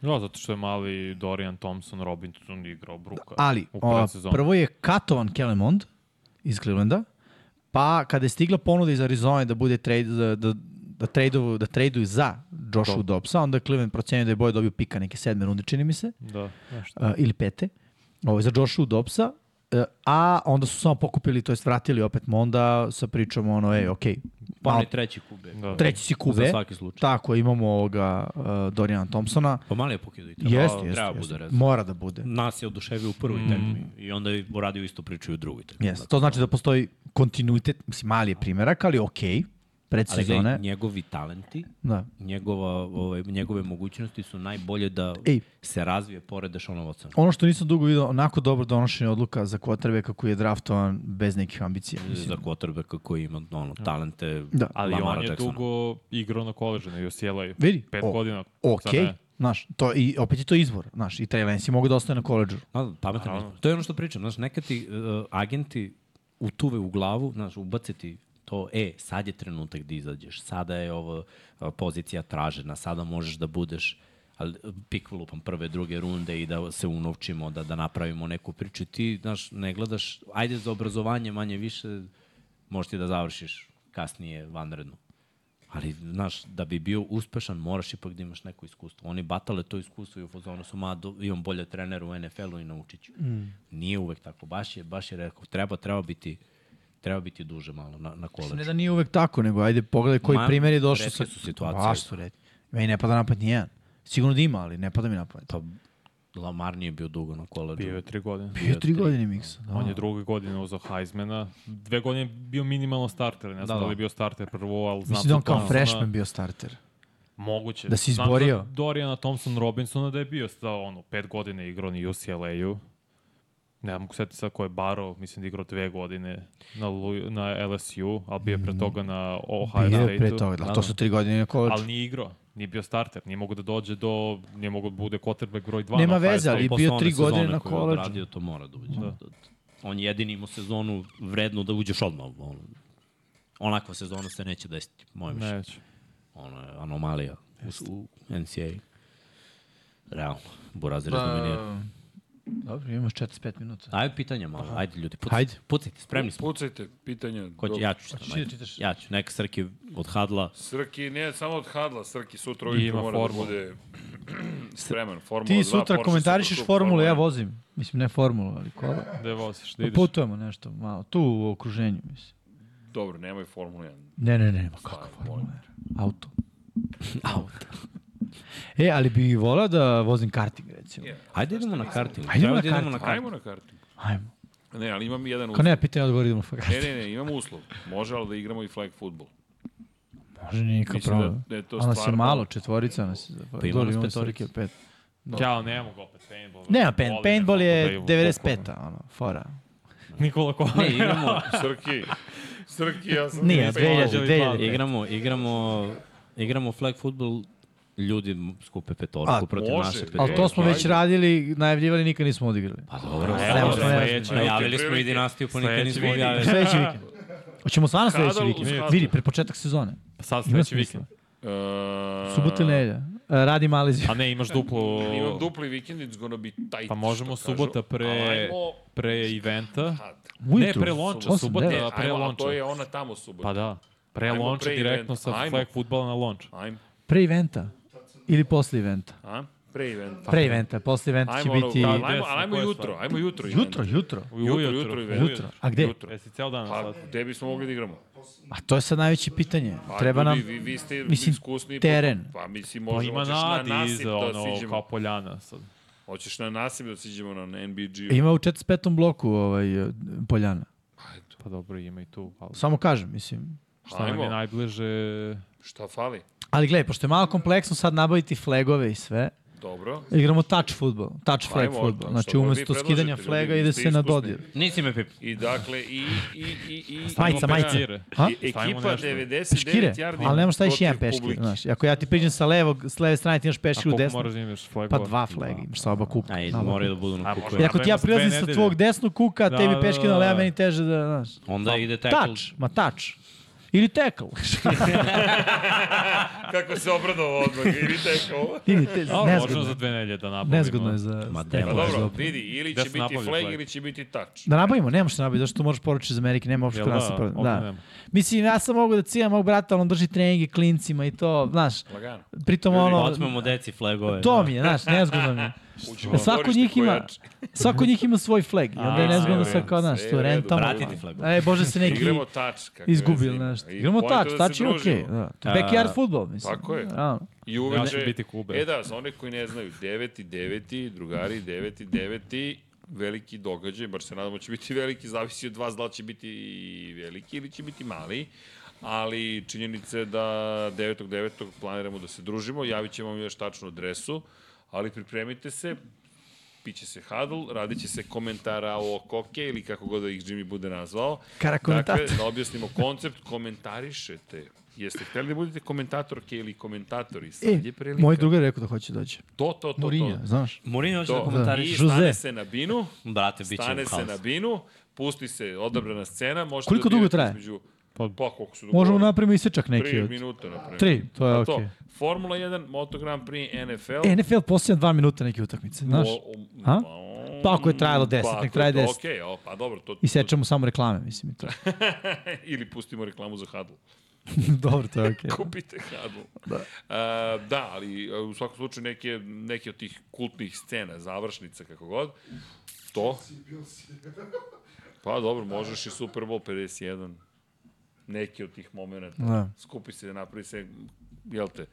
Da, zato što je mali Dorian Thompson Robinson igrao Bruka. Da, ali u o, predsezoni. prvo je katovan Kelemond iz Clevelanda, pa kada je stigla ponuda iz Arizone da bude trade, da, da, da, traduju, da traduju za Joshua To. Dobbsa, onda je Cleveland procenio da je boje dobio pika neke sedme runde, čini mi se, Da, nešto. uh, ili pete, ovo, za Joshua Dobbsa, uh, a onda su samo pokupili, to jest vratili opet Monda sa pričom ono, ej, okej, Pa malo- on je treći kube. Da. treći si kube, Za svaki slučaj. Tako, imamo ovoga uh, Doriana Thompsona. Pa mali je pokidao i treba, Jeste, jeste. treba jeste. bude rezerva. Mora da bude. Nas je oduševio u prvoj mm. tekmi i onda je uradio istu priču i u drugoj tekmi. Jeste. To znači da postoji kontinuitet, mislim, mali je primerak, ali okej, okay, pred Ali gledaj, sezone. njegovi talenti, Da. njegova, ovaj, njegove mogućnosti su najbolje da Ej. Ej. se razvije pored Dešona Watsona. Ono što nisam dugo vidio, onako dobro donošenje odluka za kvotrbeka koji je draftovan bez nekih ambicija. Za Mislim. quarterbacka koji ima ono, talente Da. Ali Lamara on je Jacksona. dugo igrao na koleđu, na UCLA-u. Vidi, Pet o- godina. Okej, Sada je. znaš, to, i opet je to izbor, znaš, i Trey Lance je mogao da ostaje na koleđu. No, Pa, pametan izbor. To je ono što pričam, znaš, neka ti uh, agenti utuve u glavu, znaš, ubace ti to, e, sad je trenutak da izađeš, sada je ova uh, pozicija tražena, sada možeš da budeš ali uh, pik lupam prve, druge runde i da se unovčimo, da, da napravimo neku priču. Ti, znaš, ne gledaš, ajde za obrazovanje manje više, možeš ti da završiš kasnije vanredno. Ali, znaš, da bi bio uspešan, moraš ipak da imaš neko iskustvo. Oni batale to iskustvo i u fazonu su, ma, do, imam bolje trenera u NFL-u i naučit ću. Mm. Nije uvek tako. Baš je, baš je rekao, treba, treba biti, treba biti duže malo na, na koleđu. Ne da nije uvek tako, nego ajde pogledaj koji Ma, primer je došao retke su situacije. Baš su redki. Meni ne pada napad nijedan. Sigurno da ima, ali ne pada mi napad. Pa, Lamar nije bio dugo na koleđu. Bio je tri godine. Bio tri godine miksa. Da. On je druge godine uzao Heismana. Dve godine je bio minimalno starter. Ne znam da, Da, da li da. je bio starter prvo, ali znam... Mislim da je on kao Thompsona- freshman bio starter. Moguće. Da si Znam izborio. za Doriana Thompson Robinsona da je bio sa ono, pet godine igrao na UCLA-u. Ne mogu setiti sad ko je Baro, mislim da je igrao dve godine na, Lu- na LSU, ali bio je pre toga na Ohio Mhm. Bio State-u. je pre toga, da, to su tri godine na koleđu. Ali nije igrao, nije bio starter, nije mogo da dođe do, nije mogo da bude quarterback broj 2. Nema na Ohio veze, State. ali posle bio one tri sezone godine na koju je koleđu. odradio, to mora da uđe. Da. On je jedini imao sezonu vrednu da uđeš odmah. On, onakva sezona se neće desiti, moje mišljenje. Neće. ono je anomalija u, u NCAA. Realno, Burazir Pa- da. dominira. Dobro, imamo 45 minuta. Ajde pitanja malo, ajde ljudi, pucajte, Hajde. pucajte spremni smo. Pucajte, pitanja. Ko će, ja ću Hoćeš čitam, ti da ajde. čitaš? Ja ću, neka Srki od Hadla. Srki, ne samo od hadla, Srki sutra I ujutru ima mora formulu. da bude spreman. Formula Ti dva, sutra Porsche komentarišeš Supercoupe, formulu, Formula ja jedan. vozim. Mislim, ne formulu, ali kola. Gde voziš, Pa da ideš? Putujemo nešto malo, tu u okruženju, mislim. Dobro, nemoj Formulu 1. Ne, ne, ne, ma kako formula? Auto. Auto. E, ali bi volao da vozim karting, recimo. Je. Ajde idemo na karting. Ajde idemo Treba na da idemo na karting. Ajmo na kartu. Ajmo. Ne, ali imam jedan Ko uslov. nema pitanja, odgovor idemo na Ne, karting. ne, ne, imam uslov. Može, ali da igramo i flag futbol. Može, nije nikakav E, Mislim problem. da, da je to A nas je stvarno... malo, četvorica nas je. zapravo. Pa ima Dobro, nas imamo petorica. Srke, pet. Ja, ali ne mogu opet paintball. Nema Volim, paint, ne paintball mogu da je imam 95-a, ono, fora. bukvalno. Nikola Kovač. Ne, igramo, Srki, Srki, ja sam... Nije, nisam- 2000, 2000. igramo, igramo, igramo flag futbol, ljudi skupe A, petorku protiv može. naše Ali petorke. Ali to smo Ajde. već radili, najavljivali, nikad nismo odigrali. Pa dobro, Evo, Evo, evo, smo najavili. sledeće- najavili smo i prilike. dinastiju, pa nikad Sledeći nismo vikend. objavili. Sledeći vikend. Hoćemo stvarno sledeći Kadal uz vikend? kadal. Vidi, pre početak sezone. Sad Ima sledeći smisla. vikend. Uh, Subota i nedelja. E, Radi Malezija. A ne, imaš duplo... Imam dupli vikend, it's gonna be tight. Pa možemo što kažu. subota pre- Ajmo, Pre eventa. had. Ne, pre lonča, Osam, subota, devet. E, da, pre ajmo, a to je lonča. ona tamo subota. Pa da. Pre Ajmo lonča pre direktno eventa. sa Ajmo. flag futbala na lonča. Ajmo, Pre eventa. Ili posle eventa. a? Pre eventa. Pre eventa, posle eventa će Pa Ajmo, ono, biti... da, ajmo, ali ajmo Koja je jutro, stvar? ajmo jutro. event. Jutro, jutro. Jutro, Ujutru. jutro, event. Jutro. A gde? Jutro. Jesi E, ceo dan Pa, sad? gde bismo mogli da igramo? A to je sad najveće pitanje. Pa, Treba nam... ljudi, vi, vi ste mislim, iskusni. teren. Pa, mislim, Pa možda ima hoćeš na nadi nasip iza, da ono, siđemo. kao poljana sad. Hoćeš na nasip da siđemo na NBG. Ima u 45. bloku ovaj, eh, Poljana. Pa dobro, ima i tu. Ali, Samo kažem, mislim. šta nam je Ajmo, najbliže? šta fali? Ali gledaj, pošto je malo kompleksno sad nabaviti flagove i sve, Dobro. igramo touch futbol, touch flag Ajmo, futbol. šta Znači Pa god vi umesto predlažete, skidanja ljudi, flaga vi ide ste se na iskusni. dodir. Nisi me pip. I dakle, i... i, i, i Majica, majica. Pa Šire. A? I, Stavimo ekipa nešto. 99 Škire, yardi ali nemaš šta iš protiv jedan peškir. publike. Znaš, ako ja ti priđem sa levog, s leve strane ti imaš A peškir u koliko desnu, moraš da imaš flagova? pa dva flaga imaš sa oba kuka. Ajde, Na oba moraju kuka. da budu na A, kuku. Jer ako ti ja Napravimo se dve prilazim sa nedelje. tvog desnog kuka, Da, tebi da, peškir na da. leva, meni teže da, znaš. Onda ide tackle. Tač, ma tač. Ili tackle. Kako se obradovao odmah, i vi tekao. Ili te, A, možemo za nezgodno. dve nedelje da nabavimo. Nezgodno je za... Ma, za- Pa delo. dobro, vidi, ili Gde će se biti nabavlja flag, flag? ili će biti touch. Da nabavimo, nema što nabaviti, zato što možeš poručiti iz Amerike, nema uopšte Jel kod nas da? da problem. Ovde Da. nema. Mislim, ja sam mogu da cijem mog brata, ali on drži treninge klincima i to, znaš, Lagano. pritom Pa ono... Otmemo deci flagove. da. To mi je, znaš, nezgodno mi je. Uđemo Jer svako od njih ima, svako od njih ima svoj flag. I onda je A, nezgodno sve sve kao, znaš, sve tu u redu. rentamo. Vratiti flagove. E, bože se neki Igramo touch. kako izgubili veze ima. nešto. I Igramo point je tač, da tač se je okej. družimo. Da. Backyard futbol, mislim. Tako je. Realno. I Ja uveče... ću biti Kube. E da, za one koji ne znaju, 9. 9. drugari, 9. 9. veliki događaj, bar se nadamo da će biti veliki, zavisi od vas da li će biti veliki ili će biti mali, ali činjenica je da 9.9. planiramo da se družimo, javit ćemo vam još tačnu adresu, ali pripremite se, piće se huddle, radit će se komentara o koke ili kako god da ih Jimmy bude nazvao. Kara komentator. Dakle, da objasnimo koncept, komentarišete. Jeste hteli da budete komentatorke ili komentatori? Sad E, je prilika. moj drugar je rekao da hoće dođe. To, to, to, Mourinho, to. znaš. Mourinho hoće To. da komentariš. I Jose. stane se na binu, Brate, bit će stane u se na haosu. binu, pusti se odabrana scena. Možete Koliko da dugo birate traje? Između, Pa- pa, pa koliko su Možemo dogovorili. napravimo isečak neki Tri od... minuta, na primjer. Tri, to je Pa okej. Formula 1, Moto Grand Prix, NFL. NFL posljedna dva minuta neke utakmice, znaš? O- o- A? o- Pa ako je trajalo 10, nek ako traje je to 10. Okej, o, pa dobro, to, I sečemo samo reklame, mislim i to. ili pustimo reklamu za Hadlu. Dobro, to je okej. Kupite Hadlu. Da. da, ali e, u svakom slučaju neke, neke od tih kultnih scena, završnica, kako god, to... Pa dobro, možeš i Super Bowl 51. Neki od tih momenta. Da. Skupi se, napravi se, jel te,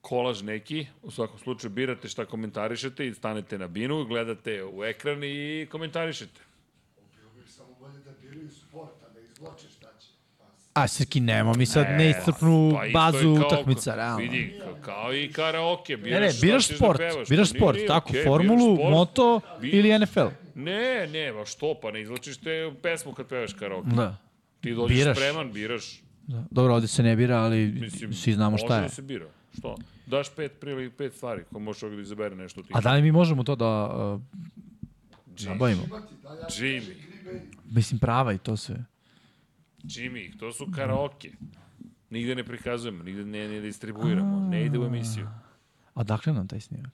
kolaž neki, u svakom slučaju birate šta komentarišete i stanete na binu, gledate u ekran i komentarišete. Samo bolje da biraju sport, a da izvlače šta će. A Srki, nemo mi sad neiscrpnu E, Pa isto je bazu kao- utakmica, realno. Vidi, ka- kao i karaoke. Ne, Biraš ne, šta biraš ćeš da sport, pevaš, biraš pa sport, nije, tako, okej, formulu, biraš sport. moto Bi- ili NFL. Ne, ne, ma što, pa ne izlačiš te pesmu kad pevaš karaoke. Da. Ti dođeš Biraš. spreman, biraš. da. Dobro, ovde se ne bira, ali Mislim, svi znamo šta može je. da se bira. Što? Daš pet prili pet stvari, ko možeš ovdje da izabere nešto ti. A da li mi možemo to da uh, nabavimo? Jimmy, Mislim, prava i to sve. Jimmy, to su karaoke. Nigde ne prikazujemo, nigde ne, ne distribuiramo, ne ide u emisiju. A dakle nam taj snimak?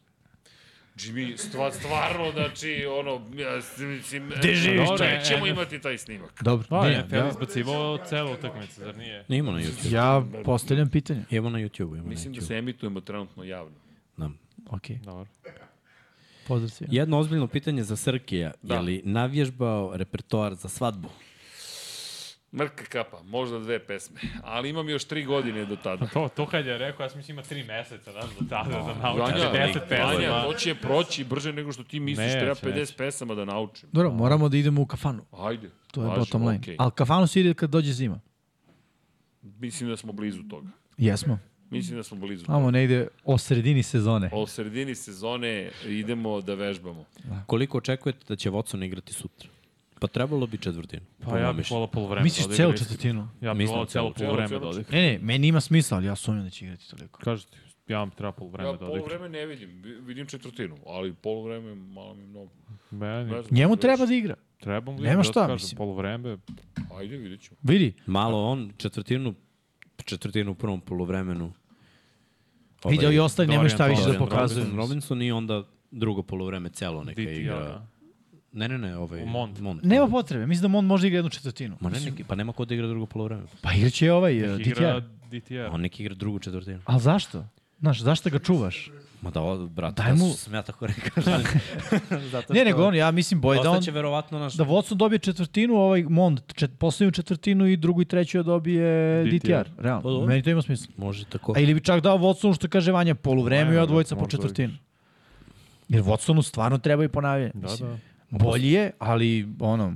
Jimmy, stva, stvarno, znači, ono, ja, s- mislim, Gde živiš, dobro, čoveče? ćemo imati taj snimak. Dobro, Pa, ne, da. NFL ja, izbacivo celu utakmicu, zar nije? Ima na YouTube. ja postavljam pitanje. Ima na YouTube. Ima Mislim na da YouTube. se emitujemo trenutno javno. Da. Ok, Dobro. pozdrav svima. Jedno ozbiljno pitanje za Srkija. Da. Da. Je li navježbao repertoar za svadbu? Mrka kapa, možda dve pesme, ali imam još tri godine do tada. To, to kad je rekao, ja sam mislim ima tri meseca, znaš, do tada, da naučim 10 Vanja, Vanja, pesama. to će proći brže nego što ti misliš, Neće, treba 50 neće. pesama da naučim. Dobro, moramo da idemo u kafanu. Ajde. To je važi, bottom line. okej. Ali kafanu se ide kad dođe zima. Mislim da smo blizu toga. Jesmo. Mislim da smo blizu toga. Amo negde o sredini sezone. O sredini sezone idemo da vežbamo. Koliko očekujete da će Watson igrati sutra? Pa trebalo bi četvrtinu. Pa ja bih volao polovreme. Misliš da celu odigra isti. četvrtinu? Ja bih Mislim volao celo celu- polovreme celu da odigra. Ne, ne, meni ima smisla, ali ja sumnjam da će igrati toliko. Kažete, ja vam treba polovreme Ja da odigra. polovreme ne vidim, vi- vidim četvrtinu, ali polovreme je malo mi mnogo. Ne Meni, znam, Njemu još. treba da igra. trebam li Nema da šta, kažem, mislim. polovreme, Ajde, vidit ćemo. Vidi, Malo on, četvrtinu, četvrtinu u prvom polovremenu. Ovaj, Vidio i ostaje, nemaju Dorian šta više da Thompson, pokazuju. Robinson, Robinson i onda drugo polovreme celo neka DTR. igra. da. Ne, ne, ne, ovaj... U Mont. Nema potrebe, mislim da on može igra jednu četvrtinu. Ma ne, neki, pa nema ko da igra drugo polovreme. Pa igraće i ovaj uh, Igra DTR. DTR. On neki igra drugu četvrtinu. Ali zašto? Znaš, zašto ga čuvaš? Ma da, o, brate, Daj Daj mu... mu- da sam ja tako rekao. ali- Zato Ne, što- nego on, ja mislim, boje da on... Ostaće verovatno naš... Da Watson dobije četvrtinu, ovaj Mond, čet, poslednju četvrtinu i drugu i treću da dobije DTR. DTR. Realno, Pa dobro. meni to ima smisla. Može tako. A ili bi čak dao Watsonu što kaže Vanja poluvreme i Ajmo, odvojica po možda četvrtinu. Jer Watsonu stvarno treba i ponavljanje. Da, mislim. da. Bolji je, ali ono,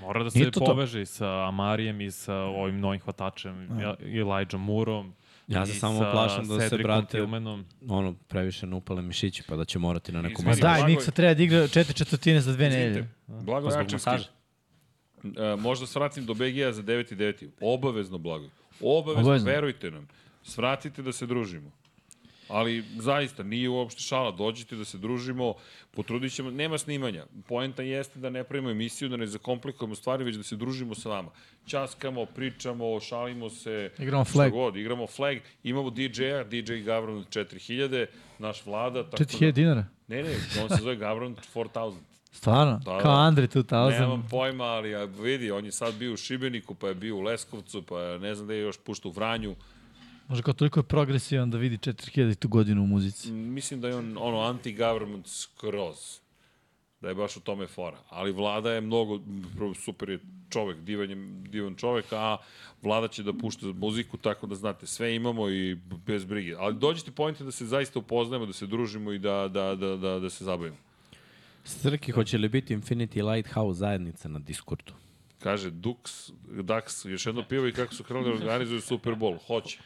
Mora da Nije se to to. poveže i sa Amarijem i sa ovim novim hvatačem, Da. i Elijah Moorom. Ja se samo plašim da se, brate, Tilmanom. Ono, previše ne upale mišići, pa da će morati na nekom... ma Mislim, daj, blago Niksa je- treba da igra četiri četvrtine za dve nedelje. Izvinite, Pa Blago zbog Račevski. masaža. E, možda svratim do BG-a za 9 i 9. Obavezno blago. Obavezno, Obavezno. Obavezno, verujte nam. Svratite da se družimo. Ali zaista, nije uopšte šala. Dođite da se družimo, potrudit ćemo. Nema snimanja. Poenta jeste da ne pravimo emisiju, da ne zakomplikujemo stvari, već da se družimo sa vama. Ćaskamo, pričamo, šalimo se. Igramo šta flag. God, igramo flag. Imamo DJ-a, DJ Gavron 4000, naš vlada. Tako da- 4000 dinara. Ne, ne, on se zove Gavron 4000. Stvarno, Da, kao da. Andre Nemam 2000. pojma, ali a, vidi, on je sad bio u Šibeniku, pa je bio u Leskovcu, pa je, ne znam da je još pušta u Vranju. Može kao toliko je progresivan da vidi 4000 tu godinu u muzici. Mislim da je on ono anti-government skroz. Da je baš u tome fora. Ali vlada je mnogo, m, prvo, super je čovek, divan, je, divan čovek, a vlada će da pušta muziku, tako da znate, sve imamo i b- bez brige. Ali dođite pojente da se zaista upoznajemo, da se družimo i da, da, da, da, da se zabavimo. Srki, hoće li biti Infinity Lighthouse zajednica na Discordu? Kaže, Dux, Dax, još jedno pivo i kako su krenuli da organizuju Super Bowl. Hoće.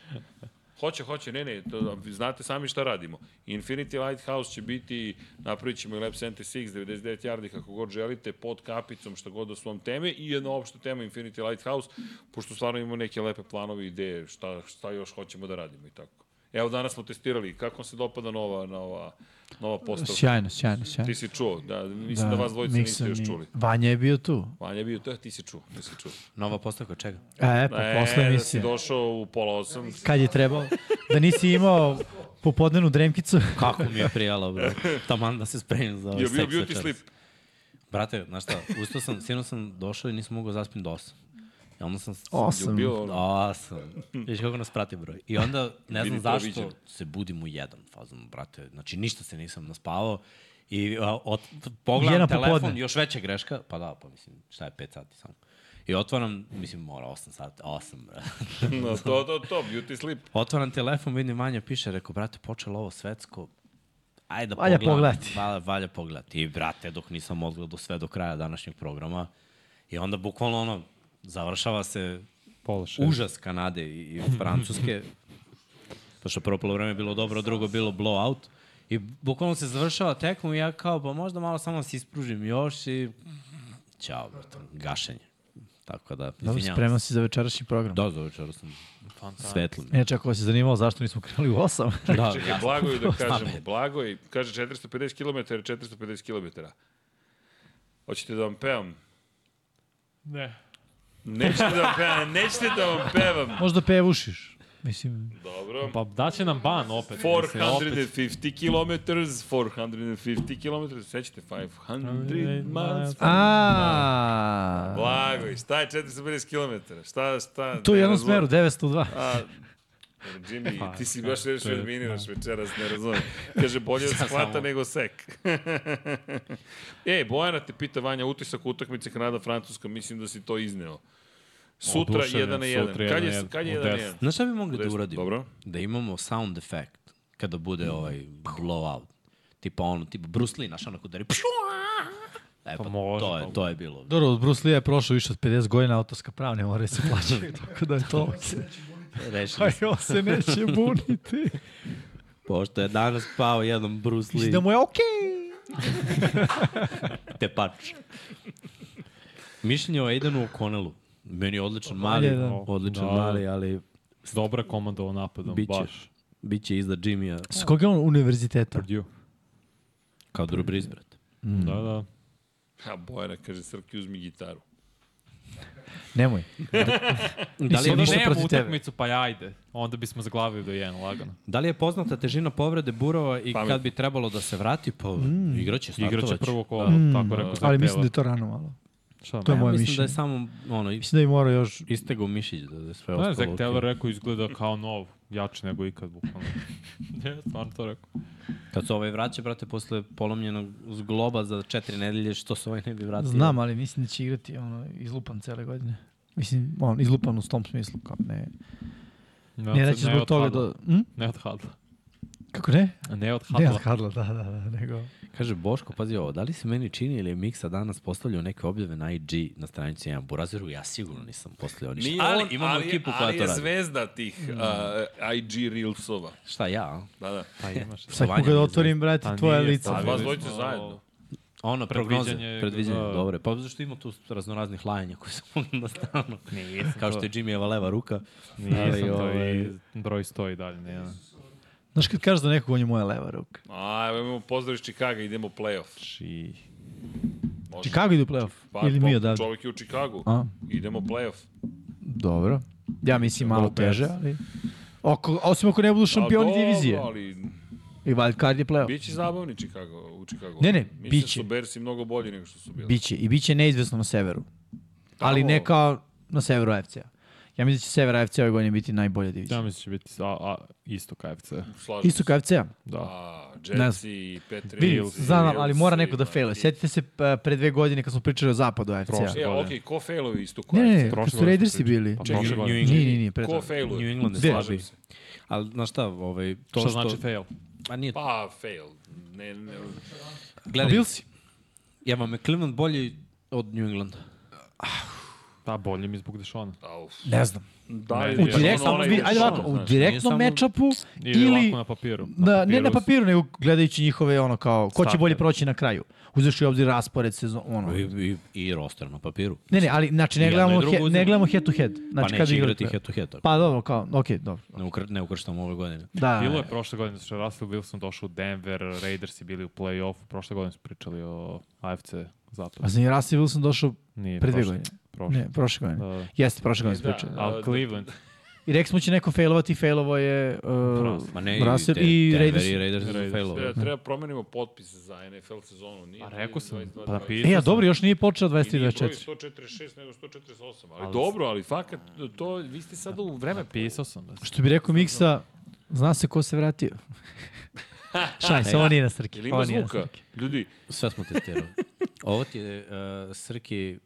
Hoće, hoće, ne, ne, to, znate sami šta radimo. Infinity Lighthouse će biti, napravit ćemo i Lab 76, 99 yardi, kako god želite, pod kapicom, šta god da su vam teme i jedna opšta tema Infinity Lighthouse, pošto stvarno imamo neke lepe planovi, ideje, šta, šta još hoćemo da radimo i tako. Evo, danas smo testirali kako vam se dopada nova, nova, nova postavka. Sjajno, sjajno, sjajno. Ti si čuo, da, mislim da, vas dvojica nisam niste još ni- čuli. Vanja je bio tu. Vanja je bio, to ti si čuo, nisi čuo. Nova postavka čega? E, pa E, posle da si emisije. došao u pola osam. Kad je trebao? Da nisi imao popodnevnu dremkicu? Kako mi je prijalo, bro. Taman da se spremim za ovaj Je bio seks beauty večeras. sleep. Brate, znaš šta, ustao sam, sino sam došao i nisam mogao zaspim do 8. I onda sam... Osam. Ljubio ono. Osam. Viš kako nas prati broj. I onda, ne znam Vidi, to zašto, viđem. se budim u jedan fazom, brate. Znači, ništa se nisam naspavao. I a, ot, pogledam Jedan telefon, popodne. još veća greška. Pa da, pa mislim, šta je 5 sati samo. I otvaram, mislim, mora 8 sati, 8, brate. No, to, to, to, beauty sleep. Otvaram telefon, vidim Vanja piše, rekao, brate, počelo ovo svetsko, ajde da Valja pogledam. pogledati. Valja, valja pogledati. I, brate, dok nisam odgledao sve do kraja današnjeg programa, i onda bukvalno ono, završava se Pola šest. užas Kanade i, i Francuske, pošto prvo polovreme je bilo dobro, drugo je bilo blowout, i bukvalno se završava tekma i ja kao, pa možda malo samo da se ispružim još i ćao, brate, gašenje. Tako da, Dobro, izvinjavam spremao se. si za večerašnji program. Da, za večera sam svetlo. mi je. E, čak ovo se zanimalo zašto nismo krenuli u 8. Da, Čekaj, da. blago je da kažemo. pamet. Blago je, kaže 450 km, 450 km. Hoćete da vam pevam? Ne. Nećete da vam pevam, nećete da vam pevam. Možda pevušiš. Mislim, Dobro. Pa daće nam ban opet. mislim, opet. 450 km, 450 km, sećate 500 Da. miles. a Blago je, šta je 450 km? Šta, šta? To je u ne jednom razumem. smeru, 902. A, Pa, da, Jimmy, ti si baš nešto odminiraš večeras, ne razumem. Kaže, bolje od shvata samo- nego sek. e, Bojana te pita, Vanja, utisak utakmice Kanada-Francuska, mislim da si to izneo. Sutra Oduševljen, 1 na 1. sutra Kad 1 je, na kad je u 1 na 1? deset. Znaš šta bi mogli da Desno, uradimo? dobro. Da imamo sound effect kada bude ovaj blowout. Tipa ono, tipa Bruce Lee, naš onako Pa udari. pšu, a! E pa, Pa može, to, pa- je, to je bilo. Dobro, od Bruce Lee je prošao više od 50 godina autorska prava, ne moraju se plaćati, tako da je to... Rešili Aj, smo. on se neće buniti. Pošto je danas pao jednom Bruce Lee Da mu je okej. Okay. tepač. Mišljenje o Aidenu O'Connellu. Meni je odličan mali, da. odličan Da. mali, ali Dobra komanda o napadom, Biće. baš. bit će iza Jimmya S kog je on univerziteta? Purdue. kao Drew Brees, brate. Mm. Da, da. A Bojana kaže, Srki, uzmi gitaru. Nemoj. Da li, Mislim, je, ništa Nemamo protiv tebe. utakmicu, pa ajde. Onda bismo zaglavili do jedan, lagano. da li je poznata težina povrede Burova i Pamet. kad bi trebalo da se vrati? Pa Mm. igraće, startovaće. Igraće prvo kolo, tako rekao sam. Ali mislim da je to rano malo. Šta? To je Ja moje mislim mišljenje. da je samo ono, Mislim da je mora još... istego mišić da je sve Ne, ostalo. Zach ok. Taylor rekao izgleda kao nov. jači nego ikad, bukvalno. ne, stvarno to rekao. Kad se ovaj vraća, brate, posle polomljenog zgloba za četiri nedelje, što se ovaj ne bi vratio? Znam, ali mislim da će igrati ono, izlupan cele godine. Mislim, on, izlupan u tom smislu, kao ne, Ne, ne da će zbog toga da... Hm? Ne od Hadla. Kako ne? Ne od Ne, Hadla. od Hadla, da, da, da, nego... Kaže Boško, pazi ovo, da li se meni čini ili je Miksa danas postavljao neke objave na IG na stranici 1 Burazeru? Ja sigurno nisam postavljao ništa. Nije ali on, imamo ali, je- ekipu koja ali to je radi. zvezda tih uh, IG Reelsova. Šta ja? a? Da, da. Pa imaš. Sad Vanja kada mi otvorim, brate, Pa tvoje nije, lice. pa Vas videli dvojice smo- zajedno. Ono, prognoze, Predviđanje, predviđanje, da. dobre. Pa zašto ima tu raznoraznih lajanja koje se mogu na stranu. Nisam Kao što je Jimmyjeva leva ruka. Nisam Ali, to ovaj, i broj stoji dalje. Ne, ne. Znaš kad kažeš da nekog on je moja leva ruka. A, evo imamo pozdrav iz Čikaga, idemo u play-off. Či... Može. Chicago ide u playoff? Ili mi pop- odavde? Čovjek je u Čikagu. A, Idemo u play-off. dobro. Ja mislim malo Lopez. teže, ali... Oko, osim ako ne budu šampioni A, divizije. Pa Dobro, ali I wild card je playoff. biće zabavni Čikago, u Čikagu. Ne, ne, Mislim biće. da su Bersi mnogo bolji nego što su bili. Biće. I biće neizvesno na severu. Ali Tamo- ne kao na severu AFC-a. Ja mislim da će sever AFC ove godine biti najbolja Ja divizija. mislim će biti a, a, isto KFC. Slažem Isto se. kao AFC-a. Da. A, Ne Jetsi, Petri, Vidim, znam, ali mora neko da faila. Sjetite se pa, pre dve godine kad smo pričali o zapadu AFC-a. Prošle. E, Bolje. okej, ko failuje isto ko Ne, ne, je? ne, Prošle kad su godine Raidersi smo bili. Pa, Čekaj, Prošle New godine. Nije, nije, nije. pre Ko toga. failuje? New England je Gde? slabiji. se. Ali, znaš šta, ovaj, to To što... što, znači fail? A nije, Pa, fail. Ne, ne, Pa gledaj, Bilsi. Ja vam je Cleveland bolji od New Englanda. Da, bolje mi zbog Dešona. au. Ne znam. Da, Ne, ili U je ono direktnom, onaj vidi, ajde Sean, ovako, u znaš. nije direktnom samo- matchupu Ili, Ili ili ovako na papiru. Da, ne na su- papiru, nego gledajući njihove ono kao, ko će Starter. bolje proći na kraju. Uzeš u obzir raspored sezon, ono. I, i, i roster na papiru. Ne, ne, ali znači ne Jedno i gledamo, drugo he, uzmemo. ne gledamo head to head. Znači, Znači, pa kad neće igraju igrati play- head to head. Pa dobro, kao, okej, dobro. Ne, ukr, ne ukrštamo ove godine. Da, Bilo je prošle godine, znači Russell Wilson došao u Denver, Raidersi bili u play-offu, prošle godine smo pričali o AFC zapadu. a sam je Russell Wilson došao Nije, pre dve prošle- godine. Prošle. Ne, prošle godine. Da, da. Jeste, prošle godine smo Da, pričali. Ali Cleveland, I rekli smo će neko failovati, failovo je... Uh, Russell. Ma ne, Russell te, i Denver Raiders. i Raiders su Raiders, failovali. Treba, treba promenimo potpis za NFL sezonu. Nije pa rekao sam, 22, pa 22. napisao e, a sam. dobro, još nije počeo I nije broj 23-24. 146, nego 148. Ali, Ali- dobro, ali fakat, to, vi ste sada u vreme Napisao sam. Da. Što bi rekao Miksa, zna se ko se vratio. Šaj se, ovo nije na strki. Ili ovo ima nije na zvuka? strki. Ljudi, Sve smo testirali. Ovo ti je, uh, Srki,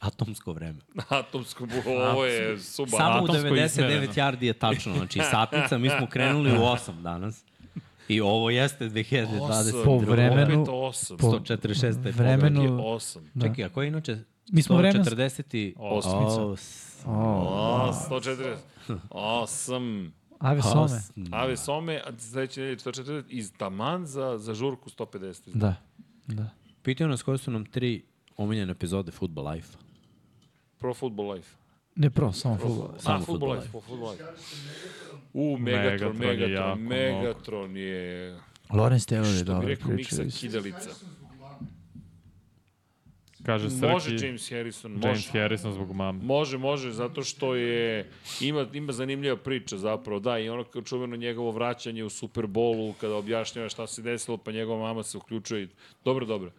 atomsko vreme. atomsko bu- ovo je suba. Samo u atomsko 99 izmereno. yardi je tačno. Znači, satnica, mi smo krenuli u 8 danas. I ovo jeste 2022. Po vremenu- Opet 8. po 146. je vremenu- pobeda. 8. Da. Čekaj, a koji je inače? Mi smo vreme- 140 i... Osmica. Os- O, O, 140. 8. Ave Some. osm- Ave Some, a sledeće nedelje 140 iz Taman za, za žurku 150. Da. Da. Da. Pitaju nas koje su nam tri omiljene epizode Football Life. Pro Football Life. Ne pro, samo fudbal. Samo Samo A, Football Football Life, po Football Life. U, Megatron, Megatron je jako Megatron, mnogo. Megatron je... Lawrence Taylor je Što bi dobro rekao Miksa, pričao. kidalica. Kaže Srki, Može James Harrison, može. James Harrison zbog mame. Može, može, zato što je, ima, ima zanimljiva priča zapravo, da, i ono kao čuveno njegovo vraćanje u Superbolu, kada objašnjava šta se desilo, pa njegova mama se uključuje. i- Dobro, dobro.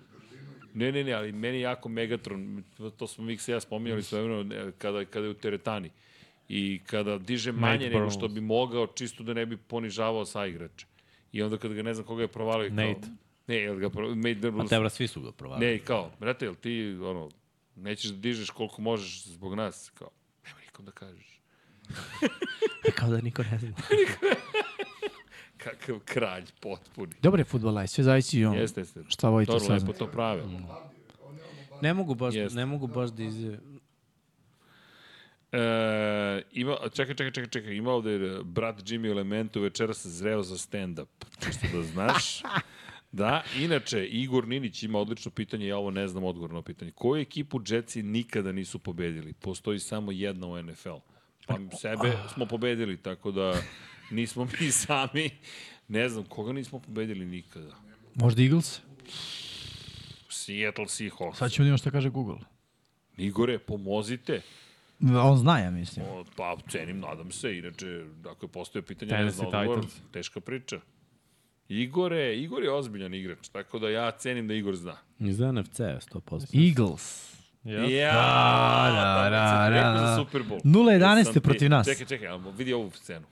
Ne, ne, ne, ali meni jako Megatron, to smo Miksa i ja spominjali svoje vremena, kada, kada je u teretani. I kada diže manje nego Burns. što bi mogao, čisto da ne bi ponižavao sa igrače. I onda kada ga ne znam koga je provalio. kao- Nate. Ne, jel ga pro... Nate Ma Burns. te, bra, svi su ga provalili. Ne, i kao, brate, jel ti, ono, nećeš da dižeš koliko možeš zbog nas, kao, nema nikom da kažeš. Kao da niko ne zna. Kakav kralj potpuni. Dobar je fudbal live, sve zavisi i on. Jeste, jeste. Šta volite Dobro, lepo saznati. to prave. Ne mogu baš, Jeste. ne mogu baš da izje... E, ima, čekaj, čekaj, čekaj, čekaj, ima ovde e, brat Jimmy u Elementu večera se zreo za stand-up, čisto da znaš. Da, inače, Igor Ninić ima odlično pitanje, ja ovo ne znam odgovorno pitanje. Koju ekipu Jetsi nikada nisu pobedili? Postoji samo jedna u NFL. Pa sebe smo pobedili, tako da nismo mi sami. Ne znam, koga nismo pobedili nikada? Možda Eagles? Seattle Seahawks. Sad ćemo da imamo šta kaže Google. Igore, pomozite. On zna, ja mislim. O, Pa, cenim, nadam se. Inače, ako je postoje pitanje, ne Tennessee znam odgovor, Titans. teška priča. Igore, Igor je ozbiljan igrač, tako da ja cenim da Igor zna. Iz NFC-a 100%. Eagles. Yes. Ja, da, da, da, da, za Super Bowl. 0:11 Jesam ti- protiv nas. Čekaj, čekaj, ali vidi ovu scenu.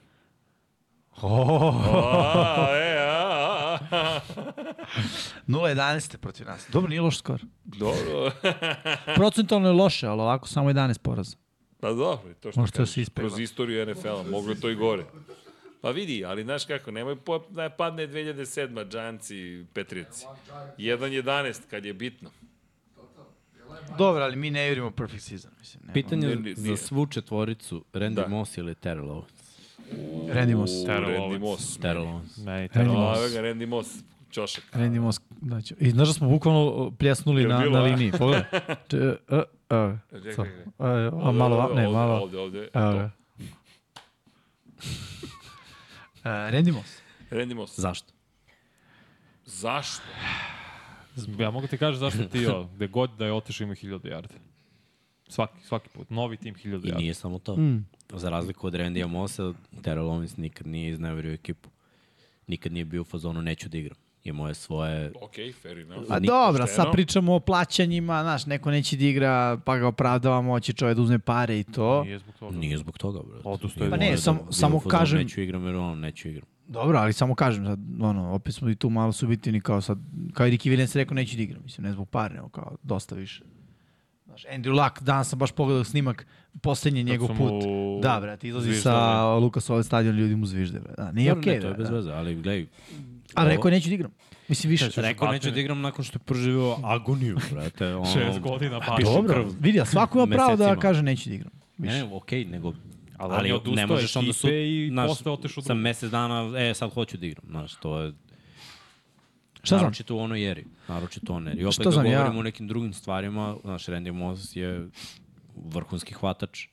Oh. A, e, a, a, a. 0-11 protiv nas. Dobro, nije loš skor. Dobro. Procentalno je loše, ali ovako samo 11 poraza. Pa dobro, to što Možda kažeš, se ispegla. kroz istoriju NFL-a, moglo je to i gore. Pa vidi, ali znaš kako, nemoj po- da padne 2007. Giants i Patriots. 1-11, kad je bitno. Dobro, ali mi ne vjerimo u perfect season. Mislim, ne. Pitanje Ne, ne, za nije. svu četvoricu, Randy Da. Moss ili Terrell Owens? Randy Moss. U, Terrell Randy Owens. Moss. Terrell Owens. Meni Randy Terrell Moss. A, evo ga, Randy Moss, čošak. Randy Moss. Znači, I znaš da smo bukvalno pljesnuli Jel na, bilo, na a? liniji. Pogledaj. Č, uh, uh, Čekaj, so, čekaj. uh, a malo, va- ne, Ovde, malo. Ovde, ovde, Evo ovde. ga. E, Randy Moss. To. Randy Moss. Zašto? Zašto? Ja mogu ti kažem zašto ti ovo, gde god da je otišao ima 1000 yardi. Svaki, svaki put, novi tim 1000 I yardi. nije samo to. Mm. Za razliku od Randyja Mossa, Terrell Owens nikad nije izneverio ekipu. Nikad nije bio u fazonu neću da igram. Imao je svoje... Ok, fair enough. Pa Niko dobro, pošteno. sad pričamo o plaćanjima, znaš, neko neće da igra, pa ga opravdavamo, hoće čovjek da uzme pare i to. Nije zbog toga. Nije zbog toga, brate. Odustao Nije je. Pa ne, morao samo- bio u samo fazonu, kažem- Neću igram jer on neću igram. Dobro, ali samo kažem, sad, ono, opet smo i tu malo subjetivni kao sad, kao i Ricky Williams rekao neću da igram, mislim, ne zbog par, nego kao dosta više. Znaš, Andrew Luck, danas sam baš pogledao snimak, posljednji njegov su mu put. Da, brate, izlazi sa zviždali. Lukas ovaj stadion, ljudi mu zvižde, brate. Da, nije Dobro, okej, ne, to je brate. bez da. veze, ali gledaj. Ali rekao je neću da igram. Mislim, više. Rekao neću da igram nakon što je proživio agoniju, brate. Ono, Šest godina Pa baš. Dobro, vidi, a svako ima pravo da mesecima. kaže neću da igram. Ne, ne, okej, nego... Ali, Ali on je ali ne odustao možeš onda ekipe su, i znaš, posle otišao u sa drugu. mesec dana, e, sad hoću da igram, znaš, to je... Da. Šta znači? znam? naročito u onoj eri, naročito u onoj eri. I opet Šta da znam, ja- govorimo o nekim drugim stvarima, znaš, Randy Moss je vrhunski hvatač,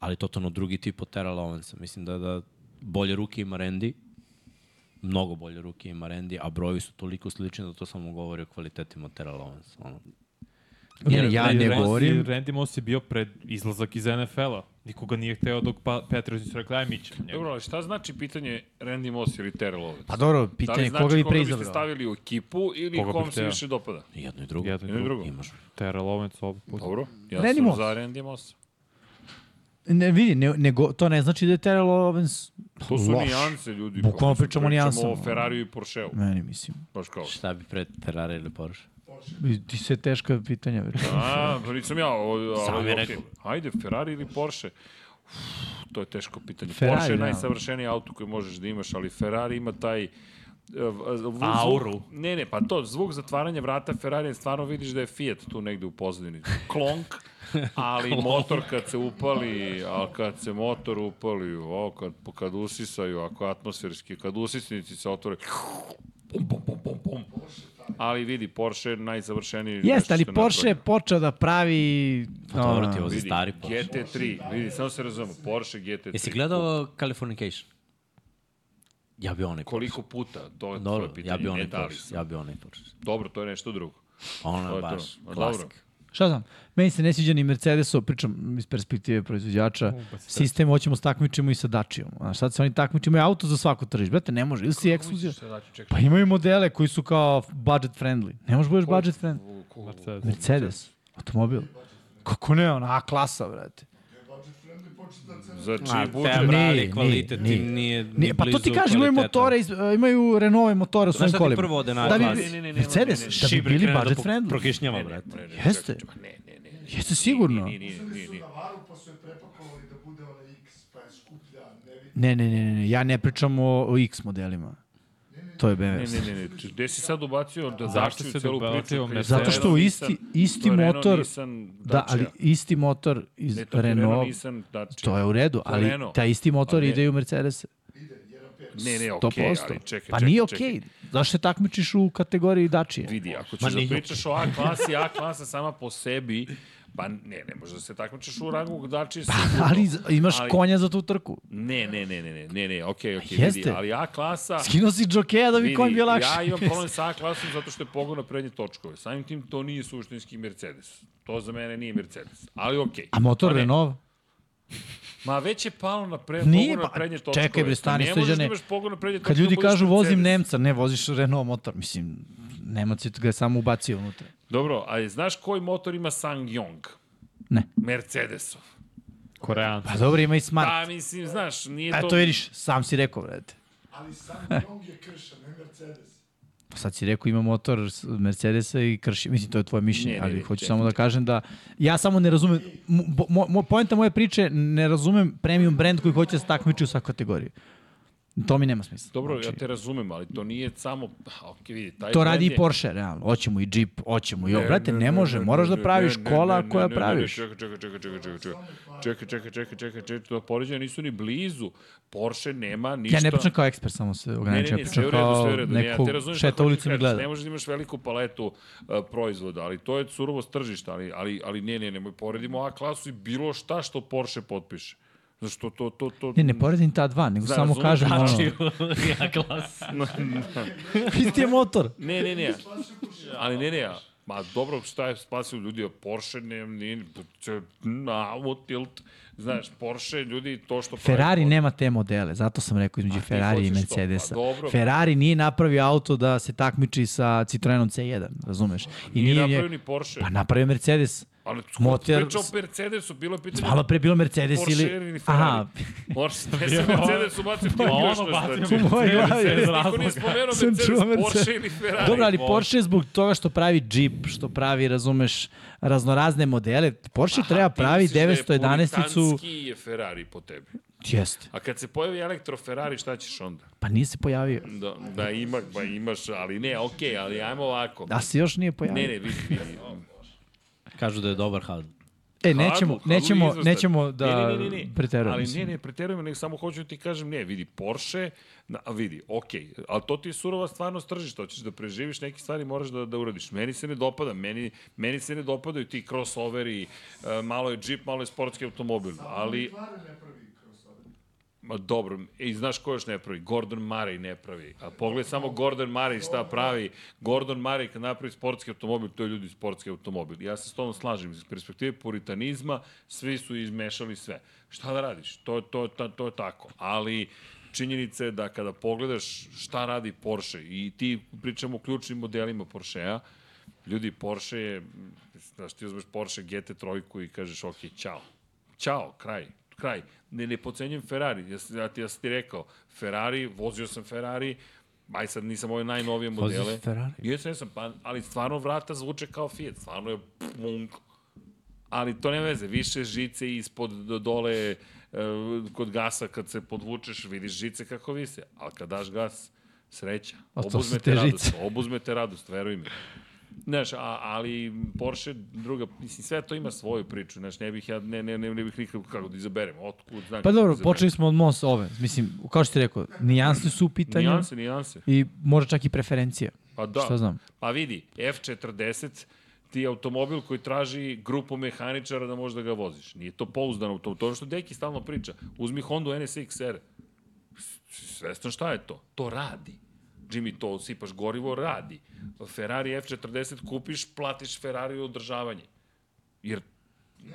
ali totalno drugi tip od Terrell Owensa. Mislim da, da bolje ruke ima Randy, mnogo bolje ruke ima Randy, a brojevi su toliko slični da to samo govori o kvalitetima Terrell Owensa. Ono. Ne, ja Randy ne Moss je- govorim. Randy Moss je bio pred izlazak iz NFL-a. Nikoga nije hteo dok pa Petrus nisu rekli, aj mi ćemo njega. Dobro, ali šta znači pitanje Randy Moss ili Terrell Owens? Pa dobro, Da li pitanje znači koga bi biste preizabrao. stavili u ekipu ili Koga koga bi kom se hteo? više dopada? Jedno i drugo. Jedno i Jedno i drugo. drugo. Imaš Terrell Owens ovaj put. Dobro, ja Randy sam Moss. za Randy Moss. Ne, vidi, ne, nego, to ne znači da je Terrell Owens To su loš. nijanse, ljudi. Bukvalno Kako su- pričamo o nijansama. o Ferrariju i Porscheu, Meni, mislim. baš kao. Šta bi pre Ferrari ili Porsche? I Ti se teška pitanja već. A, pa nisam ja, o, Sam ali je okej. rekao. Ajde, Ferrari ili Porsche? Uf, to je teško pitanje. Ferrari, Porsche je da. najsavršeniji auto koji možeš da imaš, ali Ferrari ima taj e, v- zvuk- Auru. Ne, ne, pa to, zvuk zatvaranja vrata Ferrari, stvarno vidiš da je Fiat tu negde u pozadini. Klonk, ali motor kad se upali, a kad se motor upali, o, kad, kad usisaju, ako atmosferski, kad usisnici se otvore, pum, pum, pum, pum, pum. Ali vidi, Porsche je najzavršeniji. Jeste, nešto ali što je Porsche je napravljeno. počeo da pravi... Pa Pa Dobro ti ono, vozi Vidi, stari Porsche. GT3, vidi, samo se razumemo, Porsche GT3. Jesi gledao Californication? Ja bi onaj Porsche. Koliko puta, Pa to je tvoje Dobro, pitanje. ja bi ne onaj da li Porsche. sam. Ja bi onaj Porsche. Dobro, to je nešto drugo. Ono Pa To je je to. baš A dobro. klasik. Šta znam, meni se ne sviđa ni Mercedesov, pričam iz perspektive proizvođača, pa sistem hoćemo s takmičimo i sa Dačijom. A sad se oni takmičimo i auto za svako tržište. Brate, ne može, ili si ekskluziv. da Pa imaju modele koji su kao budget friendly. Ne možeš budeš budget friendly. Mercedes. Mercedes, automobil. Kako ne, ona A klasa, brate. Znači, Ferrari buđe... nije, kvalitet nije. nije, nije, Nije, pa to blizu ti kažem, imaju kvaliteta. motore, iz, e, imaju Renaultove motore u Znaš svojim šta ti kolima. prvo ode na da bi, glas? Ne, ne, ne, ne, Mercedes, ne, ne, da bi Šibrik bili krene da budget pok- friendly. Prokišnjava, brate. Jeste, Ne, ne, ne. jeste sigurno. Nije, nije, nije, nije. Na varu pa su je prepakovali da bude ona X, pa je skuplja, ne vidi. Ne, ne, ne, ne, ne, ja ne pričam o, o X modelima. To je BMW. Ne, ne, ne, ne. Č- Gde si sad ubacio da Zašto začiju se celu ubacio priču? Mercedes? Zato što Renault, isti- Nissan, isti to je Renault, motor- Nissan, Da, ali Dacia. isti motor iz Ne, to je Renault, Renault, nisam Dacia. to je u redu, je ali Renault. taj isti motor Ali ne. ide i u Mercedes. Ne, ne, okej, 100%. ali čekaj, pa čekaj, nije čekaj. okej. Zašto se takmičiš u kategoriji Dačije? Vidi, ako ćeš da nije. pričaš o A klasi, A klasa sama po sebi, pa ne, ne možeš da se takmičeš u rangu dači pa, Ali z- imaš Ali- konja za tu trku. Ne, ne, ne, ne, ne, ne, ne, okej, okej, vidi, Pa jeste. ali A klasa... Skinuo si džokeja da bi konj Vidi, bio lakši. ja imam problem sa A klasom zato što je pogon na prednje točkove. Samim tim to nije suštinski Mercedes. To za mene nije Mercedes. Ali okej. A motor Pa ne. Renault? Ma već je palo na pre, Nije, pogon na pa- prednje čekaj, točkove. bre, stani, ne možeš da Srđane. imaš pogon na prednje točkove. Kad ljudi da budeš kažu vozim Mercedes. Nemca, ne voziš Renault motor, mislim, Nemac je ga samo ubacio unutra. Dobro, a znaš koji motor ima SsangYong? Ne. Mercedesov. Korean. Pa dobro, ima i smart. Pa mislim, znaš, nije A to... to vidiš, sam si rekao, brate. Ali sam Jong je kršan, ne Mercedes. Pa sad si rekao ima motor s- Mercedesa i krši. Mislim, to je tvoje mišljenje, Ne, ne, ali ne, hoću čekaj, samo da kažem da ja samo ne razumem, mo, bo- mo, mo, poenta moje priče, ne razumem premium brand koji hoće da se takmiči u svakoj kategoriji. To mi nema smisla. Znači, Dobro, ja te razumem, ali to nije samo... Ok, vidi, taj To brand radi i je- Porsche, realno. Hoćemo i Jeep, hoćemo i ovo. Brate, ne može, moraš da praviš ne, ne, ne, kola ne, koja ne, ne, praviš. Čekaj, čekaj, čekaj, čekaj, čekaj, čekaj, čekaj, čekaj, čekaj, čekaj, čekaj, to poređenja nisu ni blizu. Porsche nema ništa. Ja ne pričam kao ekspert, samo se Ne, ne, ograničujem. ne, Ja sve pričam u redu, sve kao u redu. Ne, ja neko te razumem šta šeta hoćeš ulicom i reći. gleda. Ne možeš da imaš veliku paletu uh, proizvoda, ali to je surovost tržišta, ali, ali, ali ne, ne, nemoj poredimo A klasu i bilo šta što Porsche potpiše. Zašto to, to, to... Ne, ne poredim ta dva, nego Zna, samo razumem, kažem ono. tačnije. ja klas. Isti je motor. Ne, ne, ne. Ali ne, ne, a- Ma dobro, šta je spasio ljudi, a Porsche ne, ne, će, na, ovo tilt, znaš, Porsche, ljudi, to što... pravi Ferrari Porsche. nema te modele, zato sam rekao između Ferrari i hoćeš to, pa Mercedesa. dobro. Ferrari nije napravio auto da se takmiči sa Citroenom C1, razumeš? I Nije nije, napravio ni Porsche. Pa napravio Mercedes. ali motor- motor... Priča o Mercedesu, bilo je pitanje... Malo pre je bilo Mercedes Porsche ili... ili Ferrari. Aha, Porsche, ne sam Mercedes ubacio, ti Pa, ono igraš na bacio stadionu. u mojoj glavi. Mercedes, je Niko znači. nije razlog. spomenuo Sam čuo Mercedes, Mercedes. Porsche ili Ferrari. Dobro, ali Može. Porsche je zbog toga što pravi Jeep, što pravi, razumeš, raznorazne modele. Porsche treba pravi Ti misliš da je 911-icu. puritanski je Ferrari po tebi. Jeste. A kad se pojavi elektro Ferrari, šta ćeš onda? Pa nije se pojavio. Da, da ima, pa imaš, ali ne, okej, okay, ali ajmo ovako. Da se još nije pojavio. Ne, ne, vidi, vidi. Kažu da je dobar hadl. E, nećemo, Hadlu- Hadlu je nećemo, izvrstan. nećemo da preterujemo. Ali ne, ne, preterujemo, nego samo hoću da ti kažem, ne, vidi, Porsche, na, vidi, okej, ali to ti je surova stvarnost tržišta, hoćeš da preživiš neke stvari, moraš da, da uradiš. Meni se ne dopada, meni, meni se ne dopadaju ti crossoveri, e, malo je Jeep, malo je sportski automobil, ali... Ma dobro, i znaš ko još ne pravi? Gordon Murray ne pravi. A pogledaj samo Gordon Murray šta pravi. Gordon Murray kad napravi sportski automobil, to je ljudi sportski automobil. Ja se s tom slažem. Iz perspektive puritanizma svi su izmešali sve. Šta da radiš? To, to, to, to je tako. Ali činjenica je da kada pogledaš šta radi Porsche i ti pričamo o ključnim modelima Porschea, ljudi, Porsche je, znaš, ti uzmeš Porsche GT3 i kažeš, ok, čao. Čao, kraj, kraj. Ne, ne pocenjujem Ferrari, ja, sam- ja, ti, ja sam ti rekao, Ferrari, vozio sam Ferrari, aj sad nisam ove najnovije modele. Vozio si Ferrari? Jesam, jesam, pa, ali stvarno vrata zvuče kao Fiat, stvarno je punk. Ali to ne veze, više žice ispod do- dole e, kod gasa kad se podvučeš, vidiš žice kako vise, ali kad daš gas, sreća. A to su Obuzmete te radost, žice. obuzmete radost, veruj mi. Znaš, a, ali Porsche druga, mislim, sve to ima svoju priču, znaš, ne bih ja, ne, ne, ne, ne bih nikako kako da izaberem, otkud znam. Pa kako da dobro, izaberem. počeli smo od MOS ove. Mislim, kao što ti rekao, nijanse su u pitanju Nijanse, nijanse. i možda čak i preferencija. Pa da. Šta znam? Pa vidi, F40 ti je automobil koji traži grupu mehaničara da možda ga voziš. Nije to pouzdano u tom. To je ono što Deki stalno priča. Uzmi Honda NSX-R. Svestan šta je to? To radi. Jimmy, to sipaš gorivo, radi. Ferrari F40 kupiš, platiš Ferrari održavanje. Jer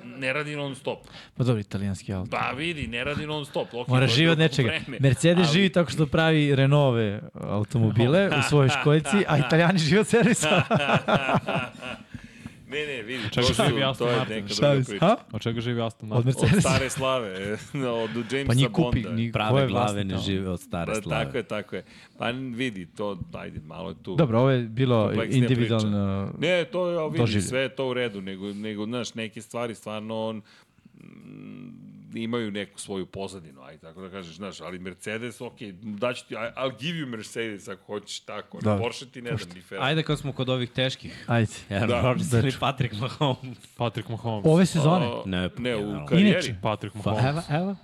ne radi non stop. Pa dobro, italijanski auto. Pa vidi, ne radi non stop. Okay, Mora Da, to je živi od drugo nečega. vreme, Mercedes ali- živi tako što pravi Renove automobile u svojoj školjci, a italijani žive od Da, servisa. Ne, ne, vidi, Čekaj, to, su, živi Aston to je Martin. neka Šta druga bi priča. Ha? Od čega živi Aston Od Martin? Od Mercedes. stare slave, od Jamesa Pa ni kupi, Bonda. ni ko Prave glave je vlasnik ne tamo? žive od stare Pa, slave. tako je, tako je. Pa vidi, to, ajde, malo je tu. Dobro, ovo je bilo Kompleksnija individualno. Ne, to je, vidi, Doživlje. sve je to u redu, nego, nego, znaš, neke stvari stvarno on, mm, imaju neku svoju pozadinu, aj tako da kažeš, znaš, ali Mercedes, ok, daću ti, I- I'll give you Mercedes ako hoćeš tako, Da. da. Porsche ti ne dam ni Ferrari. Ajde kad smo kod ovih teških. Ajde. Aaron Da. da, Rodgers ili Patrick Mahomes. Patrick Mahomes. Ove sezone. A, Ne, ne, generalno. u karijeri. Inače. Patrick Pa Mahomes. evo, evo.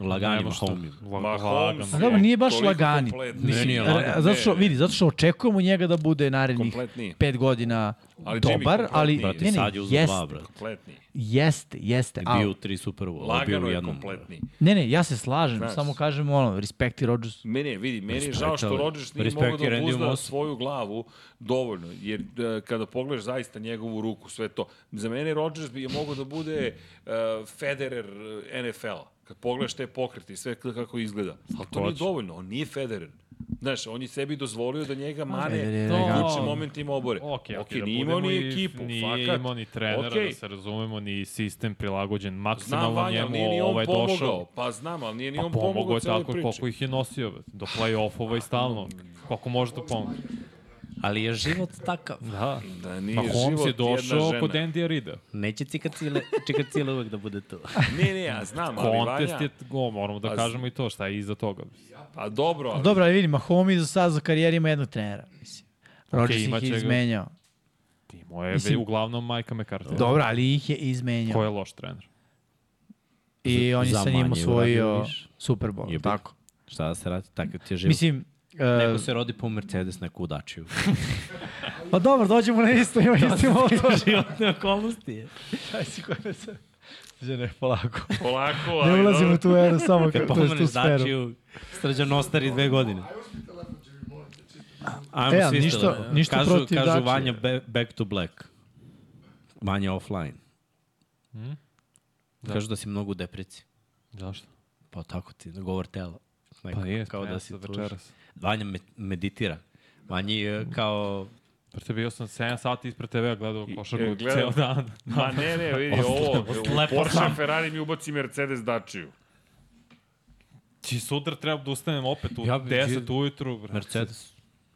Lagani Nema šta. Mahomes. La- Ma, lagano. Holmes A je dobro, nije baš toliko lagani. kompletni. Ne, nije Re- lagani. Zato što, Ne, vidi, zato što očekujemo njega da bude narednih Kompletniji. pet godina Ali Jimmy dobar, ali kompletniji. Brate, ne, ne, sad je uzao dva, jeste, brate. Kompletni. jeste, jeste, I ali bio u tri Super Bowl, a bio Lagano u je jednom. kompletni. Ne, ne, ja se slažem, Znaš. samo kažem ono, respekti Rodgers. Meni je, vidi, meni je Respekt, žao što ali- Rodgers nije respekt mogao i da Randy uzda Moss. svoju glavu dovoljno, jer e, kada pogledaš zaista njegovu ruku, sve to. Za mene Rodgers bi je mogao da bude uh, Federer NFL-a. Kad pogledaš te pokrete i sve k- kako izgleda. Ali to nije dovoljno, on nije Federer. Znaš, on je sebi dozvolio da njega Ajde, mare je to- u elegantno. ključnim momentima obore. Ok, okay, ok, nije imao ni ekipu, nije fakat. imao ni trenera, Okej. okay. da se razumemo, ni sistem prilagođen Znam, maksimalno Vanja, ali njemu, nije ni on ovaj pomogao. došao. Pa znam, ali nije ni Pa on pomogao pomogao je celoj tako priči. koliko ih je nosio, bre. do play-offova i stalno. Koliko može da pomoći. Ali je život takav. Da. Da nije Pa Holmes je život jedna došao žena. kod Andy Rida. Neće cikacile, cikacile uvek da bude tu. Ne, ne, ja znam, ali Kontest je, Vanja... go, moramo da Pa z- kažemo i to, šta je iza toga. Pa dobro, ali... Dobro, ali vidi, Mahomes za sad za karijer ima jednog trenera. Mislim. Rodgers imat ih je će ga. izmenjao. Timo je Mislim- Mislim, uglavnom Majka McCarthy. Dobro, ali ih je Ko izmenjao. je loš trener? I on je Za sa njim manje uradio osvojio više. Super Bowl. Jebi. Tako. Šta da se radi? Takav ti je život. Mislim, Mislim, Neko e, se rodi po Mercedes, neko udačiju. pa dobro, dođemo na isto, ima isti motor. Životne okolnosti je. Aj si koje se... Žene, polako. Polako, ali... Ne ulazimo dobro. u tu eru, samo Kad kako to je tu pomeneš sferu. dačiju, srđan ostari dve godine. Aj, uzmi telefon, će mi morati čistiti. Ajmo E, ali svi ništa- stele. ništa kažu, protiv Kažu Dačije. Vanja be, back to black. Vanja offline. Da. Kažu da si mnogo u depreci. Zašto? Pa tako ti, govor tela. Neko, Pa je, kao da si tuž. večeras. Vanja med, meditira. Vanji je kao... Prte bio sam 7 sati ispred TV-a gledao e, košarku gledam. ceo dan. Ma ne, ne, vidi, ovo, Slepo Porsche sam. Ferrari mi ubaci Mercedes dačiju. Či sutra treba da ustanem opet u Ja ja bi- 10 ujutru. Brate. Mercedes.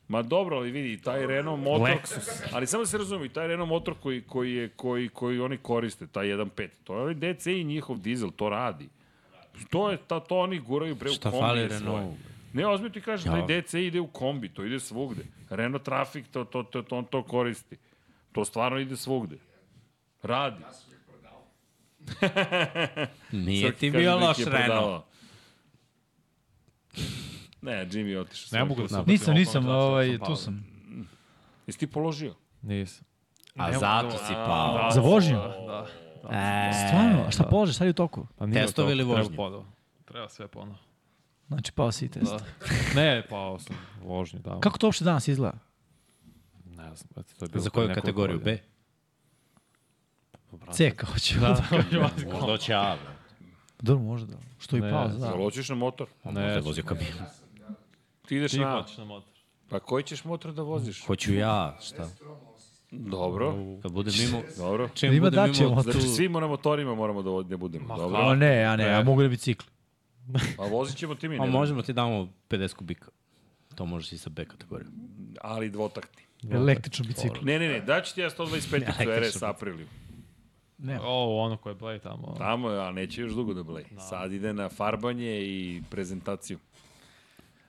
Ma dobro, ali vidi, taj Renault motor... Lexus. Ali samo da se razumi, taj Renault motor koji, koji, je, koji, koji oni koriste, taj 1.5, to je ovaj DCI njihov dizel, to radi. To je, ta, to oni guraju pre u Šta fali kombije svoje. Renault? Ne, ozbiljno ti Ja. kažem, taj DC ide u kombi, to ide svugde. Renault Traffic, to, to, to, to, on to koristi. To stvarno ide svugde. Radi. Nije Sad ti kažem bio da ih loš je Renault. prodavao. Ne, Jimmy je otišao. Ne svoj mogu da put. se Nisam, nisam, Zašto sam ovaj, pao? tu sam. Jesi ti položio? Nisam. A zato si pao. Za vožnju? Da. E, Stvarno, a šta položeš, sad je u toku? Pa nije Testove to, ili treba vožnju? ponovo. Treba sve ponovo. Znači, pao si i test. Da. Ne, pao sam vožnju, da. Kako to uopšte danas izgleda? Ne znam, brate, to je bilo Za pre koju nekoliko kategoriju? godina. B? C, kao će. Možda će A, bro. Dobro, možda. Što i Ne, pao, Da. znam. Zaločiš na motor? Možda je Ne, vozio kabinu. Ti ideš ti na... hoćeš na motor. Pa koji ćeš motor da voziš? Hoću ja, šta? Da Dobro. Kad budem mimo... Dobro. Čim Ima budem dačije imao motor. tu... Znači, svi na motorima moramo da vo- ne budemo. Dobro. A ne, a ne, ja Ne. mogu na bicikli. Pa vozit ćemo ti mi. A ne? možemo ti damo 50 kubika. To možeš i sa B kategorijom. Ali dvotakti. Električni bicikli. Ne, ne, ne, daću ti ja 125 RS aprilu. Ne. O, ono koje blej tamo. Tamo, je, a neće još dugo da blej. Sad ide na farbanje i prezentaciju.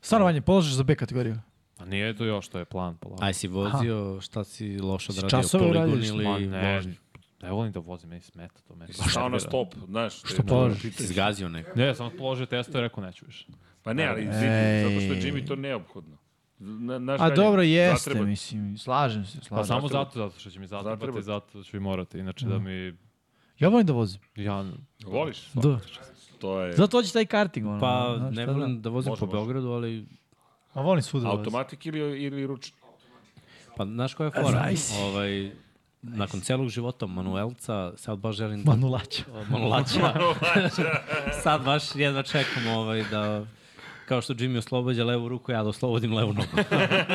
Stvarno, Vanja, položeš za B kategoriju. A nije to još, to je plan. Polako. Aj si vozio, šta si loše Si odradio? časove Poligon uradiš? ili Ma ne, vožnju? ne volim da vozim, meni smeta to. Meni Stao na nervira. stop, znaš. Što položiš? Zgazio neko. Ne, sam položio testo i rekao neću više. Pa ne, ali Ej. vidi, zato što je Jimmy to neophodno. Na, naš A dobro, jeste, mislim, slažem se, Pa slažem. samo zato, zato što će mi zatrebati, Zatreba. zato ću i morati. Inače da mi, Ja volim da vozim. ja, Pa, Voliš? Da. To je... Zato hoćeš taj karting, ono. Pa znaš, ne šta volim da vozim Može, po može. Beogradu, ali A volim svuda da vozim. Automatik ili, ili ručni? pa znaš koja je fora? znaš. Ovaj, nakon celog života manuelca, sad baš želim da Manulaća. manulača. sad baš jedva čekam ovaj, da kao što Jimmy oslobađa levu ruku, ja da oslobodim levu nogu.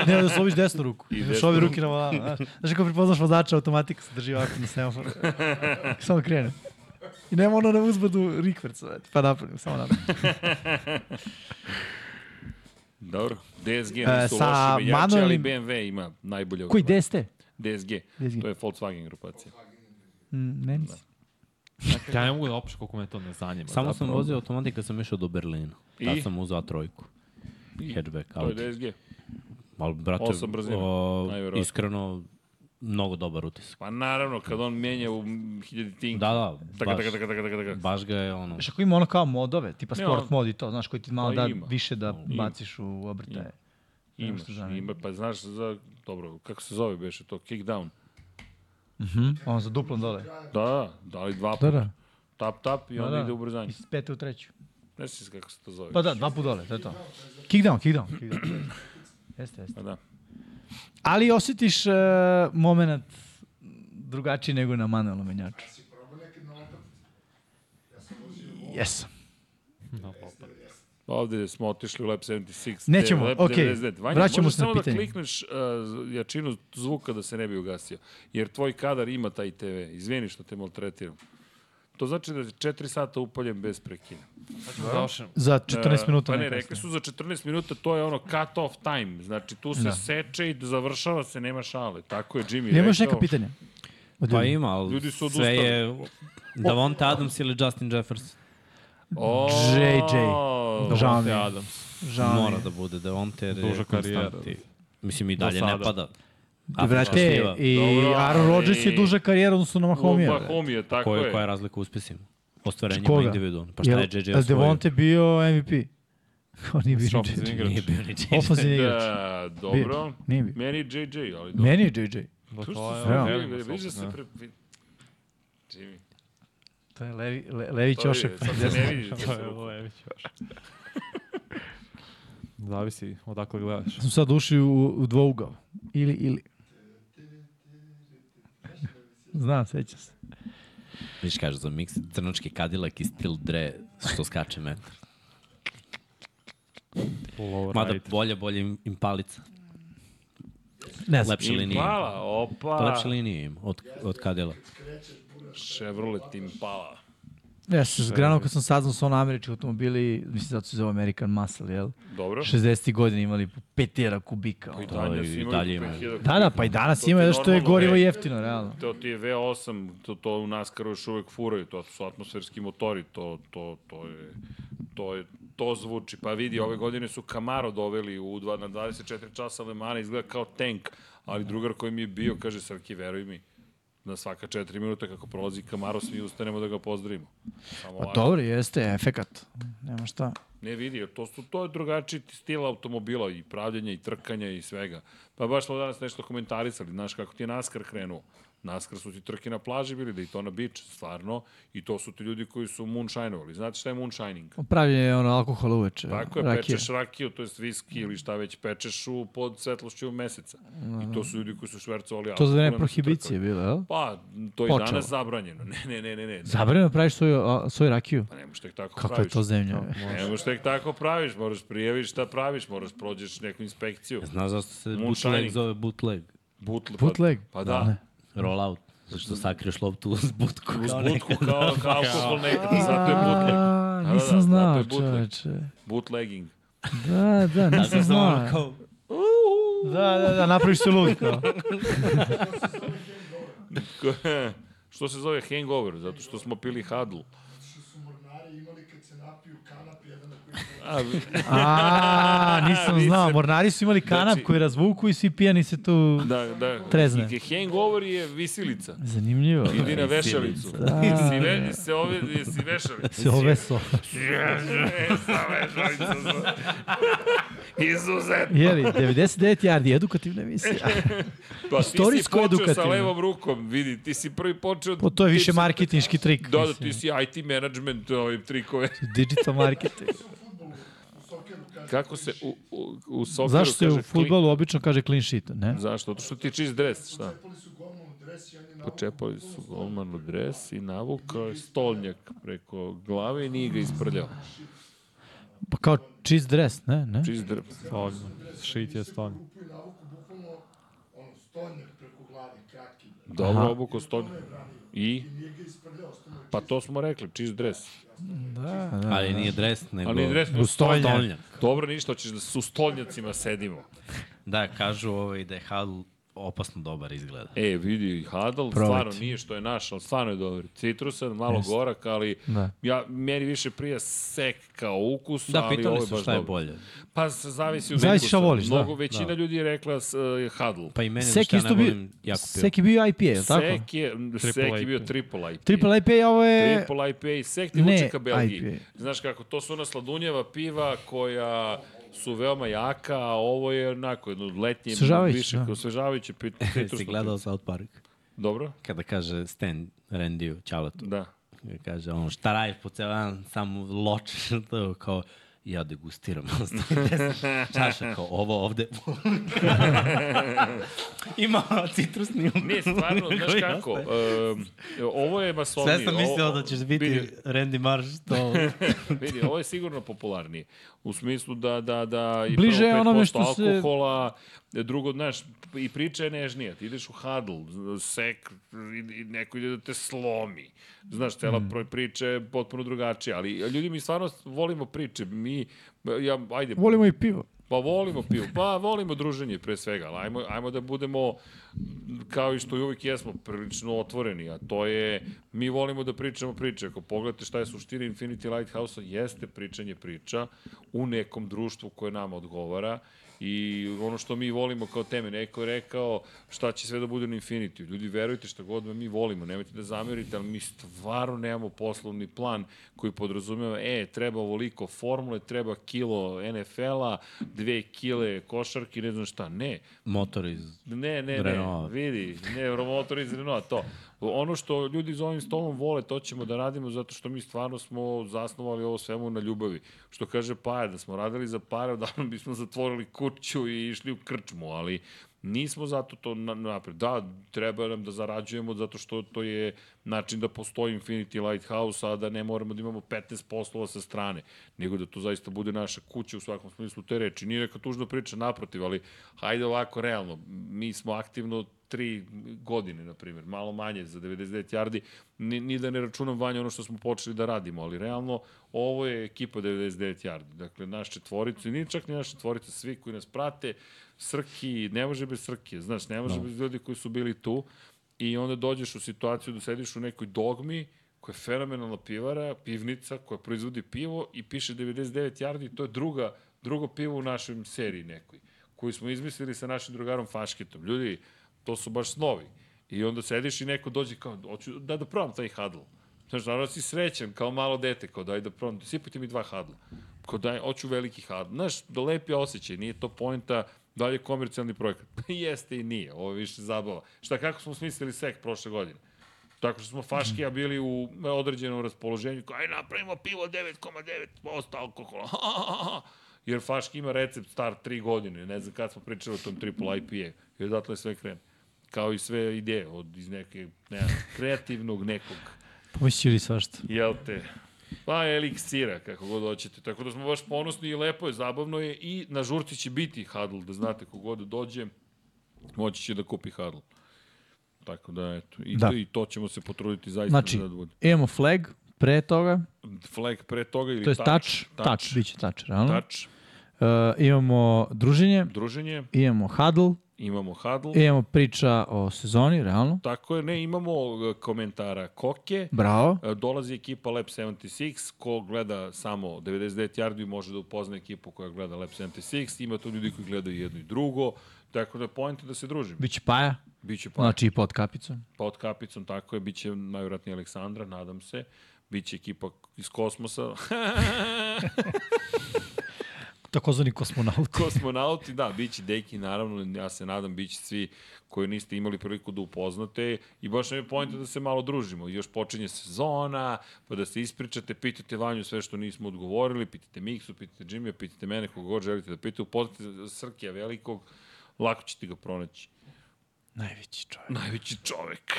Ne, da slobiš desnu ruku. I Imaš desnu ove ruke na volanu, znaš. Znaš kako prepoznaš vozača, automatika se drži ovako na semaforu. samo krene. I nema ono na uzbadu rikverca, brate, pa napred, samo napred. Dobro. DSG E, nisu sa loši menjači, ali manuelnim- BMW ima najbolje. Koji obrade. DST? DSG. DSG. To je Volkswagen grupacija. Mm, ne mislim. ja ne mogu da opišem koliko me to ne zanima. Samo sam zapravo. vozio automatik kad sam išao do Berlina. Tad I? sam uzao trojku. I? Hatchback, To je Audi. DSG. Ali, brate, Osam brzina, o, najverovatnije. iskreno, mnogo dobar utisak. Pa naravno, kad on menja u hiljaditinku. Da, da, Taka, baš, taka, taka, taka, taka. baš ga je ono... Znaš, ako ima ono kao modove, tipa Ne, sport ono- mod i to, znaš, koji ti malo Pa da ima. više da Ima. baciš u obrtaje. Nema Imaš, što zanima. ima, pa znaš za, dobro, kako se zove beše to, kickdown. Hm? Ono za duplom dole. Da, da, da li dva Da, puta, da. tap, tap i onda da. ide ubrzanje. Iz pete u treću. Ne sjećam se kako se to zove. Pa da, dva put dole, to je to. Kickdown, kickdown, kickdown. Jeste, jeste. Pa da. Ali osjetiš uh, moment drugačiji nego na manualnom menjaču. Si probao neki na otak? Jesam. No, pa, pa. Ovde smo otišli u Lab 76. Nećemo, Lab okej. 99. Vanja, Vraćamo možeš se na samo da pitanje. klikneš uh, jačinu zvuka da se ne bi ugasio. Jer tvoj kadar ima taj TV. Izvini što te maltretiram. To znači da je 4 sata upaljen bez prekina. Završen. Za 14 minuta. Pa ne, najkasnije. rekli su za 14 minuta, to je ono cut off time. Znači tu se da. seče i završava se, nema šale. Tako je Jimmy rekao. Imaš neka pitanja? Od Pa ljudi? ima, ali Ljudi su sve odustali. je Davonta Adams ili Justin Jefferson. O, JJ. Žao mi Davante je. Adams. Žao mi je. Mora da bude Davonta jer je Duža karijera. konstanti. Mislim i Do dalje ne sada. pada. I Vrate, Afrička šljiva. i Dobro, Aaron ali- Rodgers je duža karijera, odnosno na Mahomija. Mahomija. Mahomija, tako Koja, je. koja je razlika u uspesima? Ostvarenjima Znači, Koga? individualno. Pa šta je JJ A osvojio? Devonte bio MVP? On nije bio Stop, JJ. izvini. Nije bio ni JJ. Ofazin igrač. Da, dobro. Nije bio. Meni je JJ, ali dobro. Meni je JJ. Tu Dakle, što ovaj, se Evo. ovaj, vidi, velimo vidi, se vidi da opet, da. se pre... vi- Jimmy, To je Levi, le, Levi to Ćošak. je, sad se pa ne vidi. to se- Zavisi odakle gledaš. Sam sad ušli u, u dvougao. Ili, ili. Znam, sećam se. Viš kaže za miks crnočki kadilak i stil dre što skače metar. Pa Mada Lowrider. bolje, bolje im, im palica. Ne znam. Lepše linije. Impala, Pa opa. lepše linije im od, od kadila. Chevrolet Impala. Ja se zgranuo kad sam saznao da su ono američki automobili, mislim zato se zove American Muscle, jel? Dobro. 60. godina imali po petera kubika. ono. i dalje ima. Da, da, pa i danas To ima ti da što je normalno e. gorivo je. jeftino, realno. To ti je V8, to, to u NASCAR-u još uvek furaju, to su atmosferski motori, to, to, to je... To je to zvuči. Pa vidi, ove godine su Camaro doveli u dva, na 24 časa Le Mans, izgleda kao tank, ali drugar koji mi je bio, kaže, Srki, veruj mi, na svaka 4 minuta kako prolazi Camaro, svi ustanemo da ga pozdravimo. Samo Pa ovako. dobro, jeste, efekat. Nema šta. Ne vidi, jer to, su, to je drugačiji stil automobila i pravljenja i trkanja i svega. Pa baš smo danas nešto komentarisali, znaš kako ti je NASCAR krenuo. NASCAR su ti trke na plaži bili, da i to na beach, stvarno. I to su ti ljudi koji su moonshinovali. Znate šta je moonshining? Pravljen je ono alkohol uveče. Tako je, rakija. pečeš rakiju, to je viski ili šta već pečeš u, pod svetlošću meseca. I to su ljudi koji su švercovali To za vreme alkoholom i su prohibicije trkali. bilo, jel? Pa, to je Počelo. danas zabranjeno. Ne, ne, ne, ne, ne. Zabranjeno da praviš svoju, a, svoju rakiju. Pa ne možeš tek tako Kako je praviš. to zemlja? Ne možeš tek tako praviš, moraš prijaviš šta praviš, moraš prođeš neku inspekciju. Znaš zašto se Moonshining. bootleg zove bootleg? Butl, Bootleg? Pa, pa da. da. Rollout. Zašto sakriješ loptu uz butku. Uz Kao butku kao, kao alkohol Da. nekada, zato je bootleg. A, da, nisam znao, zato je bootleg. čoveče. Bootlegging. Da, da, Znaš nisam zašto znao. ono kao Da, da, da, napraviš se lud kao. Ko- što se zove hangover, zato što smo pili hadl. Što su mornari imali kad se napiju kanap jedan na koji A, A, nisam Vi znao. se- Mornari su imali kanap Znači- koji razvuku i svi pijani se tu da, da. trezne. I hangover je visilica. Zanimljivo. Idi na Da, vešalicu. si, ve, si ovdje, si vešalica. Se ove so. Sa vešalicom. Izuzet. Jeli, 99 yardi, edukativna emisija. Pa ti si Istorijsko počeo sa edukativno. levom rukom, vidi, ti si prvi počeo... Po, Pa to je ti više si- marketinški trik. Da, da, mislim. ti si IT management ovim trikove. Digital marketing. Kako se u, u, u sokeru Zašto se u kaže klik? futbolu obično kaže clean sheet, ne? Zašto? Zato što ti je čist dres, šta? su golmanu dres i on je na Počepali su golmanu dres i navukao je stolnjak preko glave i nije ga isprljao. Pa kao cheese dress, ne? ne? Čist dres. Stolno. Shit je stolno. kupu i navuku bukvalno ono, stonjak preko glave, kratki. Dobro obuko stolnjak. I? Nije ga isprljao, što mu je Pa to smo rekli, čist dres. Da, da. Ali nije dres, nego... Ali nije dres, nego Stolnjak. stolnjak. Dobro, ništa, hoćeš da su stolnjacima sedimo. Da, kažu ovaj, da je Hadl opasno dobar izgleda. E, vidi, Hadal, Prolet. stvarno nije što je naš, ali stvarno je dobar. Citrusan, malo gorak, ali Da. ja, meni više prija sek kao ukus, Da, ali ovo je pitali baš su dobro. šta je bolje. Pa se zavisi od Zavisi šta ukusa. voliš, da. Mnogo, većina ljudi je rekla s, uh, Hadl. Pa i mene za Sek šta ne isto bio, volim jako pivo. Sek je bio IPA, je li tako? Sek je, sek Triple je bio IPA. triple IPA. Triple IPA, ovo je... Triple IPA i sek ti Ne, vuče ka Belgiji. IPA. Znaš kako, to su ona sladunjeva piva koja su veoma jaka, a ovo je onako jedno letnje, Osvežavajuće, više da. kao osvežavajuće pit, citrusno Si pivo. gledao South Park? Dobro? Kada kaže Stan Randiju, Ćaletu, Da. kaže on šta radiš po ceo dan, samo ločiš na to, kao ja degustiram ostalim deset čaša kao ovo ovde. Ima citrusni ukus. Nije, stvarno, znaš koji kako, ostaje. um, ovo je masovnije. Sve sam mislio ovo- da ćeš biti vidi, Randy Marsh, to vidi, ovo je sigurno popularnije. U smislu da, da, da i Bliže prvo je 5% onome onome što se- alkohola, drugo, znaš, i priča je nežnija. Ti ideš u hadl, sek, i, i neko ide da te slomi. Znaš, cela mm. priča je potpuno drugačija. Ali ljudi, mi stvarno volimo priče. Mi, ja, ajde, Volimo i pivo. Pa volimo pivo, pa volimo druženje pre svega, ali ajmo, ajmo da budemo, kao i što i uvijek jesmo, prilično otvoreni, a to je, mi volimo da pričamo priče. Ako pogledate šta je suština Infinity Lighthouse-a, jeste pričanje priča u nekom društvu koje nama odgovara i ono što mi volimo kao teme. Neko je rekao šta će sve da bude na Infinity. Ljudi, verujte šta god mi volimo, nemojte da zamerite, ali mi stvarno nemamo poslovni plan koji podrazumeva, e, treba ovoliko formule, treba kilo NFL-a, dve kile košarki, ne znam šta. Ne, motor iz... Ne, ne, Renaulta. ne, vidi, ne, romotor iz Renaulta, to. Ono što ljudi za ovim stolom vole, to ćemo da radimo zato što mi stvarno smo zasnovali ovo svemu na ljubavi. Što kaže Paja, da smo radili za pare, odavno bismo zatvorili kuću i išli u krčmu, ali nismo zato to na- napred. Da, treba nam da zarađujemo zato što to je način da postoji Infinity Lighthouse, a da ne moramo da imamo 15 poslova sa strane, nego da to zaista bude naša kuća u svakom smislu te reči. Nije neka tužna priča, naprotiv, ali hajde ovako, realno, mi smo aktivno tri godine, na primjer, malo manje za 99 yardi, ni, ni da ne računam vanje ono što smo počeli da radimo, ali realno ovo je ekipa 99 yardi, dakle naš četvoricu i nije čak ni naš četvorica, svi koji nas prate, Srki, ne može bez Srkije, znaš, ne može no. bez ljudi koji su bili tu i onda dođeš u situaciju da sediš u nekoj dogmi koja je fenomenalna pivara, pivnica koja proizvodi pivo i piše 99 yardi, to je druga, drugo pivo u našoj seriji nekoj, koju smo izmislili sa našim drugarom Faškitom. Ljudi, to su baš snovi. I onda sediš i neko dođe kao, hoću da, da probam taj hadl. Znaš, naravno si srećan, kao malo dete, kao daj da probam, sipajte mi dva hadla. Kao daj, hoću veliki hadl. Znaš, da lepi osjećaj, nije to pojenta da li je komercijalni projekat. Jeste i nije, ovo je više zabava. Šta, kako smo smislili sek prošle godine? Tako što smo faškija bili u određenom raspoloženju, kao, aj napravimo pivo 9,9% alkohola. Jer faški ima recept star 3 godine, ne znam kad smo pričali o tom triple IPA. I odatle je sve krene. Kao i sve ideje od, iz neke, ne, znam, kreativnog nekog, Pomeći li svašta. jel te, pa eliksira, kako god hoćete. Tako da smo baš ponosni i lepo je, zabavno je i na žurci će biti hadl, da znate kogod dođe, moći će da kupi hadl. Tako da, eto, i, Da. da. i to ćemo se potruditi zaista Znači, da bude. imamo flag pre toga, Flag pre toga ili to je touch, touch, touch, touch, touch, bit će touch, realno. Touch. touch, Uh, imamo druženje, druženje, imamo huddle, imamo hadl, imamo priča o sezoni, realno. Tako je, ne, imamo e, komentara Koke, Bravo. E, dolazi ekipa Lab 76, ko gleda samo 99 yardi može da upozna ekipu koja gleda Lab 76, ima tu ljudi koji gledaju jedno i drugo, tako da point je da se družimo. Biće paja, Biće pa, znači i pod kapicom. pod kapicom, tako je, biće najvjerojatnije Aleksandra, nadam se, biće ekipa iz kosmosa, Takozvani kosmonaut. kosmonauti, da, bit će deki, naravno, ja se nadam, bit će svi koji niste imali priliku da upoznate i baš nam je pojenta da se malo družimo. Još počinje sezona, pa da se ispričate, pitate Vanju sve što nismo odgovorili, pitate Miksu, pitate Jimmy, pitate mene koga god želite da pitate, upoznate Srkija velikog, lako ćete ga pronaći. Najveći čovjek. Najveći čovek.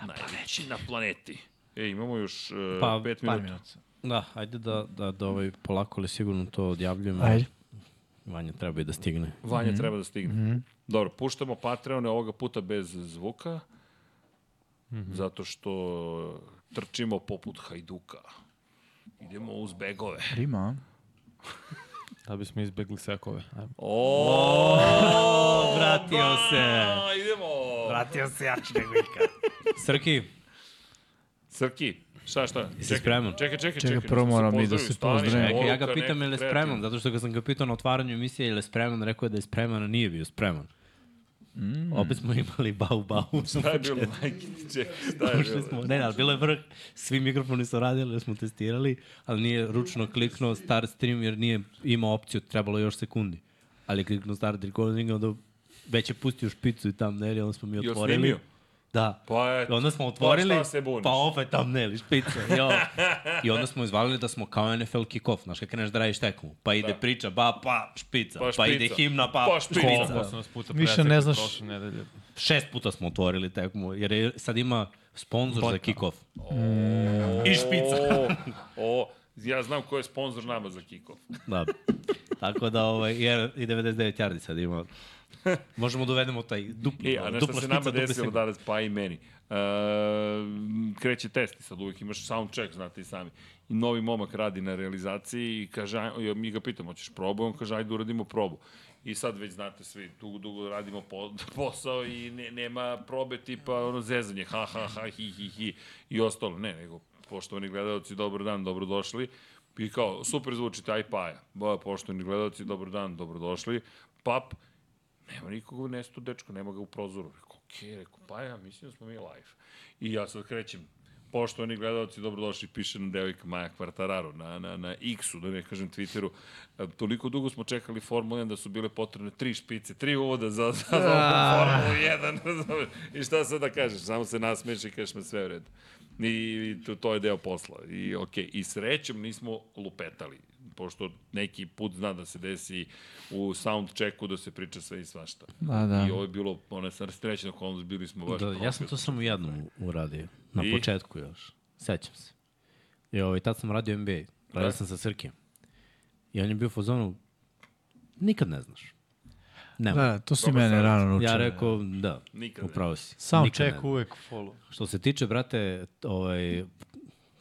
Na Najveći planeti. na planeti. E, imamo još uh, Pa, pa, pet Par minuta. minuta. Da, ajde da, da, da ovaj polako ali sigurno to odjavljujemo. Ajde. Vanja treba i da stigne. Vanja mm -hmm. treba da stigne. Mm Mhm. -hmm. Dobro, puštamo Patreone ovoga puta bez zvuka, mm Mhm. -hmm. zato što trčimo poput hajduka. Idemo uz begove. Rima, a? Da bismo izbegli sekove. Ajmo. O, Vratio se! a, idemo! Vratio se jači nego ikad. Srki, Srki, šta, šta? jesi spreman? Čekaj, čekaj, Čekaj, čekaj. prvo da se moram i da pozdravim, se stani, pozdravim. Čekaj, ja ga poruka, pitam je neki li kreativni. spreman, zato što kad sam ga pitao na otvaranju emisije je li spreman, rekao je da je spreman, a nije bio spreman. Mm. Opet smo imali bau bau. Šta je bilo, majke, ti, čekaj, šta je Ušli bilo? smo, ne, ne, ali bilo je vrh, svi mikrofoni su radili, jer smo testirali, ali nije ručno kliknuo start stream jer nije imao opciju, trebalo je još sekundi. Ali je kliknuo start recording, onda već je pustio špicu i tam, ne, onda smo mi Jel otvorili. snimio? Da. Pa eto. I onda smo otvorili, Pa šta se buniš? pa opet thumbnail i špica. Jo. I onda smo izvalili da smo kao NFL kick-off, znaš, kad kreneš da radiš tekmu. Pa ide Da. priča, ba, pa, špica. Pa Pa, špica. ide himna, pa, Pa špica. špica. Koliko su nas puta Više presekli ne znaš. prošle nedelje. Šest puta smo otvorili tekmu, jer je, sad ima sponsor za kick-off. I špica. O, o, ja znam ko je sponsor nama za kikov. Da. Tako da, ovaj, jer i 99 yardi sad ima. Možemo dovedemo taj dupli, E, a ovaj, nešto dupla se špica, nama dupli desilo segment. danas, pa i meni. E, kreće test i sad uvijek imaš sound check, znate i sami. I novi momak radi na realizaciji i kaže, aj- ja, mi ga pitamo, hoćeš probu? On kaže, ajde da uradimo probu. I sad već znate svi, dugo, dugo radimo po, posao i ne, nema probe tipa ono zezanje, ha, ha, ha, hi, hi, hi i ostalo. Ne, nego, poštovani gledalci, dobar dan, dobrodošli. I kao, super zvučite, aj paja. Ba, poštovani gledalci, dobar dan, dobrodošli. Pap, Nema nikoga, nesto dečko, nema ga u prozoru. Rekao, okej, rekao, pa ja mislim da smo mi live. I ja sad krećem. Poštovani gledalci, dobrodošli, piše nam devojka Maja Kvartararo na, na, na X-u, da ne kažem Twitteru. E, Toliko dugo smo čekali Formula 1 da su bile potrebne tri špice, tri uvoda za, za, za Formulu 1. razumeš? I šta sad da kažeš? Samo se nasmeješ i kažeš me sve u redu. I, i to, to je deo posla. I, okay. I srećem nismo lupetali pošto neki put zna da se desi u sound checku da se priča sve i svašta. Da, da. I ovo je bilo, ona sam srećna okolnost, bili smo baš Da, ja sam profi- to samo jednom uradio, na I? I? početku još. Sećam se. I ovaj, tad sam radio NBA, Da. radio sam sa Srkijem. I on je bio u fazonu, nikad ne znaš. Nema. Da, to si mene rano naučio. ja rekao, da, Nikad ne. upravo si. Sound Nikad ne check znaš. uvek follow. Što se tiče, brate, ovaj,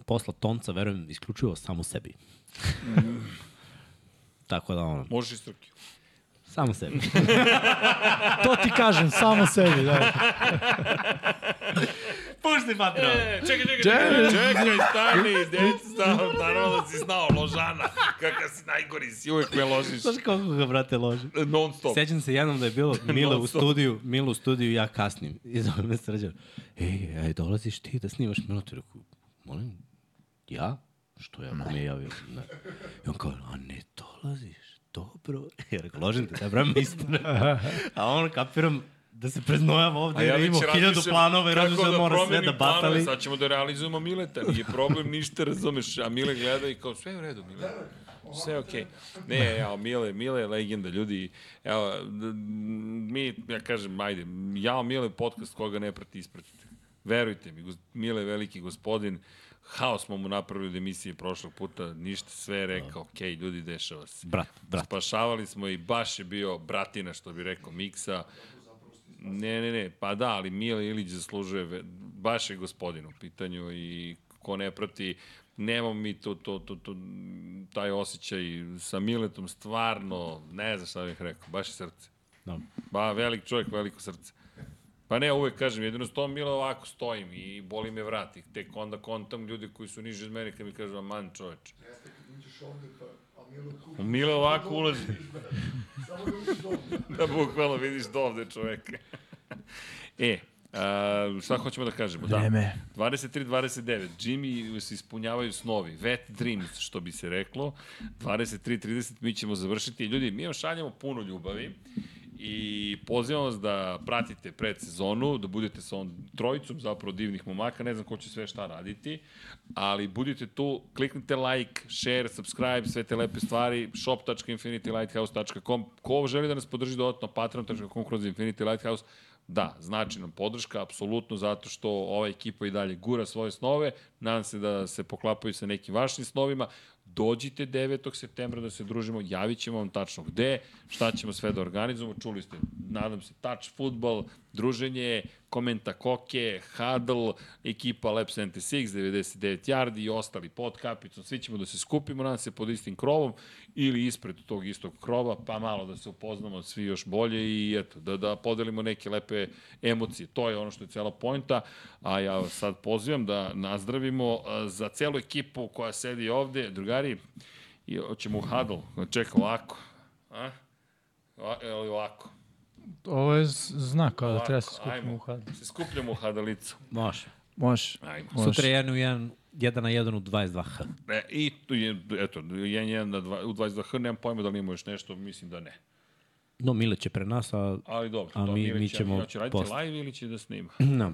posla tonca, verujem, isključivo samo sebi. Tako da ono, Možeš i struki. samo sebi. To ti kažem, samo sebi, da. Pušti patrona. E, čekaj, čekaj, čekaj, čekaj, stani, djeca, stani, naravno da si znao, Ložana, kakav si najgori si, uvek me ložiš. Znaš koliko ga, brate, loži? Non stop. Sećam se jednom da je bilo Mile u Non-stop. studiju, Mile u studiju i ja kasnim. I zove me srđan. Ej, ej, dolaziš ti da snimaš minutu. Reku, molim, ja? Što ja? Ko mi je javio? Ne. I on kao, a ne dolaziš? Dobro. Ja rekao, ložim te, da bram istane. A on, kapiram, da se preznojava ovde, jer je imao hiljadu planova i razmišljam da mora sve da batali. Sad ćemo da realizujemo Mileta, nije problem ništa, razumeš, a Mile gleda i kao sve je u redu, Mile. Sve je okej. Okay. Ne, ja, Mile, Mile je legenda, ljudi. Evo, d- mi, ja kažem, ajde, ja, Mile, podcast koga ne prati, ispratite. Verujte mi, gos- Mile je veliki gospodin, haos smo mu napravili od emisije prošlog puta, ništa, sve je rekao, okej, okay, ljudi, dešava se. Brat, brat. Spašavali smo i baš je bio bratina, što bi rekao Miksa. Ne, ne, ne, pa da, ali Mile Ilić zaslužuje, ve- baš je gospodin u pitanju i ko ne prati, nemam mi to, to, to, to, taj osjećaj sa Miletom, stvarno, ne znam šta bih rekao, baš je srce. Da. Ba, velik čovjek, veliko srce. Pa ne, uvek kažem, jedino s tom Mile ovako stojim i boli me vrat. I tek onda kontam ljudi koji su niži od mene kad mi kažu, aman čoveč. Jeste kad uđeš ovde, pa, a Milo kupi. Mile ovako ulazi. Samo da uđeš ovde. da bukvalno vidiš do ovde čoveka. e, a, šta hoćemo da kažemo? Da. Vreme. 23-29, Jimmy se ispunjavaju snovi, wet dreams, što bi se reklo. 23-30 mi ćemo završiti. Ljudi, mi vam šaljamo puno ljubavi i pozivam vas da pratite predsezonu, da budete sa on trojicom zapravo divnih momaka, ne znam ko će sve šta raditi, ali budite tu, kliknite like, share, subscribe, sve te lepe stvari, shop.infinitylighthouse.com, ko želi da nas podrži dodatno, patreon.com kroz Infinity Lighthouse, da, znači nam podrška, apsolutno, zato što ova ekipa i dalje gura svoje snove, nadam se da se poklapaju sa nekim vašim snovima, dođite 9. septembra da se družimo, javit ćemo vam tačno gde, šta ćemo sve da organizujemo, čuli ste, nadam se, touch futbal, druženje, komenta koke, huddle, ekipa Lab 76, 99 yardi i ostali pod kapicom, svi ćemo da se skupimo, nadam se, pod istim krovom ili ispred tog istog krova, pa malo da se upoznamo svi još bolje i eto, da, da podelimo neke lepe emocije. To je ono što je cela pojnta, a ja vas sad pozivam da nazdravimo a, za celu ekipu koja sedi ovde. Drugari, i hoćemo u huddle, čekaj, ovako. A? A, ili ovako. Ovo je z- znak, kao da Ovako, treba se skupimo ajmo. u hadu. Se skupljamo u hadalicu. Može. Može. Ajmo. Može. Sutra je 1 u 1, 1 na 1 u 22h. E, I tu je, eto, 1-1 na dva- u 22H, nemam pojma da li ima još nešto, mislim da ne. No, Mile će pre nas, a... Ali dobro, A to mi- mi, mi ćemo ja, će raditi posle. live ili će da snima? No.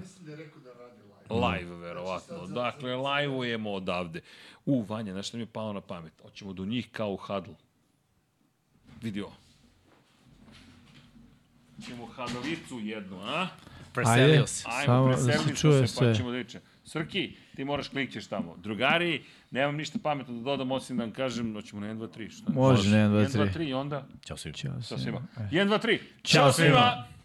Live, verovatno. Dakle, live-ujemo odavde. U, Vanja, znaš šta mi je palo na pamet? Hoćemo do njih kao u hadl. Vidi ovo. Ćemo hadalicu jednu, a? Ajde, Preselio se. Samo Ajmo, da preselili se smo čuje se, sve. pa ćemo da vidimo. Srki, ti moraš klikćeš tamo. Drugari, nemam ništa pametno da dodam, osim da vam kažem, hoćemo na 1, 2, 3, šta? Može na 1, 2, 3. 1, 2, 3 i onda, Ćao svima. Ćao sa svima. svima. 1, 2, 3, Ćao svima.